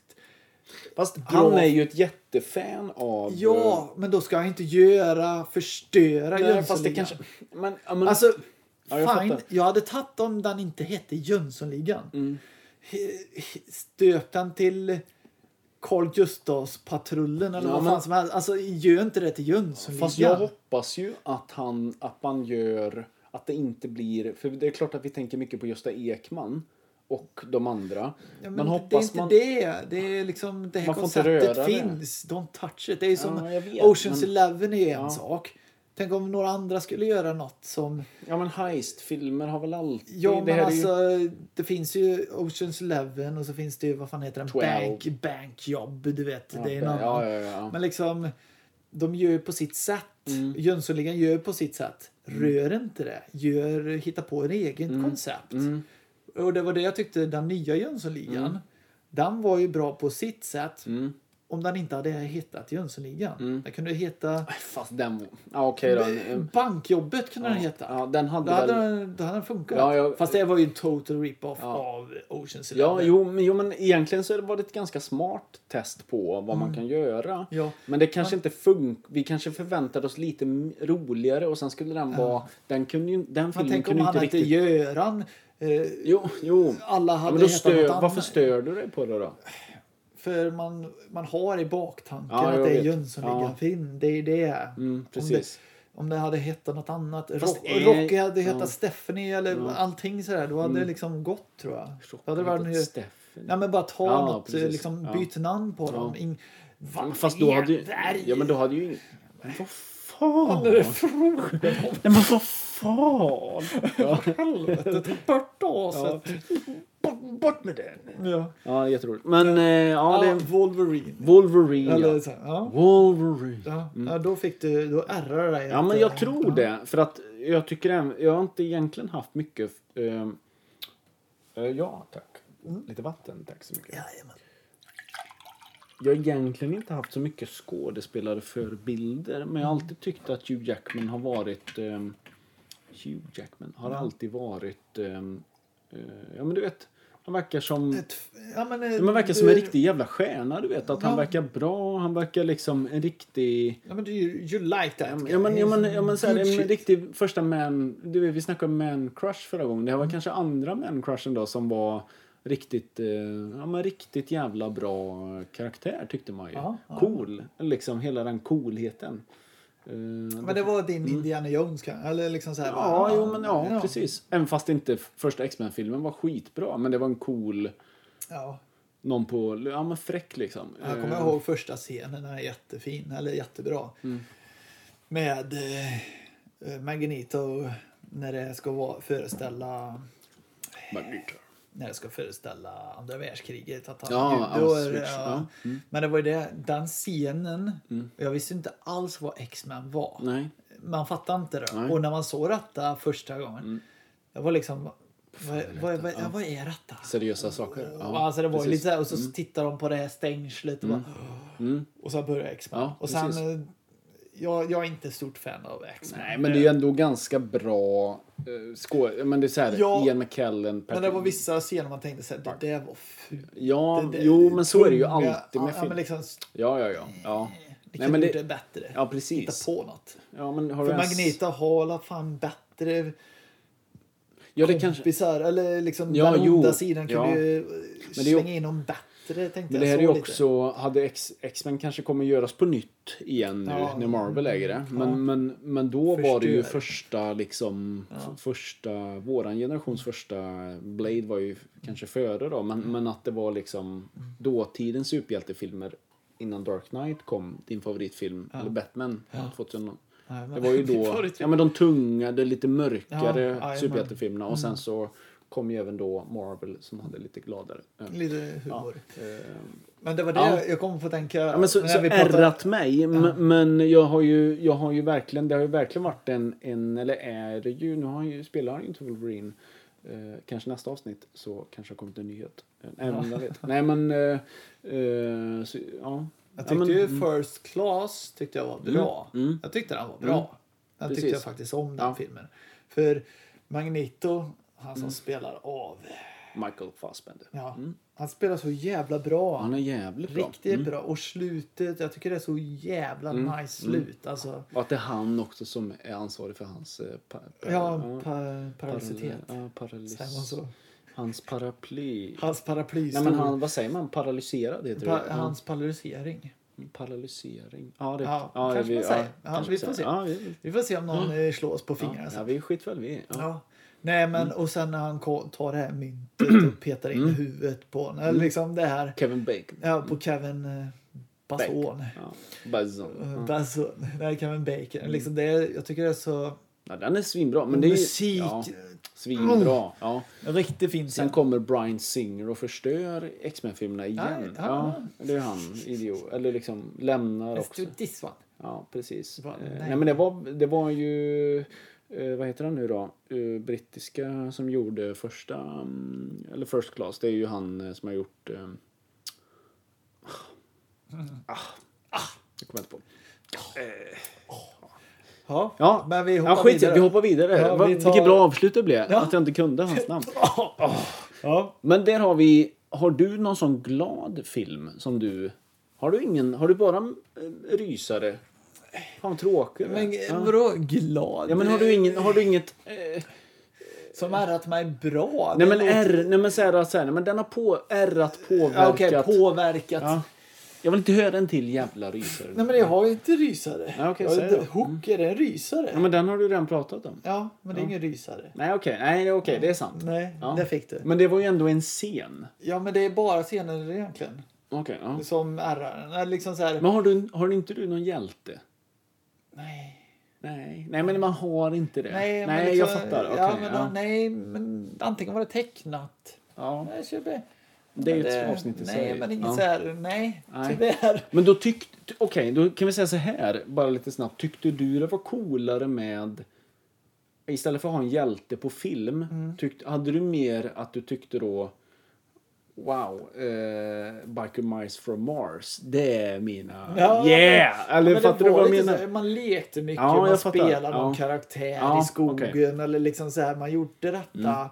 Fast
bra-
han är ju ett jättefan av...
Ja, men då ska jag inte göra förstöra
Nej, fast det
Jönssonligan.
kanske... Men, ja, men,
Alltså,
Ja, jag
fine.
fattar.
Jag hade tagit om den inte hette Jönssonligan. Mm. Stöp den till Carl Gustafs-patrullen eller
Ja,
vad
men-
fan som helst. Alltså, gör inte det till Jönssonligan.
fast jag hoppas ju att han, att man gör... Att det inte blir... För det är klart att vi tänker mycket på Gösta Ekman och de andra.
Ja, men
men
det är
hoppas
inte
man...
det. Det är liksom det här
Man får inte
konceptet
röra det.
finns. Don't touch it. Det är ju som
jag vet,
Oceans
men-
Eleven är ju en
Ja.
sak. Tänk om några andra skulle göra något som...
Ja, men heistfilmer har väl alltid...
Ja,
det
men
här är ju...
alltså det finns ju Oceans Eleven och så finns det ju, vad fan heter den?
Twelve.
Bank, bankjobb, du vet. det är en
ja,
annan.
ja, ja, ja.
Men liksom, de gör ju på sitt sätt.
Mm.
Jönssonligan gör på sitt sätt. Rör inte det. Gör, hitta på en egen
Mm.
koncept. Och det var det jag tyckte, den nya Jönssonligan.
Mm.
Den var ju bra på sitt sätt. Om den inte hade hittat Jönssonligan.
Mm.
Den kunde heta
Fast den... Ja, okej då.
Bankjobbet kunde den heta.
Ja, den
Då
hade
hade,
väl...
den, då hade den funkat.
Ja, jag-
Fast det var ju en total rip-off av Oceans
Ja,
Eleven.
jo, men- jo, men egentligen så var det ett ganska smart test på vad man kan göra.
Mm. Ja.
Men det kanske inte funkar. Vi kanske förväntade oss lite m- roligare och sen skulle den vara... Den, kunde ju, den
Man
filmen
tänker om
kunde ju
han
inte
hette
riktigt...
Göran. Eh,
Jo, jo.
alla
Ja,
hade
men då
hetat
stör,
något annat.
varför stör du dig på det då?
För man, man har i baktanken
Ja,
att
jag
det är
vet.
Jönssonligan-film. Det är det. Mm,
precis.
Om det, om det hade hetat något annat.
Fast
Rock,
är-
Rocky hade hetat
ja. Mm.
Stephanie eller allting sådär. Då hade det liksom gått tror jag. Då hade det varit en-
Steffen.
Nej men bara ta
Ja,
något, eh,
precis.
liksom
Ja.
byt namn på dem. In... Va,
Mm, Fast då hade ju... Ja, men då hade ju ingen... Vad
<laughs>
fan är det frågan Nej, men vad fan! Ja,
Helvete, ta bort aset.
bort, bort med den!
Ja. Ja.
Ja, det är jätteroligt. Men eh, ja, det... är-
Wolverine.
Wolverine,
Eller,
ja.
så, här, ja.
Wolverine.
Ja. ja, då fick du, då ärrar det dig.
Mm. Ja,
att,
men
eh,
jag tror det. För att jag tycker även, jag har inte egentligen haft mycket... ehm, eh, ja, tack. Mm. Lite vatten, tack så mycket.
Jajamän.
Jag har egentligen inte haft så mycket skådespelare för bilder. Men jag
Mm.
har alltid tyckt att Hugh Jackman har varit...
Mm.
ehm, Hugh Jackman har alltid varit... ehm, eh, ja, men du vet. Han verkar som...
Ett, ja, men, eh,
Han verkar som en
du-
riktig jävla stjärna, du vet. Att han
Ja.
verkar bra, han verkar liksom en riktig...
Ja, men du, you like that.
Ja, men,
guy.
ja, men, ja, men, ja, men så här,
Good
en
shit.
riktig första man... Du vet, vi snackade om man crush förra gången. Det här var
Mm.
kanske andra man crushen då som var riktigt, eh, ja, men riktigt jävla bra karaktär tyckte man ju.
Ja, ja.
cool, liksom hela den coolheten. Eh,
Men det var din Indiana Jones kan- eller liksom så här,
Mm. Ja, jo, men ja, precis. Även fast inte första X-Men-filmen var skitbra, men det var en cool...
Ja.
Någon på... Ja, men fräck liksom.
Jag kommer
Eh,
ihåg första scenen, den är jättefin, eller jättebra.
Mm.
Med eh, eh, Magneto när det ska vara, föreställa
Magneto.
när det ska föreställa andra världskriget. Att han
Ja,
är judor,
Auschwitz, ja. Mm.
Men det var ju det, den scenen, jag visste inte alls vad X-Men var.
Nej.
Man fattade inte det.
Nej. Mm.
Och när man såg detta första gången, det var liksom, vad, vad, vad, vad är detta?
Seriösa saker. Ja,
alltså det
precis.
var ju
Mm.
lite så här, och så tittar de på det här stängslet och, bara, och så börjar X-Men.
Ja,
och sen,
precis.
eh, jag, jag är inte stort fan av X-Men.
Nej, men det är ju ändå ganska bra uh, skådespelare. Men det är så här,
Ja.
Ian McKellen. Patrick-
Men det var vissa scener man tänkte så här, det där var fult.
Ja,
Det- det-
jo, men så är det ju
tunga-
alltid med
ja,
film.
men liksom,
Ja, ja, ja. ja.
det
Nej,
kan
men
gjort det
det...
bättre.
Ja,
Hitta
precis.
på något.
Ja, men har
För
du ens-
Magneta har alla fan bättre
Ja, det kanske...
kompisar. Eller liksom
Ja,
den
jo.
onda sidan kunde
Ja.
ju eh,
det är ju-
slänga in någon bättre. Tänkte
Men det
jag
här är
så
ju
lite.
också, hade X- X-Men kanske kommer göras på nytt igen nu
Ja. Mm.
när Marvel äger det. Men, men, men då var det ju
Förstör.
första liksom, f- första, våran generations första Blade var ju kanske före då. Men, men att det var liksom dåtidens superhjältefilmer innan Dark Knight kom, din favoritfilm, eller Batman, 2000.
Nej, men-
Det var
<laughs>
ju
Min
då,
favorit-
ja men de tunga, det lite mörkare
Ja, jajamän. Mm.
superhjältefilmerna och sen så kom ju även då Marvel som hade lite gladare. eh,
Lite humor.
eh,
Men det var det
Ja.
jag kom på att tänka.
Ja, men så,
när
så
vi pratade-
ärrat mig. m- Men jag har ju, jag har ju verkligen, det har ju verkligen varit en, en eller är det ju, nu har han ju, spelar han ju inte Wolverine. Eh, kanske nästa avsnitt så kanske har kommit en nyhet. Eh, Nej, men jag vet. Nej, men... Eh, eh, så, ja. ja,
Jag tyckte
men, mm.
ju First Class tyckte jag var bra. Jag tyckte den var bra. Den tyckte jag
Precis.
faktiskt om den
Ja. Mm.
filmen. För Magneto, han som spelar av.
Michael Fassbender.
Ja, Han spelar så jävla bra.
Han är jävligt bra. Mm.
Riktigt bra. Och slutet, jag tycker det är så jävla nice
Mm.
slut. Alltså,
Och att det är han också som är ansvarig för hans... Eh, pa, pa,
ja, pa
paraly-
paralysitet.
ja,
Säger man
paralys.
så?
Hans paraply.
Hans paraply.
Nej, men han, vad säger man? Paralyserad heter
pa
det. Ja.
hans paralysering.
Paralysering. Ja, det
Ja, kanske man säger. Ja,
kanske
vi
man säger.
får se.
Ja, vi,
Vi får se om någon eh, slår oss på fingrarna
ja,
sen.
ja, vi skit väl vi. Ja. Mm.
Ja. Nej, men och sen när han ko- tar det här myntet och petar in i huvudet på honom.
Mm.
Eller liksom det här.
Kevin Bacon.
Ja, på Kevin eh, Basson.
Ja. Bazon.
Eh, Basson. Nej, Kevin Bacon. Liksom det är, jag tycker det är så...
Ja, den är svinbra. Men det är,
Musik. Mm.
Ja, svinbra. Ja.
En riktigt fin
Sen
scen.
kommer Brian Singer och förstör X-Men-filmerna igen.
Ja,
Ja,
ja.
det är han, idiot. Eller liksom lämnar
Let's
också.
do this one.
Ja, precis.
Va-
Eh, nej.
nej.
men det var, det var ju, eh, vad heter han nu då, eh, brittiska som gjorde första, mm, eller First Class, det är ju han eh, som har gjort,
<laughs>
eh, ah, ah, det kommer jag inte på.
Ja,
Ja,
men vi hoppar
ja skit i det.
vidare.
vi hoppar vidare.
Ja,
Va,
vi tar-
Vilket bra avslut det blev,
Ja.
att jag inte kunde hans
<laughs>
namn.
Ja.
Men där har vi, har du någon sån glad film som du, har du ingen, har du bara eh, rysare? Fan vad tråkig du är.
Men
Ja.
eh, vadå glad?
Ja, men har du, ingen, har du inget... Eh,
Som ärrat mig bra.
nej, men
Det låter-
R, nej, men så här, så här, nej, men den har på, ärrat
Ja,
påverkat.
Okej, påverkat.
Ja. Jag vill inte höra en till jävla rysare.
Nej, men jag har ju inte rysare.
Ja, okej,
Jag-
säg då.
Hook, är det en rysare?
Ja, men den har du redan pratat om.
Ja, men det är ingen rysare.
Nej, okej. Nej, det är okej. Det är sant.
Nej,
Ja.
där fick du.
Men det var ju ändå en scen.
Ja, men det är bara scener egentligen.
Okej, ja.
Som ärrar en. Eller Liksom så här,
Men har, du, har inte du någon hjälte?
nej.
Nej. nej, men man har inte det.
Nej, men
nej
liksom,
jag fattar. Okej,
ja, men,
ja.
Nej, men antingen var det tecknat.
Ja.
Nej, tyvärr.
Det är ju ett avsnitt i
Nej,
sig.
men inget
Ja.
så här, nej,
Nej.
tyvärr.
Men då tyckte... Okej, då kan vi säga så här, bara lite snabbt. Tyckte du det var coolare med... Istället för att ha en hjälte på film,
Mm.
tyckte, hade du mer att du tyckte då... Wow, eh, Biker Mice from Mars, det är mina...
Ja,
yeah! Eller
Men det
fattar du vad jag
var lite
menar?
så här, Man lekte mycket,
Ja,
man
jag fattar.
spelade någon
Ja.
karaktär
Ja,
i skogen
okej.
eller liksom så här, man gjorde detta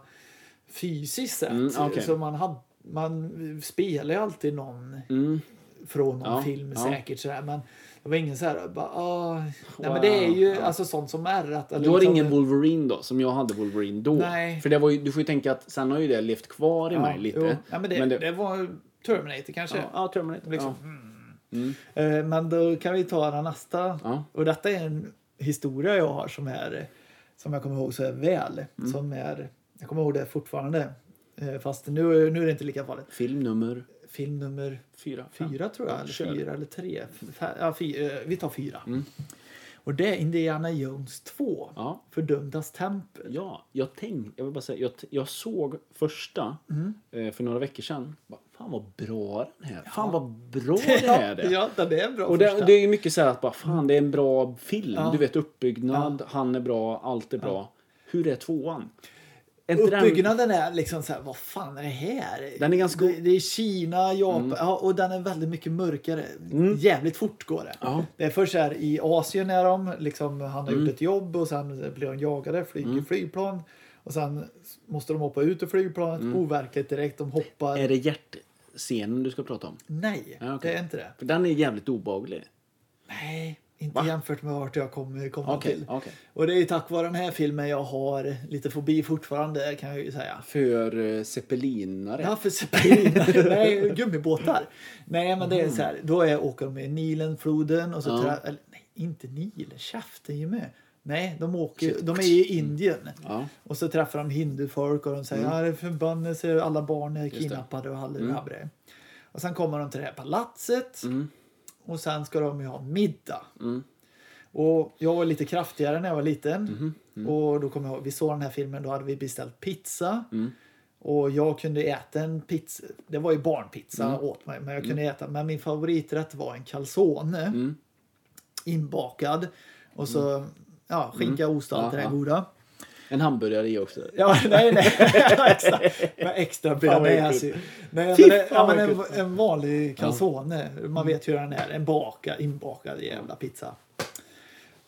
fysiskt sett.
Mm, okej.
Så man, hade, man spelar ju alltid någon
Mm.
från någon
Ja,
film
ja.
säkert sådär. Men det var ingen så här, bara, ah. Nej men det är
Wow,
ju
ja.
alltså sånt som är rätt. eller
Du har
liksom-
ingen Wolverine då, som jag hade Wolverine då?
Nej.
För det var ju, du får ju tänka att sen har ju det levt kvar i mig
Ja,
lite.
jo. Ja, men det, det... var Terminator kanske.
ja, ja, Terminator.
Liksom.
Ja. Mm.
Eh, Men då kan vi ta den nästa.
Ja.
Och detta är en historia jag har som, är, som jag kommer ihåg så väl.
Mm.
Som är, jag kommer ihåg det fortfarande. Eh, Fast nu, nu är det inte lika farligt.
Film nummer
Film nummer
fyra. fem.
fyra tror jag.
Ja,
eller
kör. Mm.
fyra eller tre. F- Ja, fy, eh, vi tar fyra. Och det är Indiana Jones 2.
Ja.
Fördömdas tempel.
Ja, jag tänkte, jag vill bara säga, jag, t- jag såg första eh, för några veckor sedan. Bara, Fan vad bra den här Fan vad <laughs> bra <laughs> det här är.
ja, den är en bra
Och
första.
det, det är ju mycket så här att bara, fan det är en bra film.
Ja.
Du vet uppbyggnad, han är bra, allt är bra. Hur är tvåan? Är inte den-
Uppbyggnaden är liksom så här, vad fan är det här?
Den är ganska- Mm.
det, det är Kina, Japan ja, och den är väldigt mycket mörkare. Jävligt fort går det.
Ja.
Det är först här i Asien är de, liksom, han har
Mm.
gjort ett jobb och sen blir de jagade, flyger flygplan. Och sen måste de hoppa ut ur flygplanet,
Mm.
overkligt direkt. De hoppar.
Är det hjärtscenen du ska prata om?
Nej,
Eh. Ja, okej.
det är inte det.
För den är jävligt obehaglig.
Nej, inte
Va?
jämfört med vart jag kommer komma
Okej,
till.
okej.
Och det är ju tack vare den här filmen jag har lite fobi fortfarande kan jag ju säga.
För uh, zeppelinare.
Ja,
<laughs>
för zeppeliner. Nej, gummibåtar. Nej, men det är så här. Då är, åker de med Nilen, floden och så...
Mm. Ja.
tra- eller, nej, inte Nilen. Käften ju med. Nej, de, åker, de är i Indien.
Ja.
Och så träffar de hindufolk och de säger
Mm.
ja, det är förbannelse, alla barn är kidnappade och hallelujabbrej. Och sen kommer de till det här palatset
Mm.
och sen ska de ju ha middag. Och jag var lite kraftigare när jag var liten.
Mhm, mm.
Och då kommer jag ihåg, vi såg den här filmen, då hade vi beställt pizza.
Mm.
Och jag kunde äta en pizza, det var ju barnpizza
Mm.
åt mig, men jag kunde äta. Men min favoriträtt var en calzone.
Mm.
Inbakad. Och så ja, skinka, ost och allt det där
Ja, ja.
goda.
En hamburgare i också.
Ja,
<laughs>
nej, nej. extra, men extra
Fan, vad
bearnaise.
äckligt.
Nej, men,
Fy
det- ja,
fan,
men
vad
en, en vanlig calzone. Man vet hur den är. En baka, inbakad jävla pizza.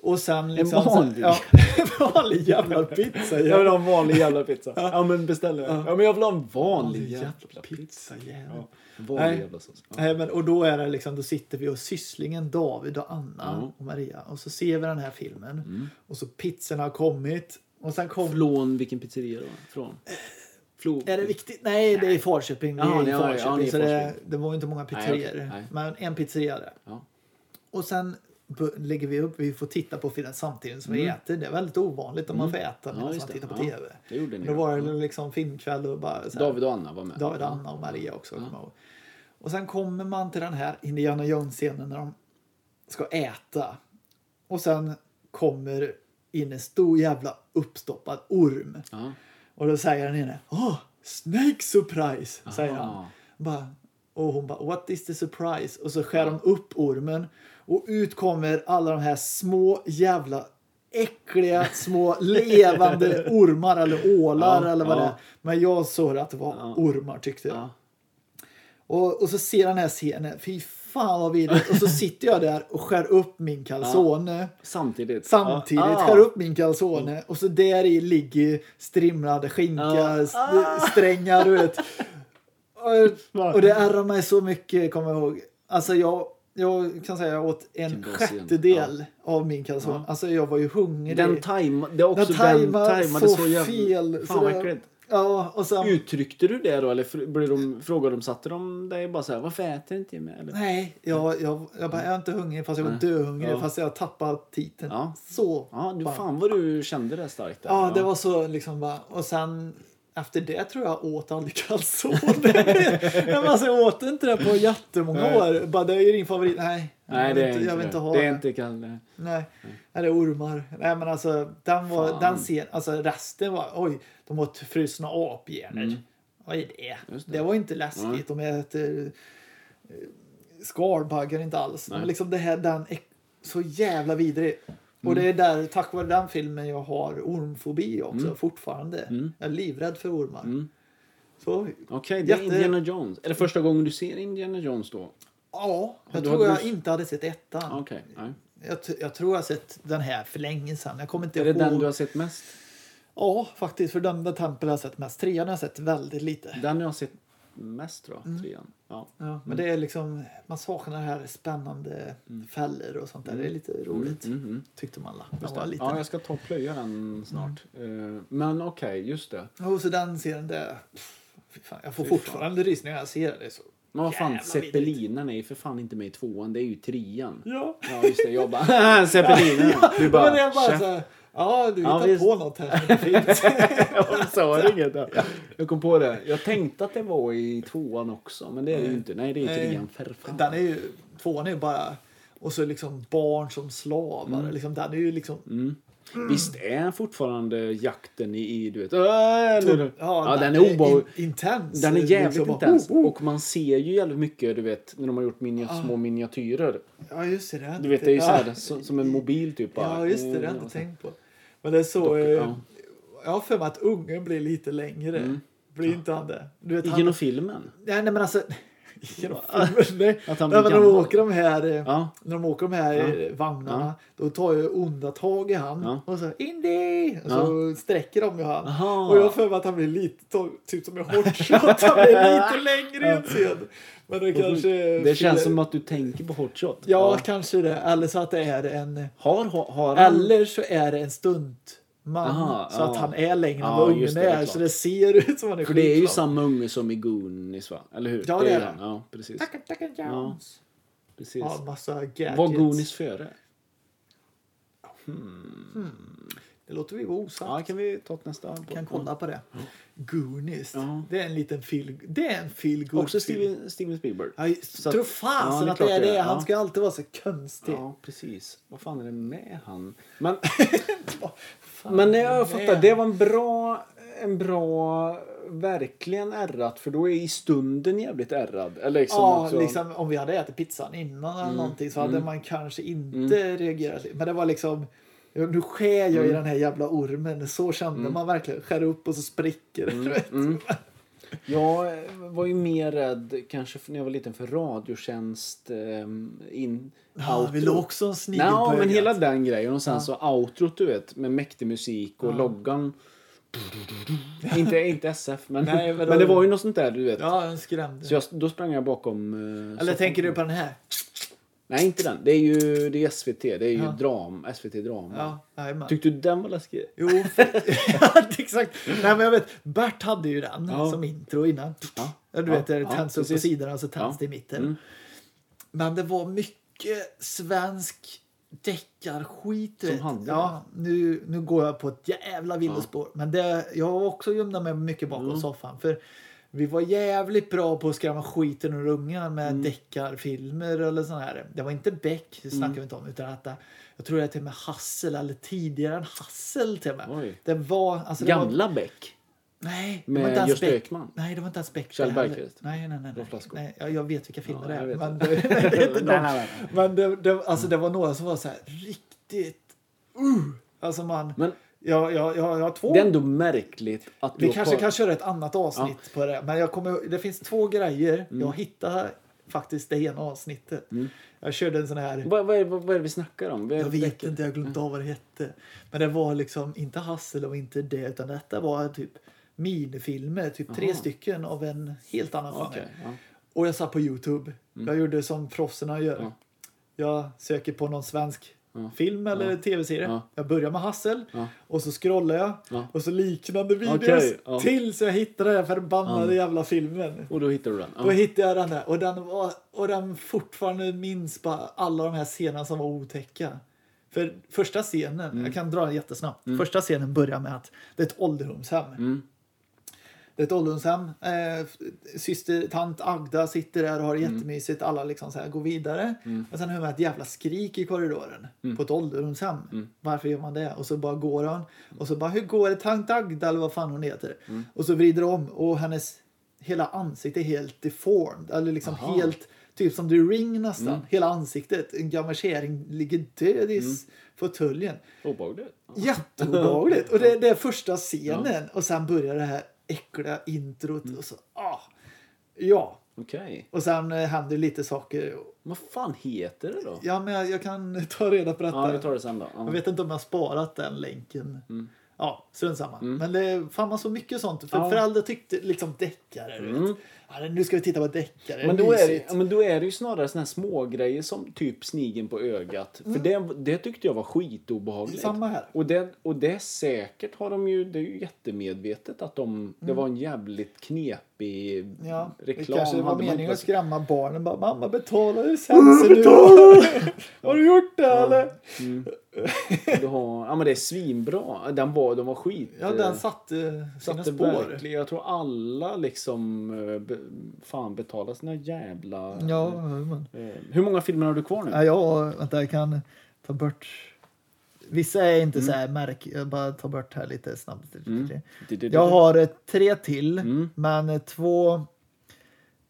Och sen liksom... så-
vanlig?
Ja, <laughs> en vanlig jävla pizza.
Jag vill
Jävla,
ha en vanlig jävla pizza. <laughs> ja men beställ det. Ja. men jag vill ha en vanlig jävla
jävla
pizza.
pizza. jävla.
Ja.
Nej.
Vanlig jävla sås. Ja.
Nej, men, och då är det liksom, då sitter vi och sysslingen David och Anna
Mm.
och Maria och så ser vi den här filmen och så pizzorna har kommit och sen kommer
Från vilken pizzeria då? Från? Flo...
Är det viktigt? Nej, det är i Falköping. Vi
Ja,
är i
ni har- ja, ni är i
Falköping, så det,
Falköping.
det var ju inte många pizzerior.
okej, nej.
Men en pizzeria där.
Ja.
Och sen bu- lägger vi upp, vi får titta på filmen samtidigt som vi äter. Det är väldigt ovanligt om man får äta medan man
just det.
tittar på
Mm. Ja,
TV.
det gjorde ni
Då
ju.
var det liksom filmkväll och bara så här,
David och Anna var med.
David, Anna och Maria också. kommer jag ihåg. Och sen kommer man till den här Indiana Jones-scenen när de ska äta. Och sen kommer in en stor jävla uppstoppad orm.
Ja.
Och då säger den ene, åh, snake surprise, säger han.
Aha.
Bara, och hon bara, what is the surprise? Och så skär de upp ormen och ut kommer alla de här små jävla äckliga
<laughs>
små levande ormar eller ålar
Ja,
eller vad det är.
ja.
Men jag såg att det var ormar tyckte jag.
Ja.
Och, och så ser jag den här scenen, fy fan vad vidrigt. Och så sitter jag där och skär upp min calzone.
Samtidigt.
Samtidigt
Ja.
skär upp min calzone och så där i ligger strimlade skinka,
Ja.
st- strängar, du vet. Och, och det ärrar mig så mycket, kommer jag ihåg. Alltså jag, jag kan säga jag åt en
Vilken bra scen.
sjättedel av min calzone. Alltså jag var ju hungrig.
Den tajmade... Det är också den
tajmar
tajmade så jävla...
fel.
Fan
så
vad
det-
äckligt.
Ja, och sen...
Uttryckte du det då eller fr- blev de, frågade de, satte de dig bara så här, varför äter inte jag med? Eller?
Nej, jag, jag, jag bara, jag är inte hungrig fast jag var
Nej.
döhungrig
Ja.
fast jag tappade titeln.
Ja.
Så
Ja, du,
fan.
fan vad du kände det starkt där.
Ja, det var så liksom bara. Och sen efter det tror jag åt
<laughs>
aldrig calzone. Nej, men alltså, jag åt inte det på jättemånga
Nej.
år. Bara, det är ju din favorit. Nej,
Nej,
jag,
det
vill
är
inte,
inte
jag vill inte ha
det. är inte Kalle.
Nej. Nej, det är ormar. Nej, men alltså den, var,
Mm. Fan.
den scen, alltså resten var, oj, de åt frusna aphjärnor. Vad är det?
Mm. Just
det?
det.
var inte läskigt. De äter eh, skalbaggar inte alls. Men
Nej.
liksom det här, den är så jävla vidrig. Och
Mm.
det är där, tack vare den filmen jag har ormfobi också
Mm.
fortfarande. Jag är livrädd för ormar. Så
Okej, det är
Jätte-
Indiana Jones. Är det första gången du ser Indiana Jones då?
ja, jag
Då
tror
hade
jag
du-
inte hade sett ettan.
Okej. nej.
Jag, t- jag tror jag har sett den här för länge sedan. Jag kommer inte
Är det
ihåg.
den du har sett mest?
Ja, faktiskt. Fördömda tempel har jag sett mest. Trean har jag sett väldigt lite.
Den jag har sett mest tror jag,
Mm.
trean. Ja.
Ja, men det är liksom, man saknar det här spännande fällor och sånt där. Det är lite roligt.
Mm, mm.
Tyckte man alla.
Just
Man var Mm.
det.
liten.
Ja, jag ska ta och plöja den snart. Eh, men okej, just det.
Och så den serien där. Pff, fy fan, jag får
Fy fan.
fortfarande rysningar när jag ser det. det. är Så.
Men vad fan,
Jävla
zeppelinen är ju för fan inte med i tvåan, det är ju trean.
Ja.
Ja, just det. Jag bara, <laughs> zeppelinen. Du bara,
Mm. men det är bara
"Käft."
så här, ja du
Ja,
hittar
visst.
på något här som inte finns.
<laughs> Jag sa inget. där. Jag kom på det. Jag tänkte att det var i tvåan också, men det är det ju inte. Nej, det är i
Mm. Nej.
trean. För fan.
Den är ju, tvåan är ju bara, och så liksom barn som slavar.
Mm.
Liksom, den är ju liksom,
Visst är fortfarande jakten i, i du vet... "Åh!" eller- Ja, den är obehaglig.
in- intens.
Den är jävligt
Liksom bara,
intens.
oh, oh.
Och man ser ju jävligt mycket, du vet, när de har gjort mini- små miniatyrer.
Ja just det, det har jag
Du
inte-
vet, det är ju
ja.
så här, så, som en mobil typ. bara.
Ja just det, det har jag
Mm,
inte tänkt på. Men det är så, eh,
ja. Mm.
jag har för mig att ungen blir lite längre. Blir inte han det? Du vet, han,
Genom filmen.
nej, nej men alltså, <laughs> genom filmen, nej.
<laughs> Att han
nej
blir
men de
gammal.
åker de här eh,
Ja.
När de åker de här eh, vagnarna då tar ju onda tag i han
Ja.
och så Indy! Och så sträcker de ju han.
Aha.
Och jag har för mig att han blir lite, ta- typ som en hotshot,
<laughs>
han blir lite längre i en scen. Men det kanske...
Det känns som att du tänker på Hot Shot.
Ja, kanske det. Eller så att det är en...
Har, har, har han...
Eller så är det en stuntman.
Aha,
så
ja.
att han är längre än
Ja,
vad
just
ungen
det,
är.
det är
så
klart.
det ser <laughs> ut som att han är
För det är ju
skitsnabb.
samma unge som i Goonies va? Eller hur?
Ja, det är
han.
det.
Ja, precis.
Tackar, tackar, Jones.
precis.
Ja, massa gadgets.
Var Goonies före?
Det låter vi vara osagt.
Ja, kan vi ta ett nästa? podd?
kan kolla på det. Goonies.
Ja.
Det är en liten feel, det är en feel good
Också
film.
Steven, Steven Spielberg.
Jag
Så att- Ja,
tror fasen
det är
att det
klart
är
det är.
det. Han
Ja.
ska alltid vara så konstig.
Ja, precis. Vad fan är det med han? Men,
<laughs> Fan,
men
vad är
jag
med?
fattar, det var en bra, en bra, verkligen ärrat. För då är i stunden jävligt ärrad. Eller liksom
ja,
också, Mm,
liksom, om vi hade ätit pizzan innan eller någonting så hade man kanske inte reagerat. Men det var liksom, ja, nu skär jag
Mm.
i den här jävla ormen. Så kände man verkligen. Skär upp och så spricker
Mm.
det. <laughs> du vet.
Jag var ju mer rädd, kanske för- när jag var liten, för Radiotjänst ehm, in...
Ja, vill du också en snigel
Nej,
på
men
ögat?
hela den grejen. Och sen så outrot, du vet, med mäktig musik och loggan. inte, inte SF, men,
Nej, men
men,
då-
det var ju något sånt där, du vet.
Ja, en skrämd.
Så jag, då sprang jag bakom... eh,
Eller
soffan.
tänker du på den här?
Nej, inte den. Det är ju det är SVT. Det är ju
Ja.
dram, SVT Drama.
Ja, jajamän.
Tyckte du den var läskig?
Jo, <laughs> exakt. Nej, men jag vet, Bert hade ju den
Ja.
som intro innan.
Ja.
Du vet,
Ja,
det
ja,
tänds upp på
precis.
sidorna och så tänds
Ja. Mm.
det i mitten. Men det var mycket svensk deckarskit. du
Som
vet.
hade
ja, nu, nu går jag på ett jävla villospår. Men det, jag var också gömde mig mycket bakom
Mm.
soffan. För vi var jävligt bra på att skrämma skiten ur ungan med
Mm.
deckarfilmer eller sånt här. Det var inte Beck, det snackar vi inte om. Utan att det, jag tror det är till och med Hassel, eller tidigare än Hassel till och med.
Oj.
Det var... Alltså, det var
Gamla Beck.
Nej,
Med
det var inte ens
Gösta
Beck-
Ekman.
Nej, det var inte ens Beck.
Kjell
det heller.
Bergqvist.
Nej, nej, nej.
Rolf
nej.
Lassgård.
nej jag, jag vet vilka filmer
Ja,
det
jag
är.
vet
Men,
det.
nej, <laughs> det <laughs> är
<laughs>
inte
Nej,
dem.
nej,
men det, det, alltså, det var några som var så här riktigt... Uh, alltså man...
Men
Jag, jag, jag, jag har två...
det är ändå märkligt att
Vi
har
kanske
kvar-
kan köra ett annat avsnitt på det. Men jag kommer, det finns två grejer.
Mm.
Jag hittade faktiskt det ena avsnittet. Jag körde en sån här...
Vad, vad, är, vad, vad är det vi snackar om? Vad är
Jag
det för
vet
Beck?
inte, jag har
Mm.
glömt av vad det hette. Men det var liksom inte Hassel och inte det, utan detta var typ minifilmer, typ tre stycken av en helt annan genre.
Okej, Mm. ja.
Och jag satt på Youtube. Jag gjorde som proffsen gör. Jag söker på någon svensk film eller tv-serie.
Ja.
Jag börjar med Hassel
Ja.
och så scrollar jag
Ja.
och så liknande videos
Okej, ja.
tills jag hittar den här förbannade jävla filmen.
Och då hittar du den? Ja.
Då hittade jag den där och den, var, och den fortfarande minns bara alla de här scenerna som var otäcka. För första scenen, jag kan dra den jättesnabbt. Första scenen börjar med att det är ett ålderdomshem. Det är ett ålderdomshem. Eh, syster, tant Agda sitter där och har det jättemysigt. Alla liksom så här går vidare. Men sen hör man ett jävla skrik i korridoren på ett ålderdomshem. Varför gör man det? Och så bara går han. Och så bara, hur går det tant Agda eller vad fan hon heter? Och så vrider hon om och hennes hela ansikte är helt deformed. Eller liksom
Aha.
helt, typ som The Ring nästan. Hela ansiktet. En gammal kärring ligger död i s- fåtöljen.
Obehagligt. Ja.
Jätteobehagligt. Och det, det är första scenen. Och sen börjar det här äckliga introt.
Mm.
Och så, ah. Ja.
Okej.
Och sen eh, händer lite saker.
Vad fan heter det då?
Ja, men jag, jag kan <laughs> ta reda på detta.
Ja, vi tar det sen då. Ja.
Jag vet inte om jag har sparat den länken. Ja, strunt samma. Men det fan man så mycket sånt. För
Mm. Ja. Mm.
föräldrar tyckte liksom deckare. du vet. Ja, nu ska vi titta på deckare.
Men då, är det,
mysigt.
ja, men då är det ju snarare såna här små grejer som typ snigen på ögat. För det, det tyckte jag var skitobehagligt.
Mm. Samma här.
Och det, och det är säkert har de ju, det är ju jättemedvetet att de, det var en jävligt knepig
Mm. Ja,
reklam.
det kanske
hade
var
man
meningen att
plötsligt-
skrämma barnen. Bara,
<laughs>
Mamma betala licensen nu då. <laughs> Har du gjort det eller?
du har, ja men det är svinbra. Den var, de var skit. eh,
Ja, den satte sina
satte
spår.
verkligen. Jag tror alla liksom eh, be, fan betalar sina jävla...
Ja, men.
Eh, Hur många filmer har du kvar nu?
Ja, jag, vänta, jag kan ta bort. Vissa är inte så här
Mm.
märk. Jag bara tar bort här lite snabbt.
Du, du, du,
Jag
du.
har eh, tre till,
Mm.
men eh, två.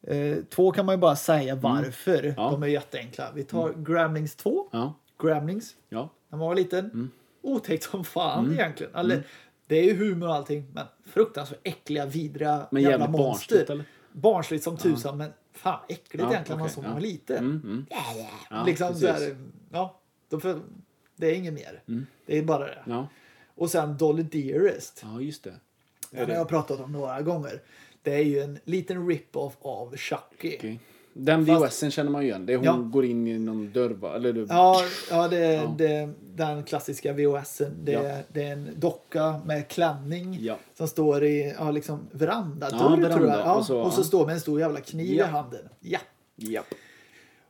Eh, två kan man ju bara säga varför.
Mm. Ja. Mm.
De är jätteenkla. Vi tar Gremlings 2.
Ja,
Gremlings.
ja.
när man var liten.
Mm.
Otäckt som fan egentligen. Eller, Det är ju humor och allting, men fruktansvärt äckliga, vidriga
Men
jävla
jävligt
monster.
barnsligt, eller?
Barnsligt som tusan, men fan äckligt
Ja,
egentligen när man
okej,
såg
ja.
när man var liten.
Mm, mm. Ja,
liksom så
precis. Mm.
här, ja, då för, det är inget mer. Det är bara det.
Ja.
Och sen Dolly Dearest.
ja, just det.
Den har jag pratat om några gånger. Det är ju en liten rip-off av Chucky.
Okej. Den
Fast-
VHSen känner man ju igen. Det är hon
Ja.
går in i någon dörr, va? Eller du...
Ja, ja, det, Det, den klassiska VHSen. Det,
Ja.
det är en docka med klänning
Ja.
som står i ja, liksom verandadörr
Ja, veranda.
tror jag. Ja, och
Och
så,
så, ja.
står med en stor jävla kniv
Ja.
i handen. Ja.
Japp.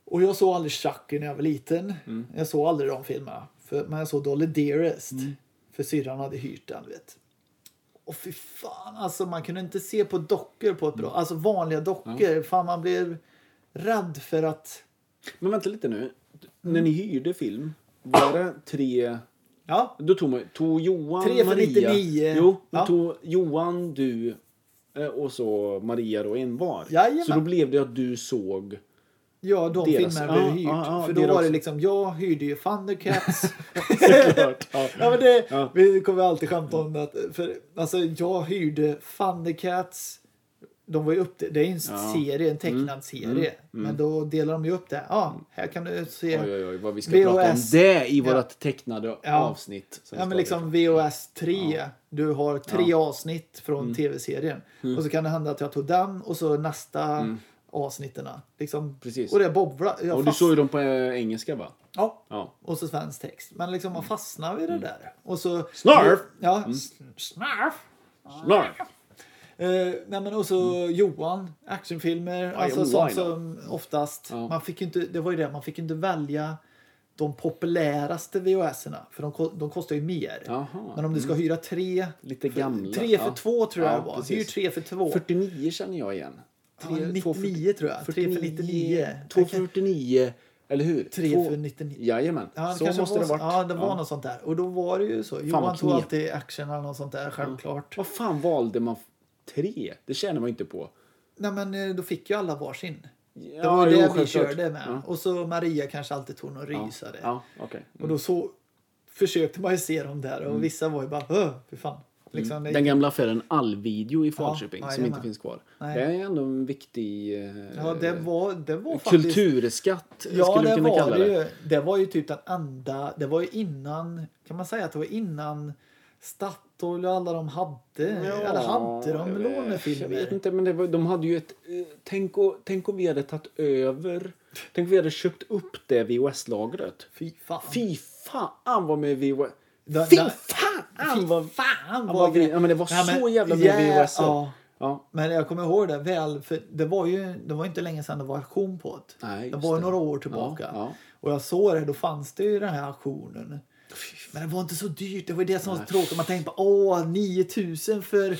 Och jag såg aldrig Chucky när jag var liten.
Mm.
Jag såg aldrig de filmerna. För, men jag såg Dolly Dearest.
Mm.
För syrran hade hyrt den, vet. Och fy fan, alltså man kunde inte se på dockor på ett
Mm.
bra... Alltså vanliga dockor. Fan, man blev rädd för att...
Men vänta lite nu. När ni hyrde film, var det tre...
Ja,
Då tog, man, tog Johan,
Tre för
Maria...
99.
Jo, då
Ja.
tog Johan, du eh, och så Maria då en var.
Jajamän.
Så då blev det att du såg...
Ja, de
Deras-
filmerna blev
ja,
hyrt.
ja, ja,
för då
deras-
var det liksom, jag hyrde ju Thundercats.
<laughs>
<laughs>
Såklart. Ja.
<laughs> ja, men det,
Ja.
Vi kommer alltid skämta om det. att- För, alltså, jag hyrde Thundercats. De var ju upp det. det är ju en
Ja. Mm.
serie, en tecknad serie. Men då delar de ju upp det. Ja, här kan du se.
Oj, oj, oj, vad vi ska
VHS.
prata om det i
Ja.
vårt tecknade
Ja.
avsnitt. sen
Ja, men
ska
liksom VHS 3. Du har tre avsnitt från
Mm.
tv-serien. Och så kan det hända att jag tog den och så nästa avsnitten. Liksom.
Mm. Precis.
Och det bobblar. Jag
vi- Och du
fast-
såg ju dem på eh, engelska, va?
Ja.
Ja.
Och så svensk text. Men liksom man fastnar vid det där. Och så,
Mm. Snarf! Mm.
Ja, s- snarf!
Snark.
Eh, nej men och så Johan, actionfilmer, alltså
Johan,
sånt
Mm. ja.
som oftast.
Ja.
Man fick ju inte, det var ju det, man fick ju inte välja de populäraste VHS-erna. För de, ko- de kostar ju mer.
Jaha.
Men om du ska hyra tre.
Lite gamla.
Tre för
ja.
två tror jag
Ja,
det var.
precis.
Hyr tre för två.
49 känner jag igen.
Ja,
Tre- två
99 tror jag. Tre för 99.
2 för 49, eller hur?
Tre
Två-
för 99.
Jajamän,
Ja, det
så
kanske
måste
var
det varit.
så- Ja, det var något sånt där. Och då var det ju så. Johan
vad
tog
knep.
alltid action eller något sånt där, självklart.
Vad fan valde man f- tre? Det tjänar man ju inte på.
Nej, men eh, då fick ju alla varsin.
Ja,
Det var
jo,
det vi
självklart.
körde med.
Ja.
Och så Maria kanske alltid tog någon rysare.
Ja, okej.
Och då så försökte man ju se dem där och vissa var ju bara Åh, fy fan. Liksom, det-
Mm. Den gamla affären Allvideo i Falköping
ja,
som
jajamän.
inte finns kvar.
Nej.
Det är ändå en viktig eh,
ja, det var, det var faktiskt...
kulturskatt
Ja,
skulle
det
vi kunna
var
kalla
det
det.
ju. Det var ju typ den enda... Det var ju innan... Kan man säga att det var innan Statoil och alla de hade... eller hade de
jag vet- Jag
lånefilmer?
vet inte, men det var, de hade ju ett... eh, Tänk, och, tänk om vi hade tagit över... Tänk om vi hade köpt upp det VHS-lagret.
Fy fan.
Fy fan vad med VHS...
Den-
Fy
den-
fan vad...
fan
vad vi, ja, men det var
Ja, men-
så jävla med
ja,
VHS.
ja.
Ja.
Men jag kommer ihåg det väl, för det var ju det var inte länge sedan det var auktion på det.
Nej,
det
just
var ju
det.
några år tillbaka.
Ja, ja.
Och jag såg det, då fanns det ju den här auktionen. Men det var inte så dyrt, det var ju det som var så tråkigt. Man tänkte på åh, 9000 för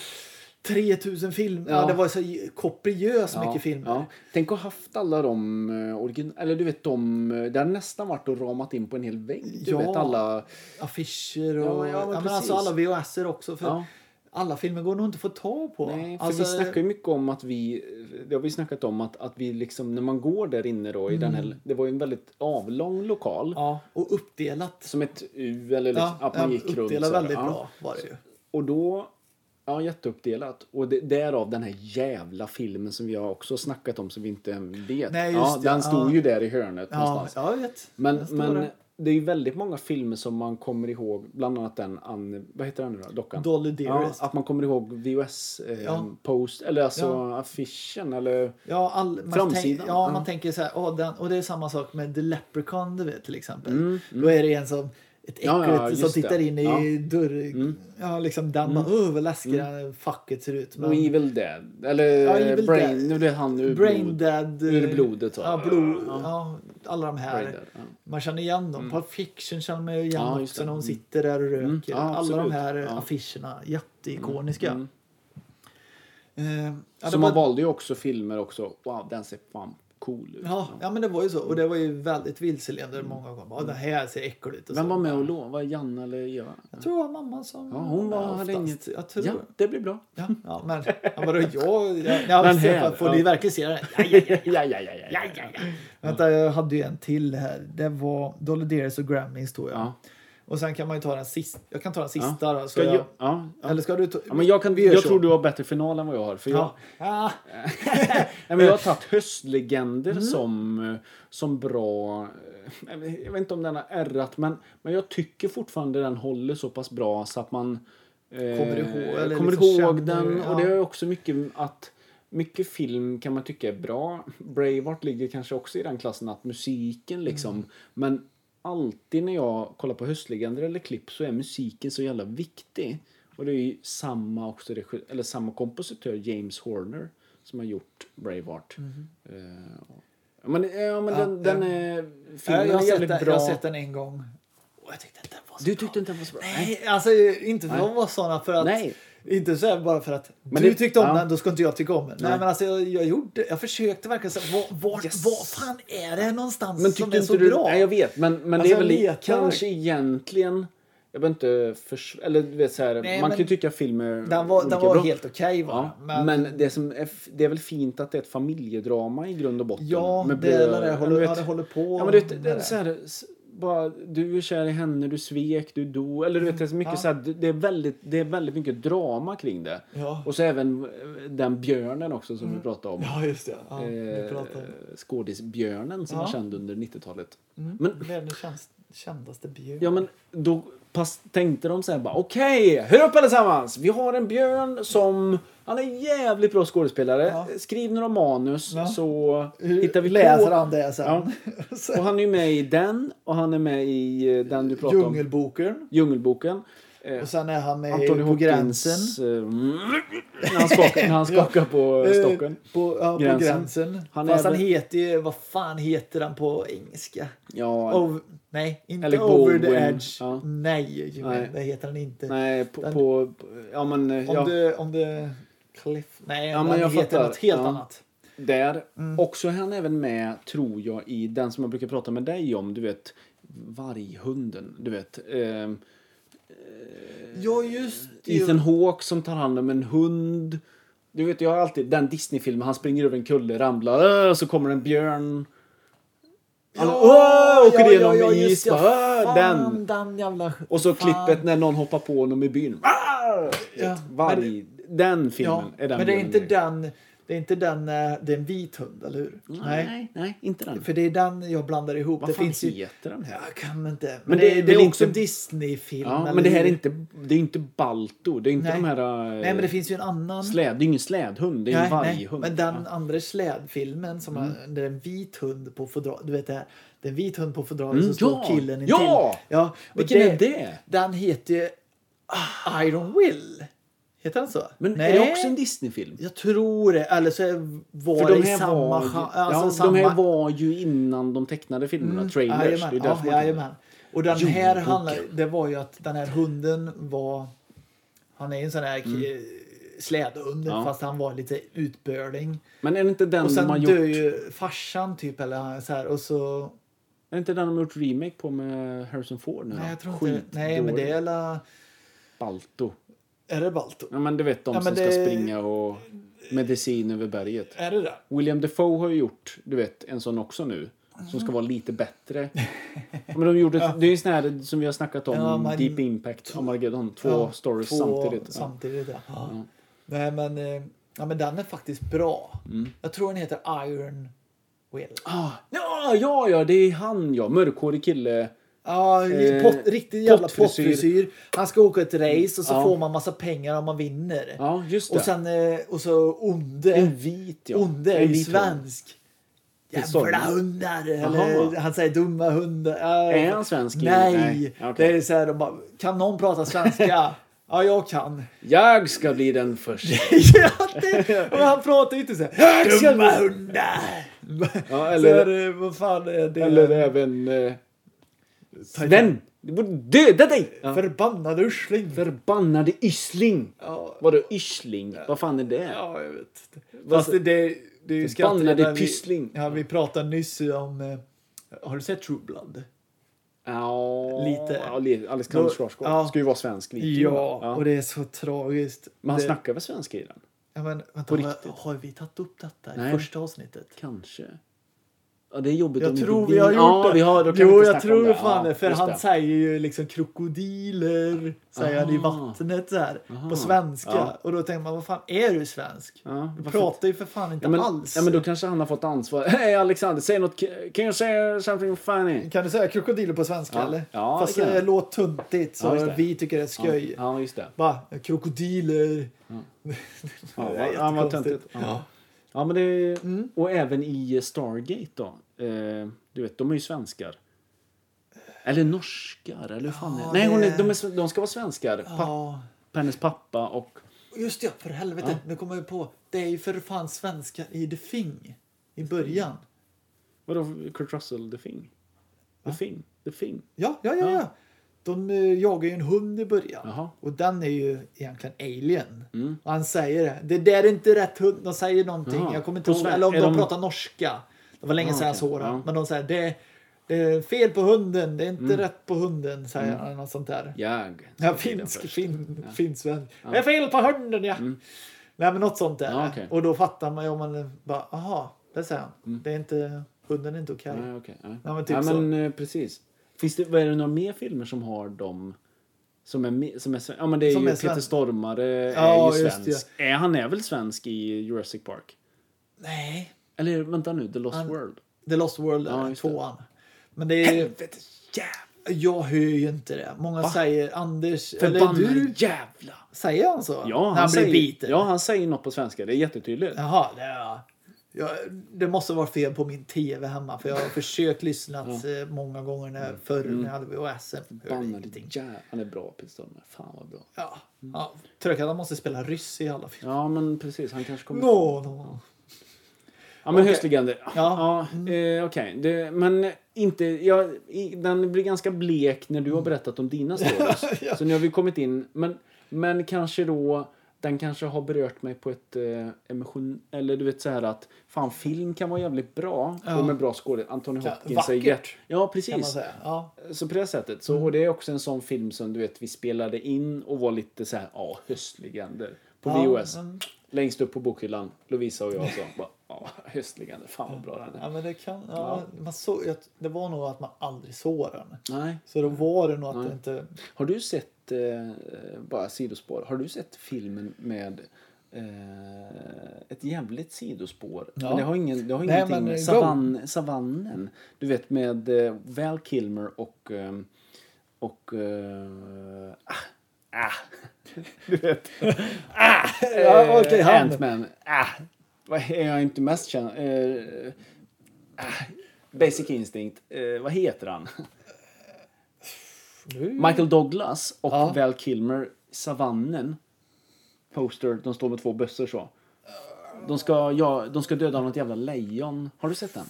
3000 filmer. Ja.
Ja.
det var så kopiöst
Ja,
mycket filmer.
ja. Tänk att ha haft alla de eh, origin... Eller du vet de... eh, Det har nästan varit och ramat in på en hel vägg. Du
Ja.
vet alla...
Affischer och
Ja, ja, men
men alltså
precis.
alla VHSer också. För
Ja.
Alla filmer går nog inte att få tag på.
Nej, för
alltså,
vi snackar ju mycket om att vi, eh, det har vi snackat om att, att vi liksom när man går där inne då i den
Mm.
här, det var ju en väldigt avlång lokal.
ja, och uppdelat.
Som ett U eller liksom, att man gick runt.
uppdelat
så här,
väldigt
ja.
bra var det ju.
Och då, ja jätteuppdelat. Och det, därav den här jävla filmen som vi har också snackat om som vi inte vet.
Nej,
ja,
just det,
den stod
ja.
ju där i hörnet
Ja,
någonstans.
jag vet.
Men,
Jag står
men
där.
det är ju väldigt många filmer som man kommer ihåg, bland annat den, an, vad heter den nu då? Dockan?
Dolly
ja,
Dearest. Ja,
att man kommer ihåg VHS eh,
Ja.
post, eller alltså
Ja.
affischen eller...
all, man
Framsidan.
Tänk, ja, man
Mm.
tänker så här, åh, den, och det är samma sak med The Leprechaun du vet, till exempel.
Mm,
Då är det en som ett äckligt
Ja, ja,
som
just
tittar
det.
in i
Ja. Mm.
dörr... Ja, liksom den bara, åh vad läskig mm. fucket ser ut.
Och
Men
Evil Dead, eller
Ja, Evil
Brain,
Dead.
nu blev han ur
Brain
blod.
Dead.
Ur
eh,
blodet, va?
Ja, blod, ja, alla de här.
Brain Dead, ja.
Man känner igen dem. Pulp Fiction känner man ju igen
Ja, just
också
det.
när hon
Mm.
sitter där och röker.
Mm, ja,
Alla de
absolut.
här
Ja.
affischerna, jätteikoniska.
Mm.
Eh, ja, det
Så man
var,
valde ju också filmer också. Wow, den ser fan cool ut.
ja, ja, men det var ju så. Och det var ju väldigt vilseledande många gånger. Ja, det här ser äckligt ut. och
Vem
så.
var med och lovade? Janne eller Eva?
Jag tror det var mamma som...
Ja, hon var,
oftast.
hade inget...
Jag tror...
Ja, det blir bra.
Ja, ja, men ja, vadå jag?
<laughs>
jag, jag
Men
här,
här,
får
ja.
ni verkligen se det här? Ja, ja, ja.
<laughs> ja, ja, ja.
Ja, ja, ja. Vänta, jag hade ju en till här. Det var Dolly Dearest och Grammys tror jag.
Ja.
Och sen kan man ju ta den sista. Jag kan ta den sista då.
Ska
Ska
jag...
jag,
Ja. ja.
Eller ska du ta...
ja men jag kan,
Vi gör
jag
så.
tror du har bättre final än vad jag har. För jag,
Ja. Eh. Ah,
nej, men jag har tagit höstlegender
Mm.
som, eh, som bra... eh, Jag vet inte om den har ärrat, men, men jag tycker fortfarande den håller så pass bra så att man eh,
Kommer ihåg, eller
kommer
liksom
ihåg
känner,
den.
ja.
Och det är också mycket att mycket film kan man tycka är bra. Braveheart ligger kanske också i den klassen att musiken liksom,
Mm.
men alltid när jag kollar på höstlegender eller klipp så är musiken så jävla viktig. Och det är ju samma, också, regi- eller samma kompositör, James Horner, som har gjort Braveheart. Eh, ja, men, ja, men
Mm-hmm. Ja,
den, den
eh,
är, filmen
jag,
är
har sett den,
jävligt
jag
bra.
har sett den en gång. Och jag tyckte inte den var så
Du
bra.
tyckte inte den var så bra?
Nej, alltså inte för att de var sådana för att...
Nej.
Inte så här bara för att
Men
du
det-
tyckte om
ja.
den, då ska inte jag tycka om den. Nej,
Nej.
men alltså jag, jag gjorde... Jag försökte verkligen säga, var, var,
Yes.
var fan är det någonstans
Men
som
tyckte
är
inte
så
du...
bra?
Nej, jag vet. Men, men
Alltså,
det är väl
jag
i-
letar.
kanske egentligen... Jag behöver inte förs... Eller du vet så här,
Nej,
man
men-
kan ju tycka filmer...
Den var,
olika
den var
bra.
helt okej va?
Ja, men det, som är, f- det är väl fint att det är ett familjedrama i grund och botten.
Ja,
Med
det, eller
bröder,
det,
men
håller,
du
ja, det håller på.
Ja, men du vet,
med
det är så här, s- bara, du är kär i henne, du svek, du dog. Eller du vet, det är så mycket
Ja.
så här, det- det är väldigt, det är väldigt mycket drama kring det.
Ja. Mm.
Och så även eh, den björnen också som vi pratade om.
Ja, just det. Ja, vi
Eh,
pratar om
Skådisbjörnen som
Ja.
var känd under 90-talet.
Mm.
Men
det. är den känns, kändaste björn.
Ja men då pass, tänkte de så här bara okej, hör upp allesammans! Vi har en björn som, han är jävligt bra skådespelare.
Ja.
Skriv några manus
Ja.
så
Hur
hittar vi
läser
på.
han det sen?
Ja.
<laughs> Så-
Och han är ju med i den och han är med i eh, den du pratade om,
Djungelboken.
Djungelboken. Eh,
Och sen är han med
Anthony
på
Hopkins,
gränsen.
eh, när han skakar, när han skakar på eh, stocken.
Eh, På, ja, gränsen. på
Gränsen.
gränsen.
Han
Fast
är
han
väl-
heter ju, vad fan heter han på engelska?
Ja,
Over, nej, inte
Alec
Over the
Baldwin.
Edge.
Ja.
Nej, Jimmy,
Nej.
det heter han inte.
nej, på,
Den-
på, ja men, eh,
Om
ja,
du, om du... Cliff? Nej,
Ja,
han
men jag
heter
fattar.
något helt
Ja.
annat.
där.
Mm.
Också är han även med, tror jag, i den som jag brukar prata med dig om, du vet, varghunden, du vet. ehm,
Ja, just det.
Ethan Hawke som tar hand om en hund. Du vet, jag har alltid den Disney-filmen, han springer över en kulle, ramlar, "Åh", så kommer en björn. Han åh, åker igenom is.
just
bara, "Åh", den.
Fan, den jävla...
Och så
fan.
klippet när någon hoppar på honom i byn. "Ah!"
Ja, men-
Varg. Den
Ja,
filmen är den
men det är
björnen
inte
i.
den... Det är inte den... eh, Det är en vit hund, eller hur?
Nej, nej, inte den.
För det är den jag blandar ihop.
Mm. Vad
det
fan
finns ju...
heter den här?
Jag kan inte. Men,
Men
det,
det
det,
är
är
väl
också en
inte-
Disney-film.
Ja,
eller
men det här är
hur?
inte, det är inte Balto. Det är inte
Nej.
de här... eh,
Nej, men det finns ju en annan...
släd, det är ingen slädhund, det är en varghund.
Men den
Ja. Mm.
andra slädfilmen som har- där är en vit hund på fodralet. Du vet det här. Det är en vit hund på fodralet
Mm,
så står
ja.
killen intill.
Ja!
ja och
Vilken är det?
Den heter ju ah, Iron Will. Heter den så?
Men är det också en Disney-film?
Jag tror det. Eller så är- var
För
det
de
i
här,
samma...
var ju,
Var, alltså
ja,
samma...
de här var ju innan de tecknade filmerna, trailers.
Mm, Jajamän,
det är
ja,
därför man kan-
jajamän. Och den här
Djungelboken.
handlar, det var ju att den här hunden var... Han är ju en sån här mm. slädhund
Ja.
fast han var lite utbörling.
Men är det inte den
Och
de har
sen
gjort,
dör ju farsan typ eller han- så här och så...
är det inte den de har gjort remake på med Harrison Ford nu då?
Nej jag tror inte Nej men det är la,
Balto.
Är det Balto?
Ja, men du vet de
Ja,
som
men
ska
det-
springa och medicin över berget.
Är det det?
William Defoe har ju gjort, du vet, en sån också nu. Som
Mm.
ska vara lite
<laughs>
bättre. Ja, Men de gjorde, Det är ju sån här som vi har snackat om,
Ja, men-
Deep Impact, Armageddon. Två
Ja,
stories
två
samtidigt. Ja.
Samtidigt ja. Ja. Nej men... eh, Ja men den är faktiskt bra.
Mm.
Jag tror den heter Iron Will.
Ah, ja, ja, ja, det är han ja. Mörkhårig kille.
Ja,
Eh,
pott, riktigt jävla
pottfrisyr.
pottfrisyr. Han ska åka ett race och så
Ja.
får man massa pengar om man vinner.
Ja, just det.
och sen eh, och så onde.
en vit ja.
Onde
en
är
vit hund.
svensk.
är sån.
Jävla hundar!
Jaha.
Eller, han säger dumma hundar. Ja,
Är han svensk?
Nej!
Nej, okej.
Det är så här, de bara, kan någon prata
<laughs>
svenska? ja, jag kan. <laughs>
Jag ska bli den första.
ja, det, och han pratar ju inte så här.
Jag ska
Dumma
bli-"
<laughs> hundar!
Ja,
så
eller-
här, eh, vad fan är det?
Eller även... Eh, Sven! Du borde döda dig! För
Förbannade usling!
förbannade yssling!
Ja,
Vadå yssling? Vad fan är det?
ja, jag vet inte. Fast det, det, det är
Förbannade
ju skrattretande. Vi-
pyssling.
Ja, vi pratade nyss om... eh, Har du sett True Blood?
Ja,
Lite.
Ja, li- Alexander
Då-
Skarsgård.
ja.
Ska ju vara svensk lite.
Ja, och
det,
det är så tragiskt.
men han
det,
snackar väl svenska i den?
ja, men,
på
vänta, har,
riktigt.
har vi tagit upp detta
Nej.
i första avsnittet?
Kanske. Ja, det är jobbigt om
Jag
inte
tror vi har gjort
ja,
det.
Vi har, då kan vi
jo,
inte
jag
snacka om
tror
det.
fan
ja,
det. För
just
han
det.
säger ju liksom krokodiler, säger han i
Aha.
vattnet så här,
Aha.
på svenska.
Ja.
Och då tänker man, vad fan är du svensk?
Ja,
du
varför-
pratar ju för fan inte
Ja men,
alls.
ja, men då kanske han har fått ansvar. Hej Alexander, säg något. Can you say something funny?
Kan du säga krokodiler på svenska
Ja.
eller?
Ja, det
Fast
kan jag.
det låter tuntigt så
Ja, just det.
vi tycker det är sköj.
Ja, just det.
Va? Krokodiler? <laughs>
Ja,
Det är
vad- ja, vad
jättekonstigt.
töntigt. Ja. ja, men det
Mm.
Och även i Stargate då. Eh, du vet, de är ju svenskar. Eller norskar, eller hur fan är
Ja,
det? Nej, hon är,
det-
de, är, sv- de ska vara svenskar. Pappa,
Ja.
hennes pappa och...
Just det, för helvete. Nu kommer jag på. Det är ju för fan svenska i The Thing. I början.
Vadå, Kurt Russell, The Thing? The Thing? The Thing?
Ja, ja, ja. ja. De eh, jagar ju en hund i början.
Jaha.
Och den är ju egentligen alien.
Mm.
Och han säger det. Det där är inte rätt hund. De säger någonting.
Jaha.
Jag kommer inte
På
ihåg.
sven-
Eller om
är
de,
de-
pratar norska. Det var länge
Ah,
sedan jag
okej.
såg det.
Ja. Mm.
Men de säger det, det är fel på hunden. Det är inte rätt på hunden. Säger han. Något sånt där.
Jag.
Ja, finsk, fin, finnsvensk. Det är fel på hunden ja. Nej men något sånt där.
Mm. Ja, okej. Mm.
Och då fattar man ju om man bara, aha, det säger han. Det är inte, hunden är inte okej.
Nej, okej. nej.
Ja, men typ
ja,
så.
men, eh, precis. Finns det, vad är det några mer filmer som har dem? Som är, me- som är, sven- ja, men det är
Som
ju
är sven-
Peter Stormare
Ja,
är ju
just det.
svensk. Är, han är väl svensk i Jurassic Park?
Nej,
Eller vänta nu, The Lost
Han-
World.
The Lost World
Ja,
är
just det.
tvåan. Men det är,
jävla
jag hör ju inte det. Många säger Anders, eller
förbannade
du,
jävla!
säger han så?
Ja, han,
När han
säger,
blir biten?
ja, han säger något på svenska. Det är jättetydligt.
Jaha, det, ja. Ja, det måste vara fel på min tv hemma för jag har försökt lyssna eh, många gånger
Mm.
när, förr när jag hade VHS. Jag hörde
Förbannade
ingenting.
jävla... Han är bra, Peter Stormare. Fan vad bra.
Ja.
Mm.
ja. Tråkigt att han måste spela ryss i alla filmer.
Ja, men precis. Han kanske kommer...
No, no.
Ja men
Okej.
höstlegender. Ja. ja
Ja.
eh, Okej, Det- men inte... Ja, i, den blir ganska blek när du har berättat om dina
<laughs>
stories.
Ja.
Så nu har vi kommit in. Men, men kanske då... Den kanske har berört mig på ett eh, emotion... Eller du vet så här att fan film kan vara jävligt bra.
Ja.
Och med bra skådespelare. Anthony
Ja,
Hopkins är
vackert,
jätte... Ja
Kan man
precis.
säga. Mm. Ja.
Så på det sättet. Så, Och det är också en sån film som du vet vi spelade in och var lite så här ja höstlegender. På
Ja,
VHS.
men-
Längst upp på bokhyllan, Lovisa och jag så. Bara, ja, höstliggande. Fan vad bra den är.
Ja, men det, kan, ja, man såg, jag- det var nog att man aldrig såg den.
Nej.
Så då var det nog att det inte...
Har du sett, eh, bara sidospår, har du sett filmen med eh, ett jävligt sidospår?
Ja.
Men det har, ingen, det har
Nej,
ingenting
men,
med
go.
savann, savannen. Du vet med eh, Val Kilmer och... Eh, och eh, ah, ah. <laughs> Du
<laughs>
vet. ah,
Ja, okej,
eh,
han.
Ant-Man. Ah. Vad är jag inte mest känd? Eh, ah. Basic Instinct. Eh, vad heter han?
Nu,
Mm. Michael Douglas och
Ja.
Val Kilmer, savannen. Poster, de står med två bössor så. De ska, ja, de ska döda något jävla lejon. Har du sett den?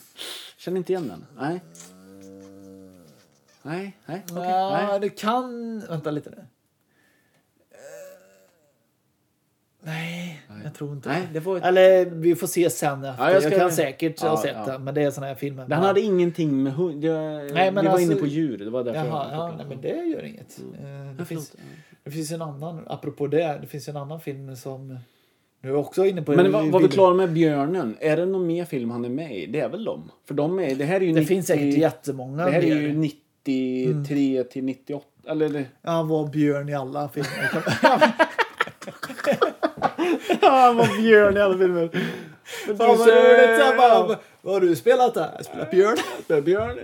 Känner inte igen den? Nej. Nej, nej, okej.
ja,
nej.
du kan... Vänta lite nu. Eh, Nej, jag tror inte
Nej, det var ett-
Eller vi får se sen. Efter.
Ja, jag
jag,
ska-
kan säkert
Ja,
ha sett
ja.
den, men det är såna här filmer.
Den hade ingenting med hund... Jag,
Nej, men
vi var
alltså-
inne på djur, det var därför
Jaha,
jag Mm.
ja, nej, men det gör inget. Eh, Det,
Ja,
finns,
förlåt.
det finns en annan, apropå det, det finns en annan film som... Nu är jag också inne på...
Men var, var vi
bild-
klara med björnen? Är det någon mer film han är med i? Det är väl dem? För de är, det här är ju
Det finns säkert Mm. jättemånga
Det här är
mer.
ju 93 till 98, eller? Det,
Ja, Han var björn i alla
<laughs>
filmer.
Han var björn i alla filmer. Men
Fan vad roligt! så här bara, Vad har du spelat där? Jag spelar Björn.
Björn. Björn.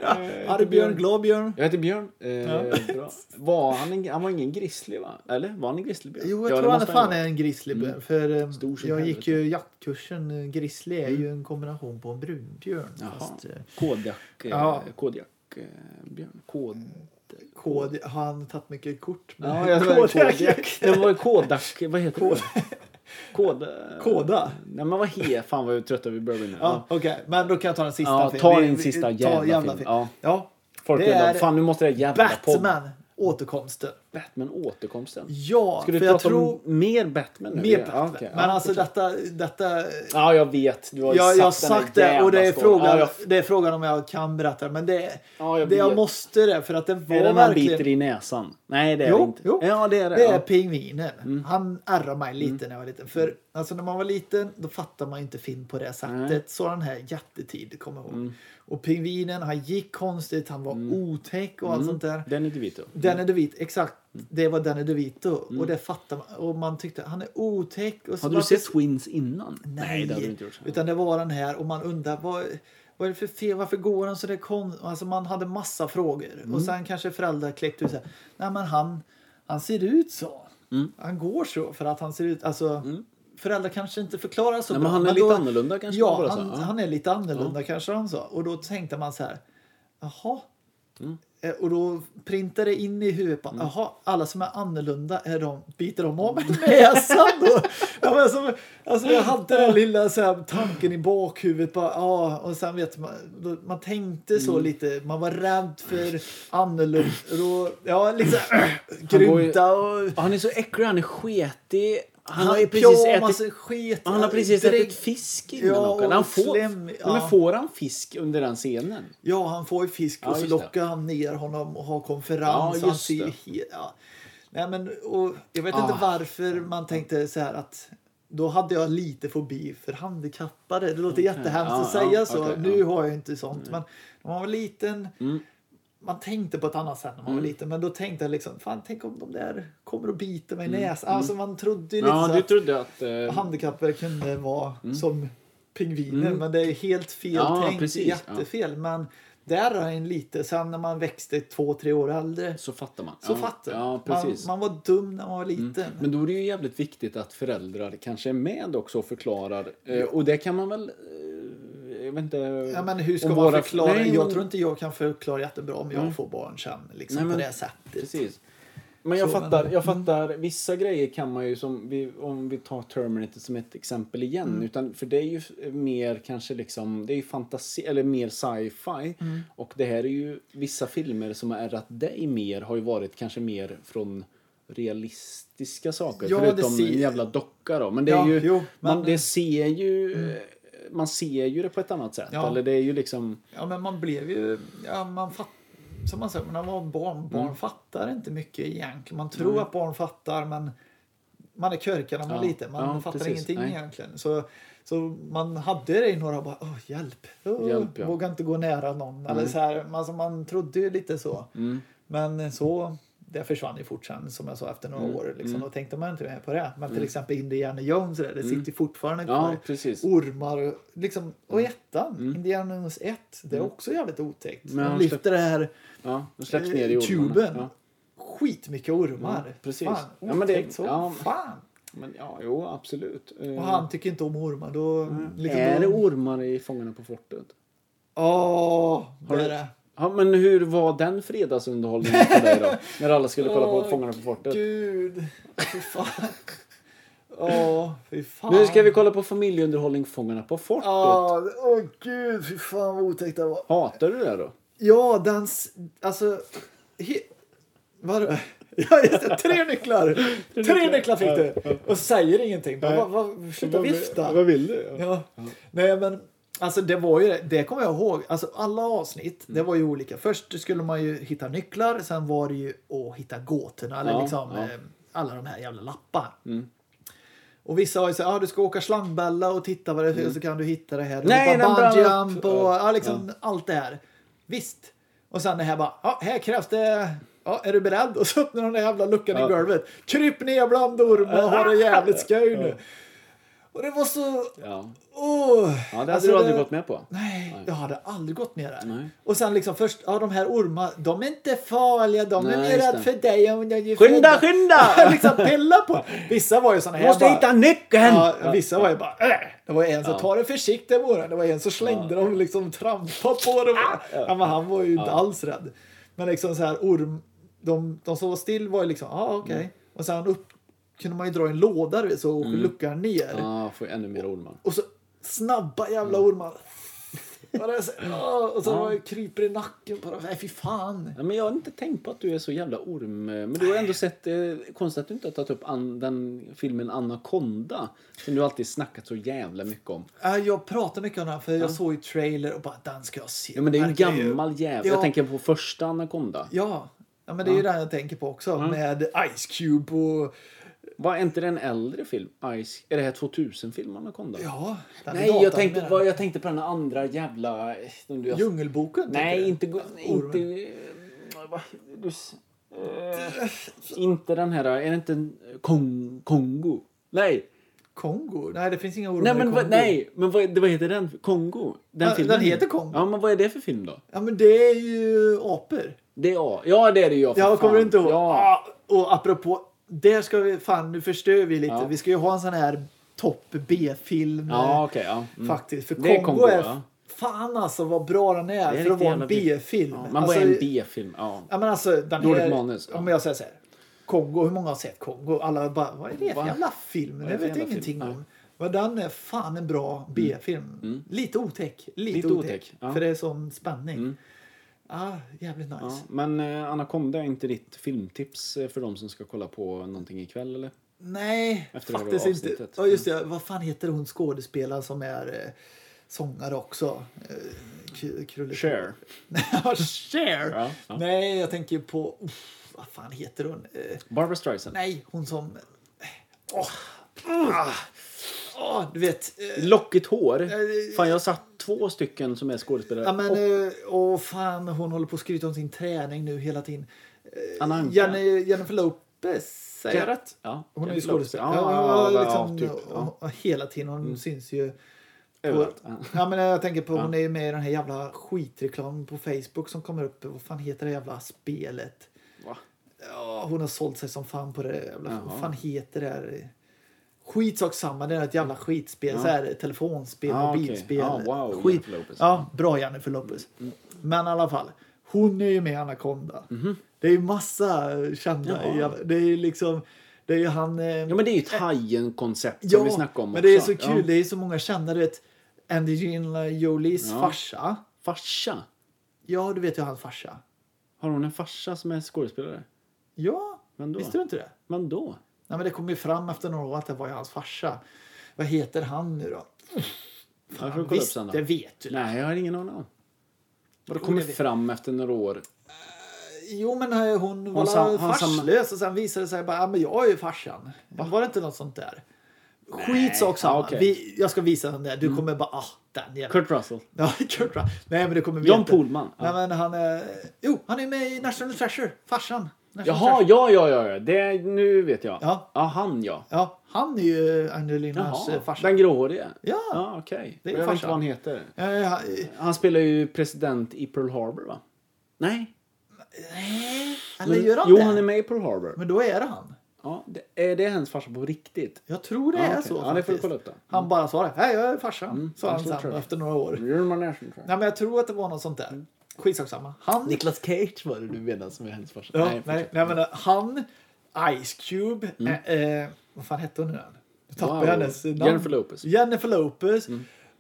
eh,
Arg Björn, glad Björn.
Jag heter Björn. Eh, bra. Var han, en, han var ingen grizzly va? Eller var han en grizzlybjörn?
Jo,
Ja,
jag
det
tror han
måste
fan
vara.
är en grizzly.
Mm.
För eh,
Stor som
jag gick
helvete.
ju jaktkursen. eh, Grizzly är ju en kombination på en brunbjörn.
Mm. Jaha.
Fast, eh,
Kodjak. eh,
Ja.
Kodjak. eh, Björn. Kod...
Kod, har han tagit mycket kort med <laughs>
Ja, jag
Kodak?
Kodak. Kodak. Det var Kodak. Vad heter det? Kod...
Koda?
Nej men vad he... Fan vad jag är trött över Bourbon nu.
Ja, okej. Men då kan jag ta den sista.
Ja,
film.
ta
Vi-
en
vi-
sista
ta
jävla film. Ja.
Ja.
Folk
Det
undrar,
är
fan nu måste det här jävla podden...
Batman, återkomsten.
Batman återkomsten.
Ja,
Ska du
för jag
prata
tror...
om mer Batman nu?
Mer
Ja,
Batman.
okej.
Men
Ja,
alltså
fortsätt.
detta... detta
Ja, jag vet. Du har ju
jag, jag har
den där
sagt det och det är,
jävla storyn.
frågan,
Ja, jag...
det är frågan om jag kan berätta men det.
Ja, jag
det jag
vet.
måste det för att det var
Är det man
verkligen...
biter i näsan? Nej, det är
Jo,
det inte.
jo.
Ja, det är det.
Det
ja. Mm.
är pingvinen. Han ärrar mig lite när jag var liten. För alltså, när man var liten då fattar man ju inte film på det sättet.
Nej. Mm.
Så den här jättetid kommer jag ihåg. Och pingvinen, han gick konstigt, han var otäck och allt
Mm.
sånt där.
Den är inte vit då.
Danny DeVito, exakt.
Mm.
Det var Danny DeVito. Och det fattar man. Och man tyckte han är otäck. Och så
Hade du
varför-
sett Twins innan?
Nej,
det hade du inte gjort.
utan det var den här och man undrar vad, vad är det för fel? Varför går han så där konstigt? Alltså man hade massa frågor
Mm.
och sen kanske föräldrar kläckte ut så här. Nej men han, han ser ut så.
Mm.
Han går så för att han ser ut, alltså föräldrar kanske inte förklarar så
Nej,
bra.
men han är
då-
lite annorlunda kanske man
Ja,
bara
han,
sa, ja.
han är lite annorlunda kanske han sa. Och då tänkte man så här, jaha. Eh, Och då printar det in i huvudet
Mm.
på jaha, alla som är annorlunda, är de, biter de av mig näsan då? ja, men som, alltså jag hade den lilla så här, tanken i bakhuvudet bara, ja, och sen vet man, då, man tänkte
Mm.
så lite, man var rädd för annorlunda, då, ja liksom
går ju-
grymta och
Ja, Han är så äcklig, han är sketig. Han, har ju precis
pyjamas,
ätit...
skit.
Han har precis
dräng-
ätit fisk innan
Ja,
också. Eller han
och
får,
slem,
Nej,
ja.
men får han fisk under den scenen?
Ja, han får ju fisk
Ja,
och så
just det.
lockar han ner honom och har
Ja,
konferens. och han
just
ser ju
det.
he- ja. Nej, men, och jag vet
Ah.
inte varför man tänkte så här att då hade jag lite fobi för handikappade. Det låter jättehemskt
ja,
att säga
ja,
så.
okej,
nu
ja. Mm.
har jag ju inte sånt. Men när man var liten, man tänkte på ett annat sätt när
Mm.
man var liten. Men då tänkte jag liksom, fan tänk om de där kommer och biter mig i näsan. Alltså man trodde ju lite
Mm. Ja,
så
du
att
trodde att... Eh,
handikappade kunde vara som pingviner. Men det är helt fel
Mm. Ja,
tänkt.
precis,
jättefel. Men där är en lite, sen när man växte två, tre år äldre
Så fattar man.
så
ja.
fattar
Ja,
man.
precis. Mm.
Man var dum när man var liten.
Men då är det ju jävligt viktigt att föräldrar kanske är med också och förklarar. Eh, och det kan man väl... Eh, jag vet inte...
Ja, men hur ska
om
man
våra-
förklara?
Nej,
jag
men- Mm.
tror inte jag kan förklara jättebra om jag får barn sen. Liksom,
Nej, men-
på det sättet.
Precis. Men jag
Så, Mm.
fattar, jag fattar vissa grejer kan man ju som vi, om vi tar Terminator som ett exempel igen.
Mm.
Utan, för det är ju mer kanske liksom, det är ju fantasi eller mer sci-fi.
Mm.
Och det här är ju vissa filmer som har ärrat dig mer har ju varit kanske mer från realistiska saker.
Ja, det
förutom
ser-
en jävla docka då. Men det är
Ja,
ju,
jo,
man,
men- Mm.
det ser ju, eh, man ser ju det på ett annat sätt.
Ja.
Eller det är ju liksom,
Ja, men man blev ju... Ja, man fatt, som man säger, när man var barn,
Mm.
barn fattar inte mycket egentligen. Man tror att barn fattar, men man är körkad när man är
Ja,
liten. Man
ja,
fattar
precis.
ingenting
Nej.
egentligen. Så, så man hade det i några bara, Åh, hjälp, Åh,
Hjälp, ja. Mm.
våga inte gå nära någon. Eller så här, alltså, man trodde ju lite så. Men så... Det försvann ju fort sen, som jag sa, efter
Mm.
några år. Liksom. Då tänkte man inte mer på det. Men till exempel Indiana Jones, och det, det sitter ju fortfarande
Mm. ja
kvar
precis.
ormar och, liksom, och
Mm.
ettan, Indiana Jones 1, det är också jävligt otäckt.
Men
Man
han
lyfter det här
Ja, de släpps ner i
eh,
ormarna.
tuben.
Ja.
Skitmycket ormar.
Ja, precis.
Fan,
Ja, men det-
otäckt så.
ja.
Fan.
Men ja, jo absolut. Eh,
Och han tycker inte om ormar. Då, liksom,
är
då-
det ormar i Fångarna på fortet?
Ja,
Har
det
du-
är det.
Ja, men hur var den fredagsunderhållningen för dig
<laughs>
då? När alla skulle kolla på
Åh,
Fångarna på fortet?
Gud.
<laughs>
Fy fan. Ja, fy fan.
Nu ska vi kolla på familjeunderhållning Fångarna på fortet.
Ja, åh gud. Fy fan vad otäckt det var.
Hatar du det då?
Ja, dans... Alltså... He, vadå? <laughs> Ja, just det. Tre nycklar! Tre nycklar fick du! Och säger ingenting. Bara, vad, vad, sluta vifta.
vill du?
Ja.
Mm.
Nej, men... Alltså det var ju det, det kommer jag ihåg. Alltså alla avsnitt,
Mm.
det var ju olika. Först skulle man ju hitta nycklar, sen var det ju att hitta gåtorna eller
Ja,
liksom
ja. Mm.
eh, alla de här jävla lappar. Och vissa har ju såhär, ah, du ska åka slangbella och titta vad det är för- så kan du hitta det här.
Mm. Nej,
Hoppa
den brann
bungee
upp.
jump och ja, liksom allt det här. Visst. Och sen det här bara, ja, här krävs det, ja, är du beredd? Och
<laughs>
så öppnar de den där jävla luckan i golvet. Kryp ner bland ormar och ha det jävligt skoj nu. Och det var så...
Ja,
Åh!
ja det hade
Alltså,
du aldrig
det-
gått med på.
Nej, jag hade aldrig gått med det.
Nej.
Och sen liksom först, ja de här ormarna, de är inte farliga, de
Nej,
är mer
just
rädda
det.
för dig om jag är
Skynda,
född." <laughs>
skynda!
liksom pilla på. Vissa var ju såna här
nyckeln!
Ja, vissa var ju bara äh. Det var en som
Ja.
ta det försiktigt med åren. Det var en som slängde dem liksom trampa på dem. Ja, men han var ju inte alls rädd. Men liksom så här orm, de, de som var still var ju liksom, ja ah, okej.
Mm.
Och sen upp kunde man ju dra i en låda du vet, så luckan ner.
Ja, får ännu mer ormar.
Och så snabba jävla
Mm.
ormar.
<laughs>
Och, det är så, åh, och så var det kryper i nacken på dem. Nej fy fan.
Ja, men jag har inte tänkt på att du är så jävla orm. Men du har ändå sett, eh, konstigt att du inte har tagit upp an, den filmen Anaconda. Som du alltid snackat så jävla mycket om.
Äh, Jag pratar mycket om den här för jag såg ju trailer och bara den ska jag se.
Ja men det är ju en
Verkar ju-
gammal jävel.
Ja.
Jag tänker på första Anaconda.
Ja, ja men det är ju det jag tänker på också med Ice Cube och...
Var inte det en äldre film? Ice, är det här 2000-film Anaconda?
Ja, den är
Nej,
datan
jag tänkte,
med den.
vad, jag tänkte på den andra jävla... som du har-
Djungelboken? tänker
Nej,
du?
inte... go-
ormen.
inte eh, vad- du s- eh, inte den här... Är det inte en- Kong, Kongo? Nej!
Kongo? Nej, det finns inga ormar
Nej,
i
men,
Kongo.
vad, nej, men vad, vad heter den? Kongo? Den
Ja, den heter Kongo.
Ja, men vad är det för film då?
Ja, men det är ju apor.
Det är A. Ja, det är det ju. för
Ja,
fan.
kommer du inte ihåg?
Ja.
Ah, och apropå, där ska vi... Fan, nu förstör vi lite.
Ja.
Vi ska ju ha en sån här topp B-film.
Ja,
eh,
okej. ja. Mm.
Faktiskt. För
Det är
Kongo,
Kongo,
är...
ja.
Fan alltså vad bra den är,
Det är
för att
riktigt
vara en
jävla bra.
B-film.
Ja, man
alltså,
bara är en B-film. Ja.
Ja, men alltså, den
Dåligt
här,
manus.
Om jag säger så här. Kongo, hur många har sett Kongo? Alla bara, vad är det för
Va?
jävla film?
är
Det
det för
vet jag
jävla
ingenting
film? Mm.
om. Men den är fan en bra B-film. Lite otäck. Lite,
Lite
otäck.
otäck, ja. Mm.
För det är sån spänning. Ah, jävligt nice.
Ja, men eh, Anaconda är inte ditt filmtips eh, för de som ska kolla på någonting ikväll eller?
Nej,
Efter det här
faktiskt inte.
avsnittet. Mm.
Ja, just det. Vad fan heter hon skådespelaren som är eh, sångare också? Eh, K- Krulle-
Cher.
<laughs> ja, Cher.
Ja, ja.
Nej, jag tänker på... Uff, vad fan heter hon? Eh,
Barbra Streisand.
Nej, hon som... eh, Åh! Ah. Åh, du vet... eh,
Lockigt hår.
det-
Fan, jag har satt två stycken som är skådespelare.
Ja, men,
och
eh, åh fan, hon håller på att skryta om sin träning nu hela tiden.
Anna Anka.
Jenny, Jennifer Lopez, säger jag rätt?
Mm. Ja,
Hon är ju
Jennifer Lopez.
skådespelare.
Ja,
Ja,
ja, ja,
liksom,
typ. Ja. Mm.
och- och Hela tiden. Hon syns ju... På,
Överallt. Ja.
ja, men jag tänker på, hon är ju med i den här jävla skitreklamen på Facebook som kommer upp. Vad fan heter det jävla spelet?
Va?
Ja, hon har sålt sig som fan på det. Jävla, vad
Jaha.
fan heter det här? Skitsak samma, det är ett jävla skitspel. Så här, telefonspel,
Ah, okej.
mobilspel.
Ah, wow,
Skit...
Jennifer Lopez. Mm,
Ja, bra Jennifer Lopez. Men i alla fall, hon är ju med i Anaconda. Det är ju massa kända.
Mhm. Jaha.
jävla- Det är ju liksom, det är ju han... eh,
ja, men det är ju ett Hajen-koncept som vi snackade om
men det är
också.
så kul. Det är så många kända. Du vet, Angelina Jolies
Ja.
farsa.
Farsa.
Ja, du vet ju hans farsa.
Har hon en farsa som är skådespelare?
Ja,
Men då?
visste du inte det?
Men då?
Nej, men det kom ju fram efter några år att det var ju hans farsa. Vad heter han nu då?
jag får kolla upp
Visst,
sen då.
det vet du.
Nej, jag har ingen aning om. Har det
Jo,
kommit
det vet-
fram efter några år?
Jo, men eh, hon var
Hon sa-
väl
han sa-
farslös och sen visade det sig bara, ja, men jag är ju farsan. Var det inte något sånt där? Skitsak samma.
Ja, okej. Mm.
Vi, jag ska visa den där. Du kommer bara, ah, den jäveln.
Kurt Russell.
Ja, <laughs> Kurt Russell. Nej, men det kommer vi
John
inte.
Pohlman.
Nej, men han är... Jo, han är med i National Treasure. Farsan. National
Jaha,
Treasure.
ja, ja, ja. ja. Det, nu vet jag.
Ja.
han ja.
Ja, han är ju Angelinas eh,
Jaha,
farsa.
den gråhårige?
Ja.
ja okej.
Det är
Jag vet inte
farsan.
vad han heter.
Eh, han- eh,
Han spelar ju president i Pearl Harbor, va? Nej.
Eller gör han
jo,
det?
han är med i Pearl Harbor.
Men då är det han.
Ja, det, är det hans farsa på riktigt?
Jag tror det
Ja,
är
okej.
så
Ja, det Mm. får du
faktiskt.
kolla upp då. Mm.
Han bara sa det. Nej, jag är farsan. sa han
National
sen
Treasure.
efter några år.
You're my national treasure.
Nej, men jag tror att det var något sånt där.
Mm.
Skitsak samma. Han...
Niklas Cage var det du menade som är hennes farsa.
Ja, nej,
nej, Mm.
nej, men eh, han, Ice Cube, eh, eh, vad fan hette hon nu igen? Nu tappade
Wow.
jag hennes namn.
Jennifer Lopez. Mm.
Jennifer Lopez.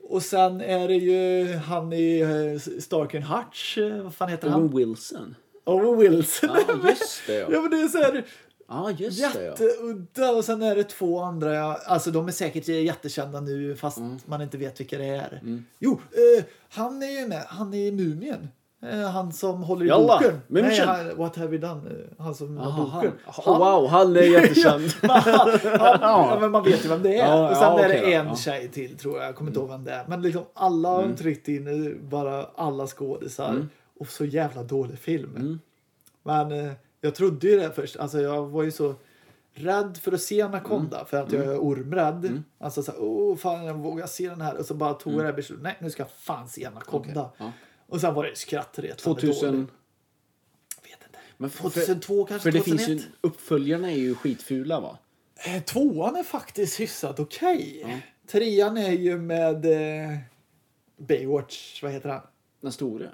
Och sen är det ju han i eh, Stark and Hutch, eh, vad fan heter han?
Owen Wilson.
Owen Wilson.
Ja, just det
<laughs> ja
ja.
men det är så här
Ja, just det ja.
jätteudda och sen är det två andra, ja, alltså de är säkert jättekända nu fast
Mm.
man inte vet vilka det är. Jo, eh, han är ju med, han är i Mumien. Eh, han som håller i
Jalla,
boken. Nej,
Mumien.
han, what have we done? Eh, Han som har
Aha,
boken.
han. Oh, wow, han är jättekänd.
<laughs> Ja, man,
<laughs>
han, ja, men man vet ju vem det är.
Ja,
och sen
ja,
är det
okej då.
en
Ja. Mm.
tjej till tror jag. Jag kommer inte ihåg vem det är. Men liksom alla har tryckt in i bara alla skådisar.
Mm.
Och så jävla dålig film. Men eh, jag trodde ju det först. Alltså jag var ju så rädd för att se Anaconda
Mm.
för att jag är ormrädd. Alltså så här, åh fan jag vågar se den här. Och så bara tog jag det här beslutet, nej nu ska jag fan se Anaconda.
Mm. Okej, ja.
Och sen var det skrattretande
2000...
dåligt. Jag vet inte.
Men för-
2002 kanske,
För det finns ju,
2001.
uppföljarna är ju skitfula va?
Eh, Tvåan är faktiskt hyfsat okej. Trean är ju med eh, Baywatch, vad heter han?
Den store.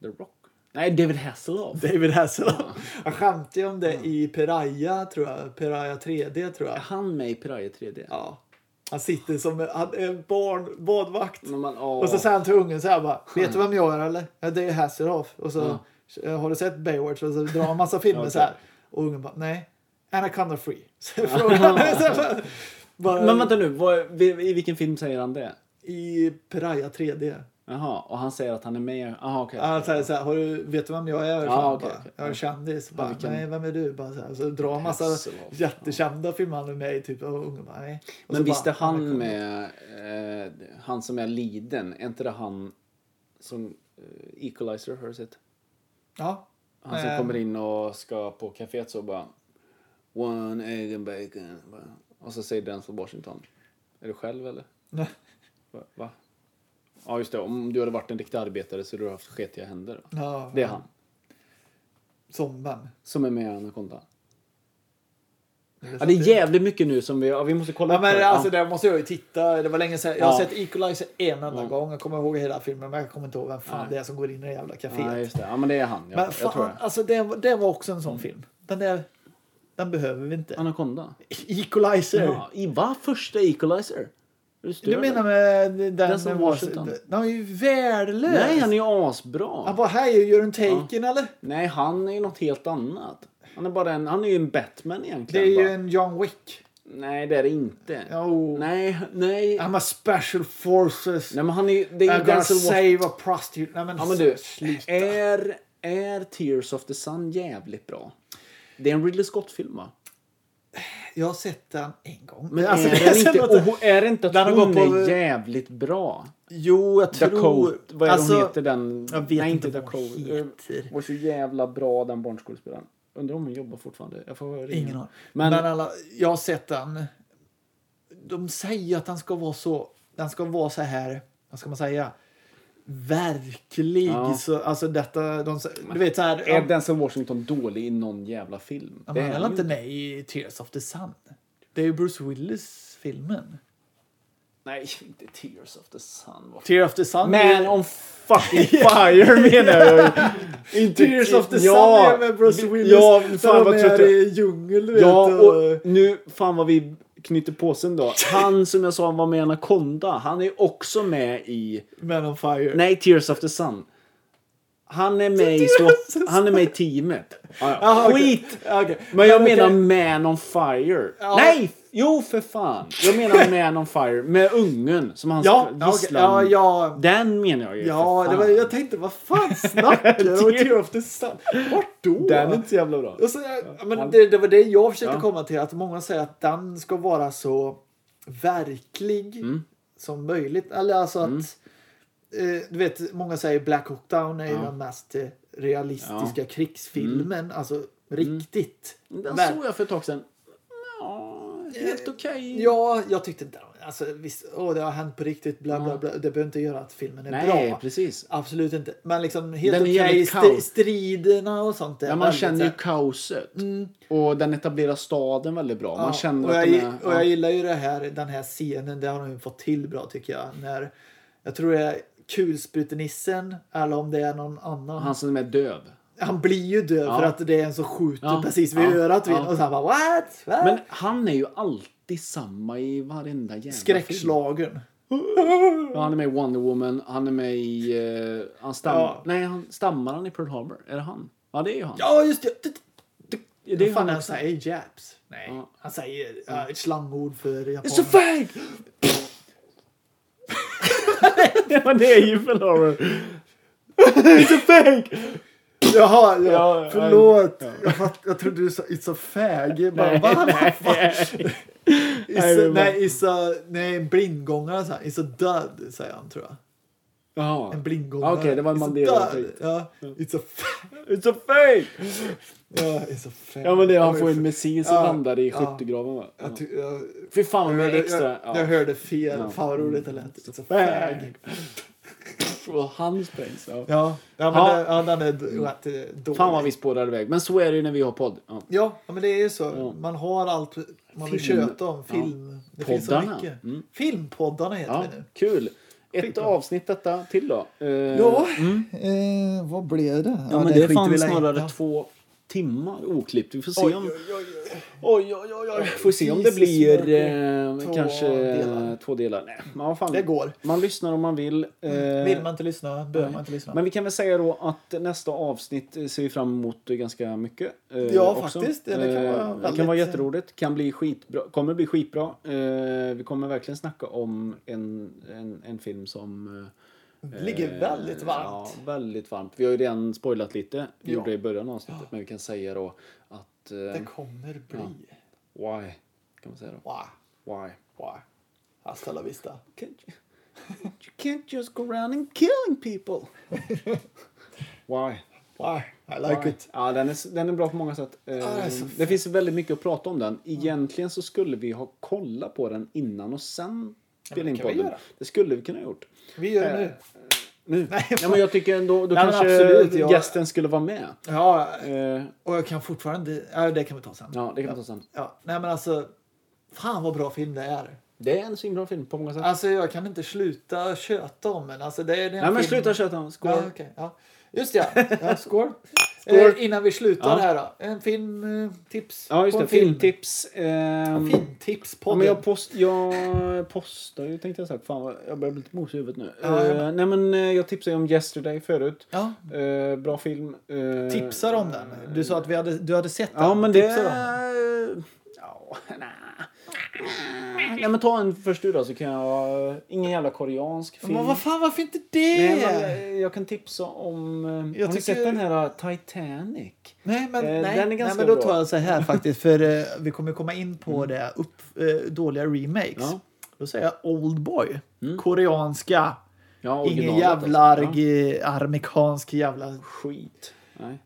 The Rock. Nej, David Hasselhoff.
David Hasselhoff. Han skämtade ju om det i Piraya, tror jag. Piraya 3D, tror
Är
jag.
han med i Piraya 3D?
Ja. Han sitter som han är en barn, badvakt.
När man, åh.
Och så säger han till ungen så här bara, vet du vem jag är eller? Ja, det är Hasselhoff. Och så,
Ja.
"Eh, har du sett Baywatch? Och så drar han massa filmer
<laughs> Ja, okej.
så här. Och ungen bara, nej. Anaconda Free. <laughs> Så frågar han. Så här, bara,
Men vänta nu, vad, vi- i vilken film säger han det?
I Piraya 3D.
Jaha, och han säger att han är med. Jaha, okej.
Han säger så här, har du, vet du vem jag är?
Ja,
Fan,
okej,
bara,
okej.
Jag är en kändis. Bara,
vilken-
Nej, vem är du? Bara så, här. så drar han massa
Hasselhoff.
jättekända filmer han är med i. Typ, och ungen bara, nej. Och
Men
så
visst är
bara,
han med, eh, han som är liden, är inte det han som eh, Equalizer, har du sett?
Ja.
Han som
Eh,
kommer in och ska på kaféet så bara One egg and bacon. bara. Och så säger Denzel Washington. Är du själv <laughs> eller?
nej.
Va? Va? Ja just det, om du hade varit en riktig arbetare så hade du haft sketiga händer. va?
Ja,
Det är han.
Som vem?
Som är med i Anaconda. Ja, det är jävligt mycket nu som vi, ja, vi måste kolla
typ. Ja,
upp
men
det.
alltså, det måste jag ju titta. Det var länge sedan. Jag har
Ja.
sett Equalizer en enda
Ja.
gång. Jag kommer ihåg hela filmen, men jag kommer inte ihåg vem fan
Nej.
det är som går in i det jävla kaféet.
ja, just det. Ja men det är han. Jag,
men fan,
jag tror det. Mm.
alltså det, det var också en sån film. Den där, den behöver vi inte.
Anaconda.
Equalizer!
Ja, i, va? Första Equalizer? Är störd,
Du menar
eller?
med den,
Den som
med
Washington.
Den är ju värdelös!
Nej, han är
ju...
ju asbra.
Han bara, här gör en taken eller?
Nej, han är ju något helt annat. Han är, bara en, han är ju en Batman
Det
egentligen.
är ju
bara.
en John Wick.
Nej, det är det inte.
Oh.
Nej, nej.
I'm a special forces.
Nej, men han är ju... Det är
I'm
ju
gonna
Denzel Washington.
save a prostitute. Nej men,
Ja, men du.
sluta.
Är, är Tears of the Sun jävligt bra? Det är en Ridley Scott-film, va?
Jag har sett den en gång.
Men
Alltså,
är,
det
det
är så <laughs>
inte,
att-
och hon- är det inte
Den
att
har
hon
gått på-
är jävligt bra?
Jo, jag tror... alltså,
Dakota, vad är det hon heter den?
Jag vet
Nej,
inte
inte
vad hon
Dakota.
heter.
Hon var så jävla bra den barnskådespelaren. Undrar om hon jobbar fortfarande. Jag får ringa.
Ingen aning. Men,
Men-
alla, jag har sett den. De säger att den ska vara så... Den ska vara så här... Vad ska man säga? Verklig.
Ja.
Så, alltså detta... De, sä- du vet så här...
Är Denzel Washington dålig i någon jävla film?
Ja,
Det
men
är
han
han
är
ju
inte med i Tears of the Sun. Det är ju Bruce Willis-filmen.
Nej, inte Tears of the Sun. Vad-
Tears of the Sun är
Man
ju-
on fucking
<laughs>
fire menar jag ju. Inte
Tears of the
ja,
Sun är med Bruce Willis.
Ja,
där
fan
de
vad
är
trött jag
i djungeln, du
Ja,
vet.
och nu, fan vad vi knyter påsen då. Han som jag sa var med i Anaconda, han är också med i...
Man on Fire.
Nej, Tears of the Sun. Han är med i,
Tears of
SWAT,
the
han är med i teamet. Ja, ja.
Jaha, okej.
Skit!
Ja, okej.
Men jag
okej.
menar Man on Fire.
Ja.
Nej! Jo, för fan. Jag
<laughs>
menar Man on Fire med ungen som han
Ja,
ska-
ja, okej.
gisslan.
ja, ja,
Den menar jag ju.
Ja,
för
det var,
fan.
jag tänkte vad fan
<laughs>
snackar du om? Tear of the Sun? Vart då?
Den är inte så jävla bra.
och så, ja, men det, det var det jag försökte
Ja.
komma till, att många säger att den ska vara så verklig
Mm.
som möjligt. Eller alltså att, eh, du vet, många säger Black Hawk Down är ju
Ja. Mm.
den mest eh, realistiska krigsfilmen, alltså riktigt.
Den
Ver-
såg jag för ett tag sedan. Ja, helt okej.
Eh, Ja, jag tyckte inte, alltså visst, åh det har hänt på riktigt, bla bla bla. Det behöver inte göra att filmen är bra.
Nej, precis.
Absolut inte. Men liksom helt
Den är
okej
jävligt
stri-
kaos.
striderna och sånt. Är
Ja, man
väldigt
känner
så
ju
här-
kaoset. Och den etablerar staden väldigt bra.
Ja,
Man känner
och jag,
att den är...
Och
ja.
jag gillar ju det här, den här scenen, det har de ju fått till bra tycker jag. När, jag tror det är kulsprutenissen eller om det är någon annan.
Han som är döv.
Han blir ju död
Ja.
för att det är en som skjuter
Ja,
precis vid
ja,
örat vid
ja.
en. Och så han bara what? what?
Men han är ju alltid samma i varenda jävla film.
Skräckslagen.
Ja, han är med i Wonder Woman, han är med i... eh, han stammar...
Ja.
Nej, han, stammar han i Pearl Harbor? Är det han? Ja, det är ju han.
Ja just det. det.
det är
Det
ju
är fan
han
han
också.
säger japs. Nej,
Ja.
han säger ja, ett slangord för japaner.
It's a fag!
<laughs>
det var det ju Pearl Harbor. It's a fag!
Jaha, ja,
Ja, ja,
förlåt. Jag, fatt, jag trodde du sa it's a fag. Jag Bara,
<laughs> Nej,
va?
nej, Nej,
It's a,
men-
nej, it's a, nej, en blindgångare sa han. It's a dud, säger han tror jag.
Jaha.
En blindgångare.
Okej, det var en
It's a
Mandela
dud.
jag tänkte.
Ja, it's a fag.
It's a fag!
Jag är så fem.
Ja men det är han
Jag
får
är
en
för-
missil som
Ja,
landar i
ja.
skyttegraven va? Ja.
Jag, ty- jag,
Fy fan vad mycket
jag, hörde,
extra.
jag, jag
Ja.
hörde fel.
Ja.
Fan vad roligt det lät. It's a
Bang!
fag.
Och han sprängs. Ja.
Ja, ja, men
Ja.
Det, ja, den är d- rätt eh, dålig.
Fan vad vi spårar iväg. Men så är det ju när vi har podd. Ja.
Ja, ja, men det är ju så.
Ja.
Man har allt man vill
Film-
köta om. Film. Det finns så
Poddarna.
mycket.
Mm.
Filmpoddarna heter
Ja,
vi nu.
kul. Ett
Skitbra.
avsnitt detta till då. Eh,
eh, vad blev det?
ja, men det,
skiter vi
fanns
väl i.
snarare
Ja.
två timmar oklippt. Vi får se
Oj,
om...
oj, oj, oj.
Oj, oj, oj, oj. Får se om det
Jesus,
blir
Marco.
eh,
Två
kanske
delar.
två delar. Nej, men vad fan.
Det går.
Man lyssnar om man vill. Eh,
Vill man inte lyssna behöver man inte lyssna.
Men vi kan väl säga då att nästa avsnitt eh, ser vi fram emot eh, ganska mycket. eh,
Ja, faktiskt. Ja, det kan
Eh,
vara
det
väldigt-
kan vara jätteroligt. Kan bli skitbra. Kommer bli skitbra. Eh, vi kommer verkligen snacka om en, en, en film som... eh,
Det ligger väldigt varmt.
Ja, väldigt varmt. Vi har ju redan spoilat lite. Vi
Ja.
gjorde det i början av avsnittet. Men vi kan säga då att... eh,
Det kommer bli.
Why? Kan man säga då.
Wow.
Why?
Wow. Hasta la vista.
Can't you,
<laughs>
you can't just go around and killing people. Why?
Wow. I like
Why?
it.
Ja, den, är, den är bra på många sätt. Eh,
det är så Mm.
det finns väldigt mycket att prata om den. Egentligen så skulle vi ha kollat på den innan och sen spela in
kan vi
podden.
göra.
Det skulle vi kunna ha gjort.
Vi gör det
Eh,
nu.
Nu.
<laughs> Nej,
Nej,
fan.
men jag tycker ändå då
Nej, men
kanske
absolut, jag-
gästen skulle vara med.
Ja,
Eh,
och jag kan fortfarande... Ja, det kan vi ta sen.
ja, det kan vi ta sen.
Ja, nej men alltså. Fan vad bra film det är.
Det är en så himla film på många sätt.
Alltså jag kan inte sluta köta om den. Alltså, det är den
Nej, men
film-
sluta köta. Skål.
Ja, okej, ja. Just det, ja.
<laughs>
ja skål.
Skål.
Eh, innan vi slutar
Ja.
här då. En filmtips.
Ja, just
på
det.
en film.
Filmtips. Ehm, Ja,
Filmtipspodden.
men jag, post, jag postar ju tänkte jag sagt. Fan, vad- jag börjar bli lite mos i huvudet nu.
Ja, jag
Eh, nej men eh, jag tipsade ju om Yesterday förut.
Ja,
Eh, bra film. Eh,
tipsar om den. Du sa att vi hade, du hade sett den.
Ja men det...
Tipsar om den.
Ja, nej. Nej men ta en först du då så kan jag... Ingen jävla koreansk film.
Men vad fan, varför inte det?
Nej, men, eh, jag kan tipsa om... eh, har ni
tycker-
sett den här eh, Titanic?
Nej, men,
Eh,
nej,
den är
nej,
ganska
men då
bra. Mm.
tar jag
<laughs>
så här faktiskt. För eh, vi kommer komma in på det upp, eh, dåliga remakes.
Ja. Mm.
Då säger jag Oldboy. Koreanska.
Ja,
Ingen
originalet
jävla
alltså. Ja.
arg- eh, amerikansk jävla...
Skit. Nej.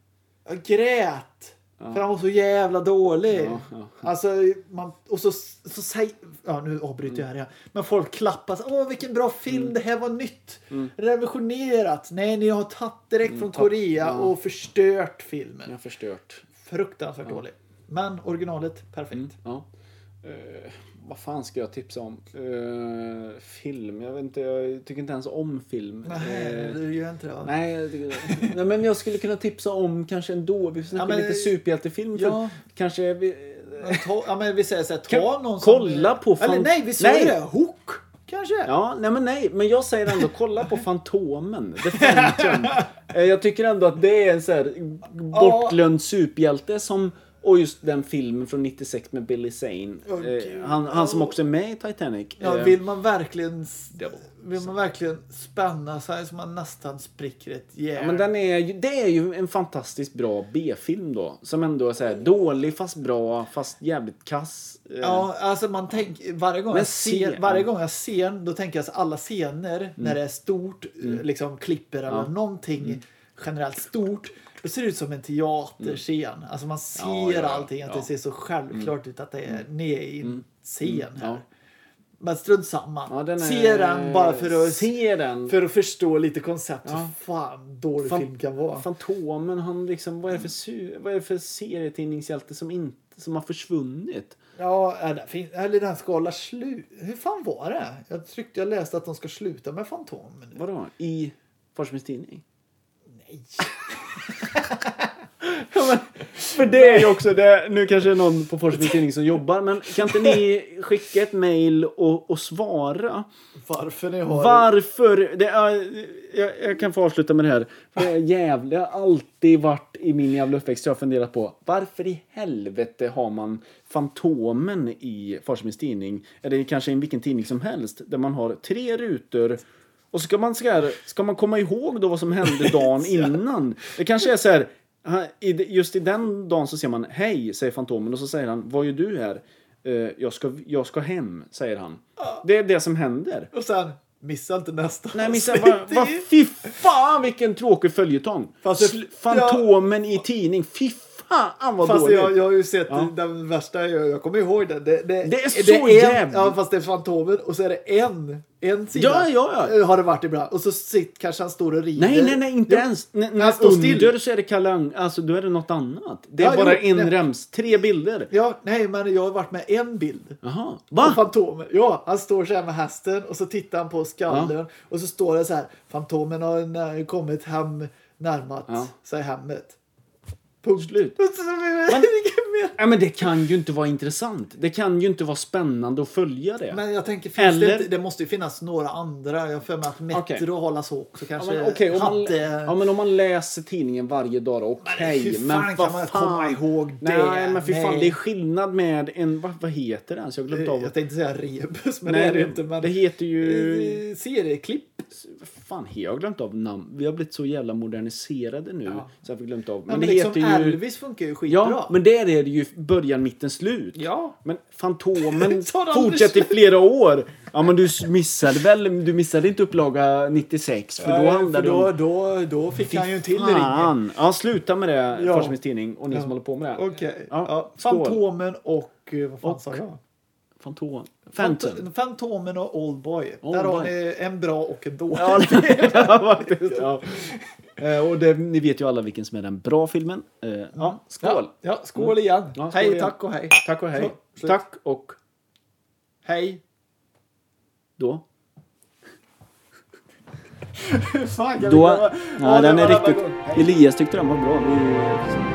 Jag grät! För han var så jävla dålig.
Ja, ja.
Alltså, man, och så, så säg, ja, nu avbryter
Mm.
jag här igen. Men folk klappar. så, Åh, vilken bra film! Det här var nytt!
Mm.
Revolutionerat! Nej, ni har tagit direkt från Korea
ja.
och förstört filmen.
Jag har förstört. Mm.
Fruktansvärt dålig. Men originalet, perfekt.
Ja. Eh, vad fan ska jag tipsa om? Eh, film? Jag vet inte, jag tycker inte ens om film.
Nej,
Eh,
du gör inte det va?
Nej, jag tycker- Nej, men jag skulle kunna tipsa om kanske ändå. Vi snackar
Ja, men-
lite superhjältefilm. för
Ja.
Kanske vi...
Men Ta, ja, men vi säger så här,
Kan-
ta någon
kolla på fan-
Eller nej, vi sa
Nej.
ju det! Hook! Kanske?
Ja, nej men nej. Men jag säger ändå, kolla på Fantomen. The Phantom. Eh, jag tycker ändå att det är en så här bortglömd superhjälte som... Och just den filmen från 96 med Billy Zane.
Åh,
Eh,
Gud.
han, han som också är med i Titanic.
Ja,
Eh,
vill man verkligen
Devil.
vill man verkligen spänna sig så man nästan spricker ett järn?
Ja, men den är, ju- det är ju en fantastiskt bra B-film då. Som ändå är så här, dålig fast bra fast jävligt kass. Eh,
Ja, alltså man tänker varje gång,
Men
jag ser,
se-
varje
ja. Mm.
gång jag ser den, då tänker jag så alla scener när det är stort, eh, liksom klipper eller någonting generellt stort. Det ser det ut som en teaterscen. Alltså man ser
Mm. Ja, ja, ja.
allting, att det
Ja. Mm.
ser så självklart ut att det är ni är i en scen här.
Ja.
Men strunt samma.
Ja, den är,
Se den bara för att,
Se den!
för att förstå lite koncept.
Ja.
Hur fan dålig
Fan-
film kan vara.
Fantomen, han liksom, vad är det för, su- vad är det för serietidningshjälte som, inte, som har försvunnit?
Ja, är det fin- eller den ska hålla slut. Hur fan var det? Jag tyckte jag läste att de ska sluta med Fantomen. nu.
Vadå? I Forsmans tidning? <laughs>
Nej.
För det är ju också det, nu kanske det är någon på Forsmans tidning som jobbar, men kan inte ni skicka ett mail och, och svara?
Varför ni har...
Varför? Det är, jag, jag kan få avsluta med det här. Det är jävla, har alltid varit i min jävla uppväxt. Jag har funderat på varför i helvete har man Fantomen i Farsmins tidning? Eller kanske i vilken tidning som helst. Där man har tre rutor. Och så ska man, så här, ska man komma ihåg då vad som hände dagen innan. Det kanske är så här. han- i det- Just i den dagen så ser man hej, säger Fantomen. Och så säger han, vad gör du här? "Eh, Jag ska, jag ska hem, säger han. Det är det som händer.
Och sen, missa inte nästa
Nej, men sen,
avsnitt.
va,
<laughs>
va, fy fan vilken tråkig följetong!
Fast det-
Sl- Fantomen i tidning, fy fan vad
Fast
dåligt.
jag, jag har ju sett
Ja.
den värsta, jag, jag kommer ihåg den. Det, det,
Det är så
en,
jävligt.
Ja, fast det är Fantomen och så är det en, en sida.
Ja, ja, ja.
Eh, Har det varit ibland. Och så sitter, kanske han står och rider.
Nej, nej, nej, inte
Jo,
ens. N- när
Han står still.
under så är det kalang. Alltså, då är det något annat. Det är
Ja,
bara
jo,
en
nej.
rems. Tre bilder.
Ja, nej, men jag har varit med en bild.
Jaha.
Och
Va?
Fantomen, ja, han står så här med hästen och så tittar han på skallen och så står det så här. Fantomen har när- kommit hem närmat
Ja.
sig hemmet. Punkt. <laughs>
Slut. Nej, men det kan ju inte vara intressant. Det kan ju inte vara spännande att följa det.
Men jag tänker, finns det,
Eller-
inte, det måste ju finnas några andra. Jag har för mig att Metro
Okej.
och Hålla så också
Ja,
kanske
men, okej, om man,
hade...
ja, men om man läser tidningen varje dag, okej.
hur fan
men
kan
vad
man komma ihåg det?
Nej, men fy fan,
Nej.
det är skillnad med en... Vad, vad heter den? Så jag har glömt av
jag
vad-
tänkte säga rebus, men
Nej,
det är det
det-
ju inte. Men
det heter ju-
Eh, Serieklipp.
Vad fan, he- jag har glömt av namn. Vi har blivit så jävla moderniserade nu.
Ja.
Så jag har glömt av.
Men, men liksom
ju...
Elvis funkar ju skitbra.
Ja, men där är det ju början, mitten, slut.
ja.
Men
<laughs>
Fantomen
Tar aldrig
fortsätter i
slut.
flera år. Ja, men du missade väl... Du missade inte upplaga 96, för då
Eh,
handlade det om...
då, då, då fick han ju en till ring.
Fan! Ja, sluta med det,
Ja.
Forsmins tidning, och ni
Ja.
som håller på med det. här.
Okej.
Ja,
Ja,
skål.
Fantomen och... eh, Vad fan
Och-
sa jag?
Fantom. Phantom.
Fant- Fantomen och Oldboy.
Oldboy.
Där har ni en bra och en dålig.
Ja, faktiskt. <laughs> Ja. Eh, Och det, ni vet ju alla vilken som är den bra filmen. Eh, Ja, skål!
<laughs> Ja, ja, skål igen.
Ja, skål
hej,
igen.
tack och hej.
Tack och hej.
Så, slut.
Tack och
Hej. <laughs>
då.
Fan, kan vi
Då,
komma-
ja,
det
den
var
är
alla
riktigt...
gånger. Hej.
Elias tyckte den var bra. Vi,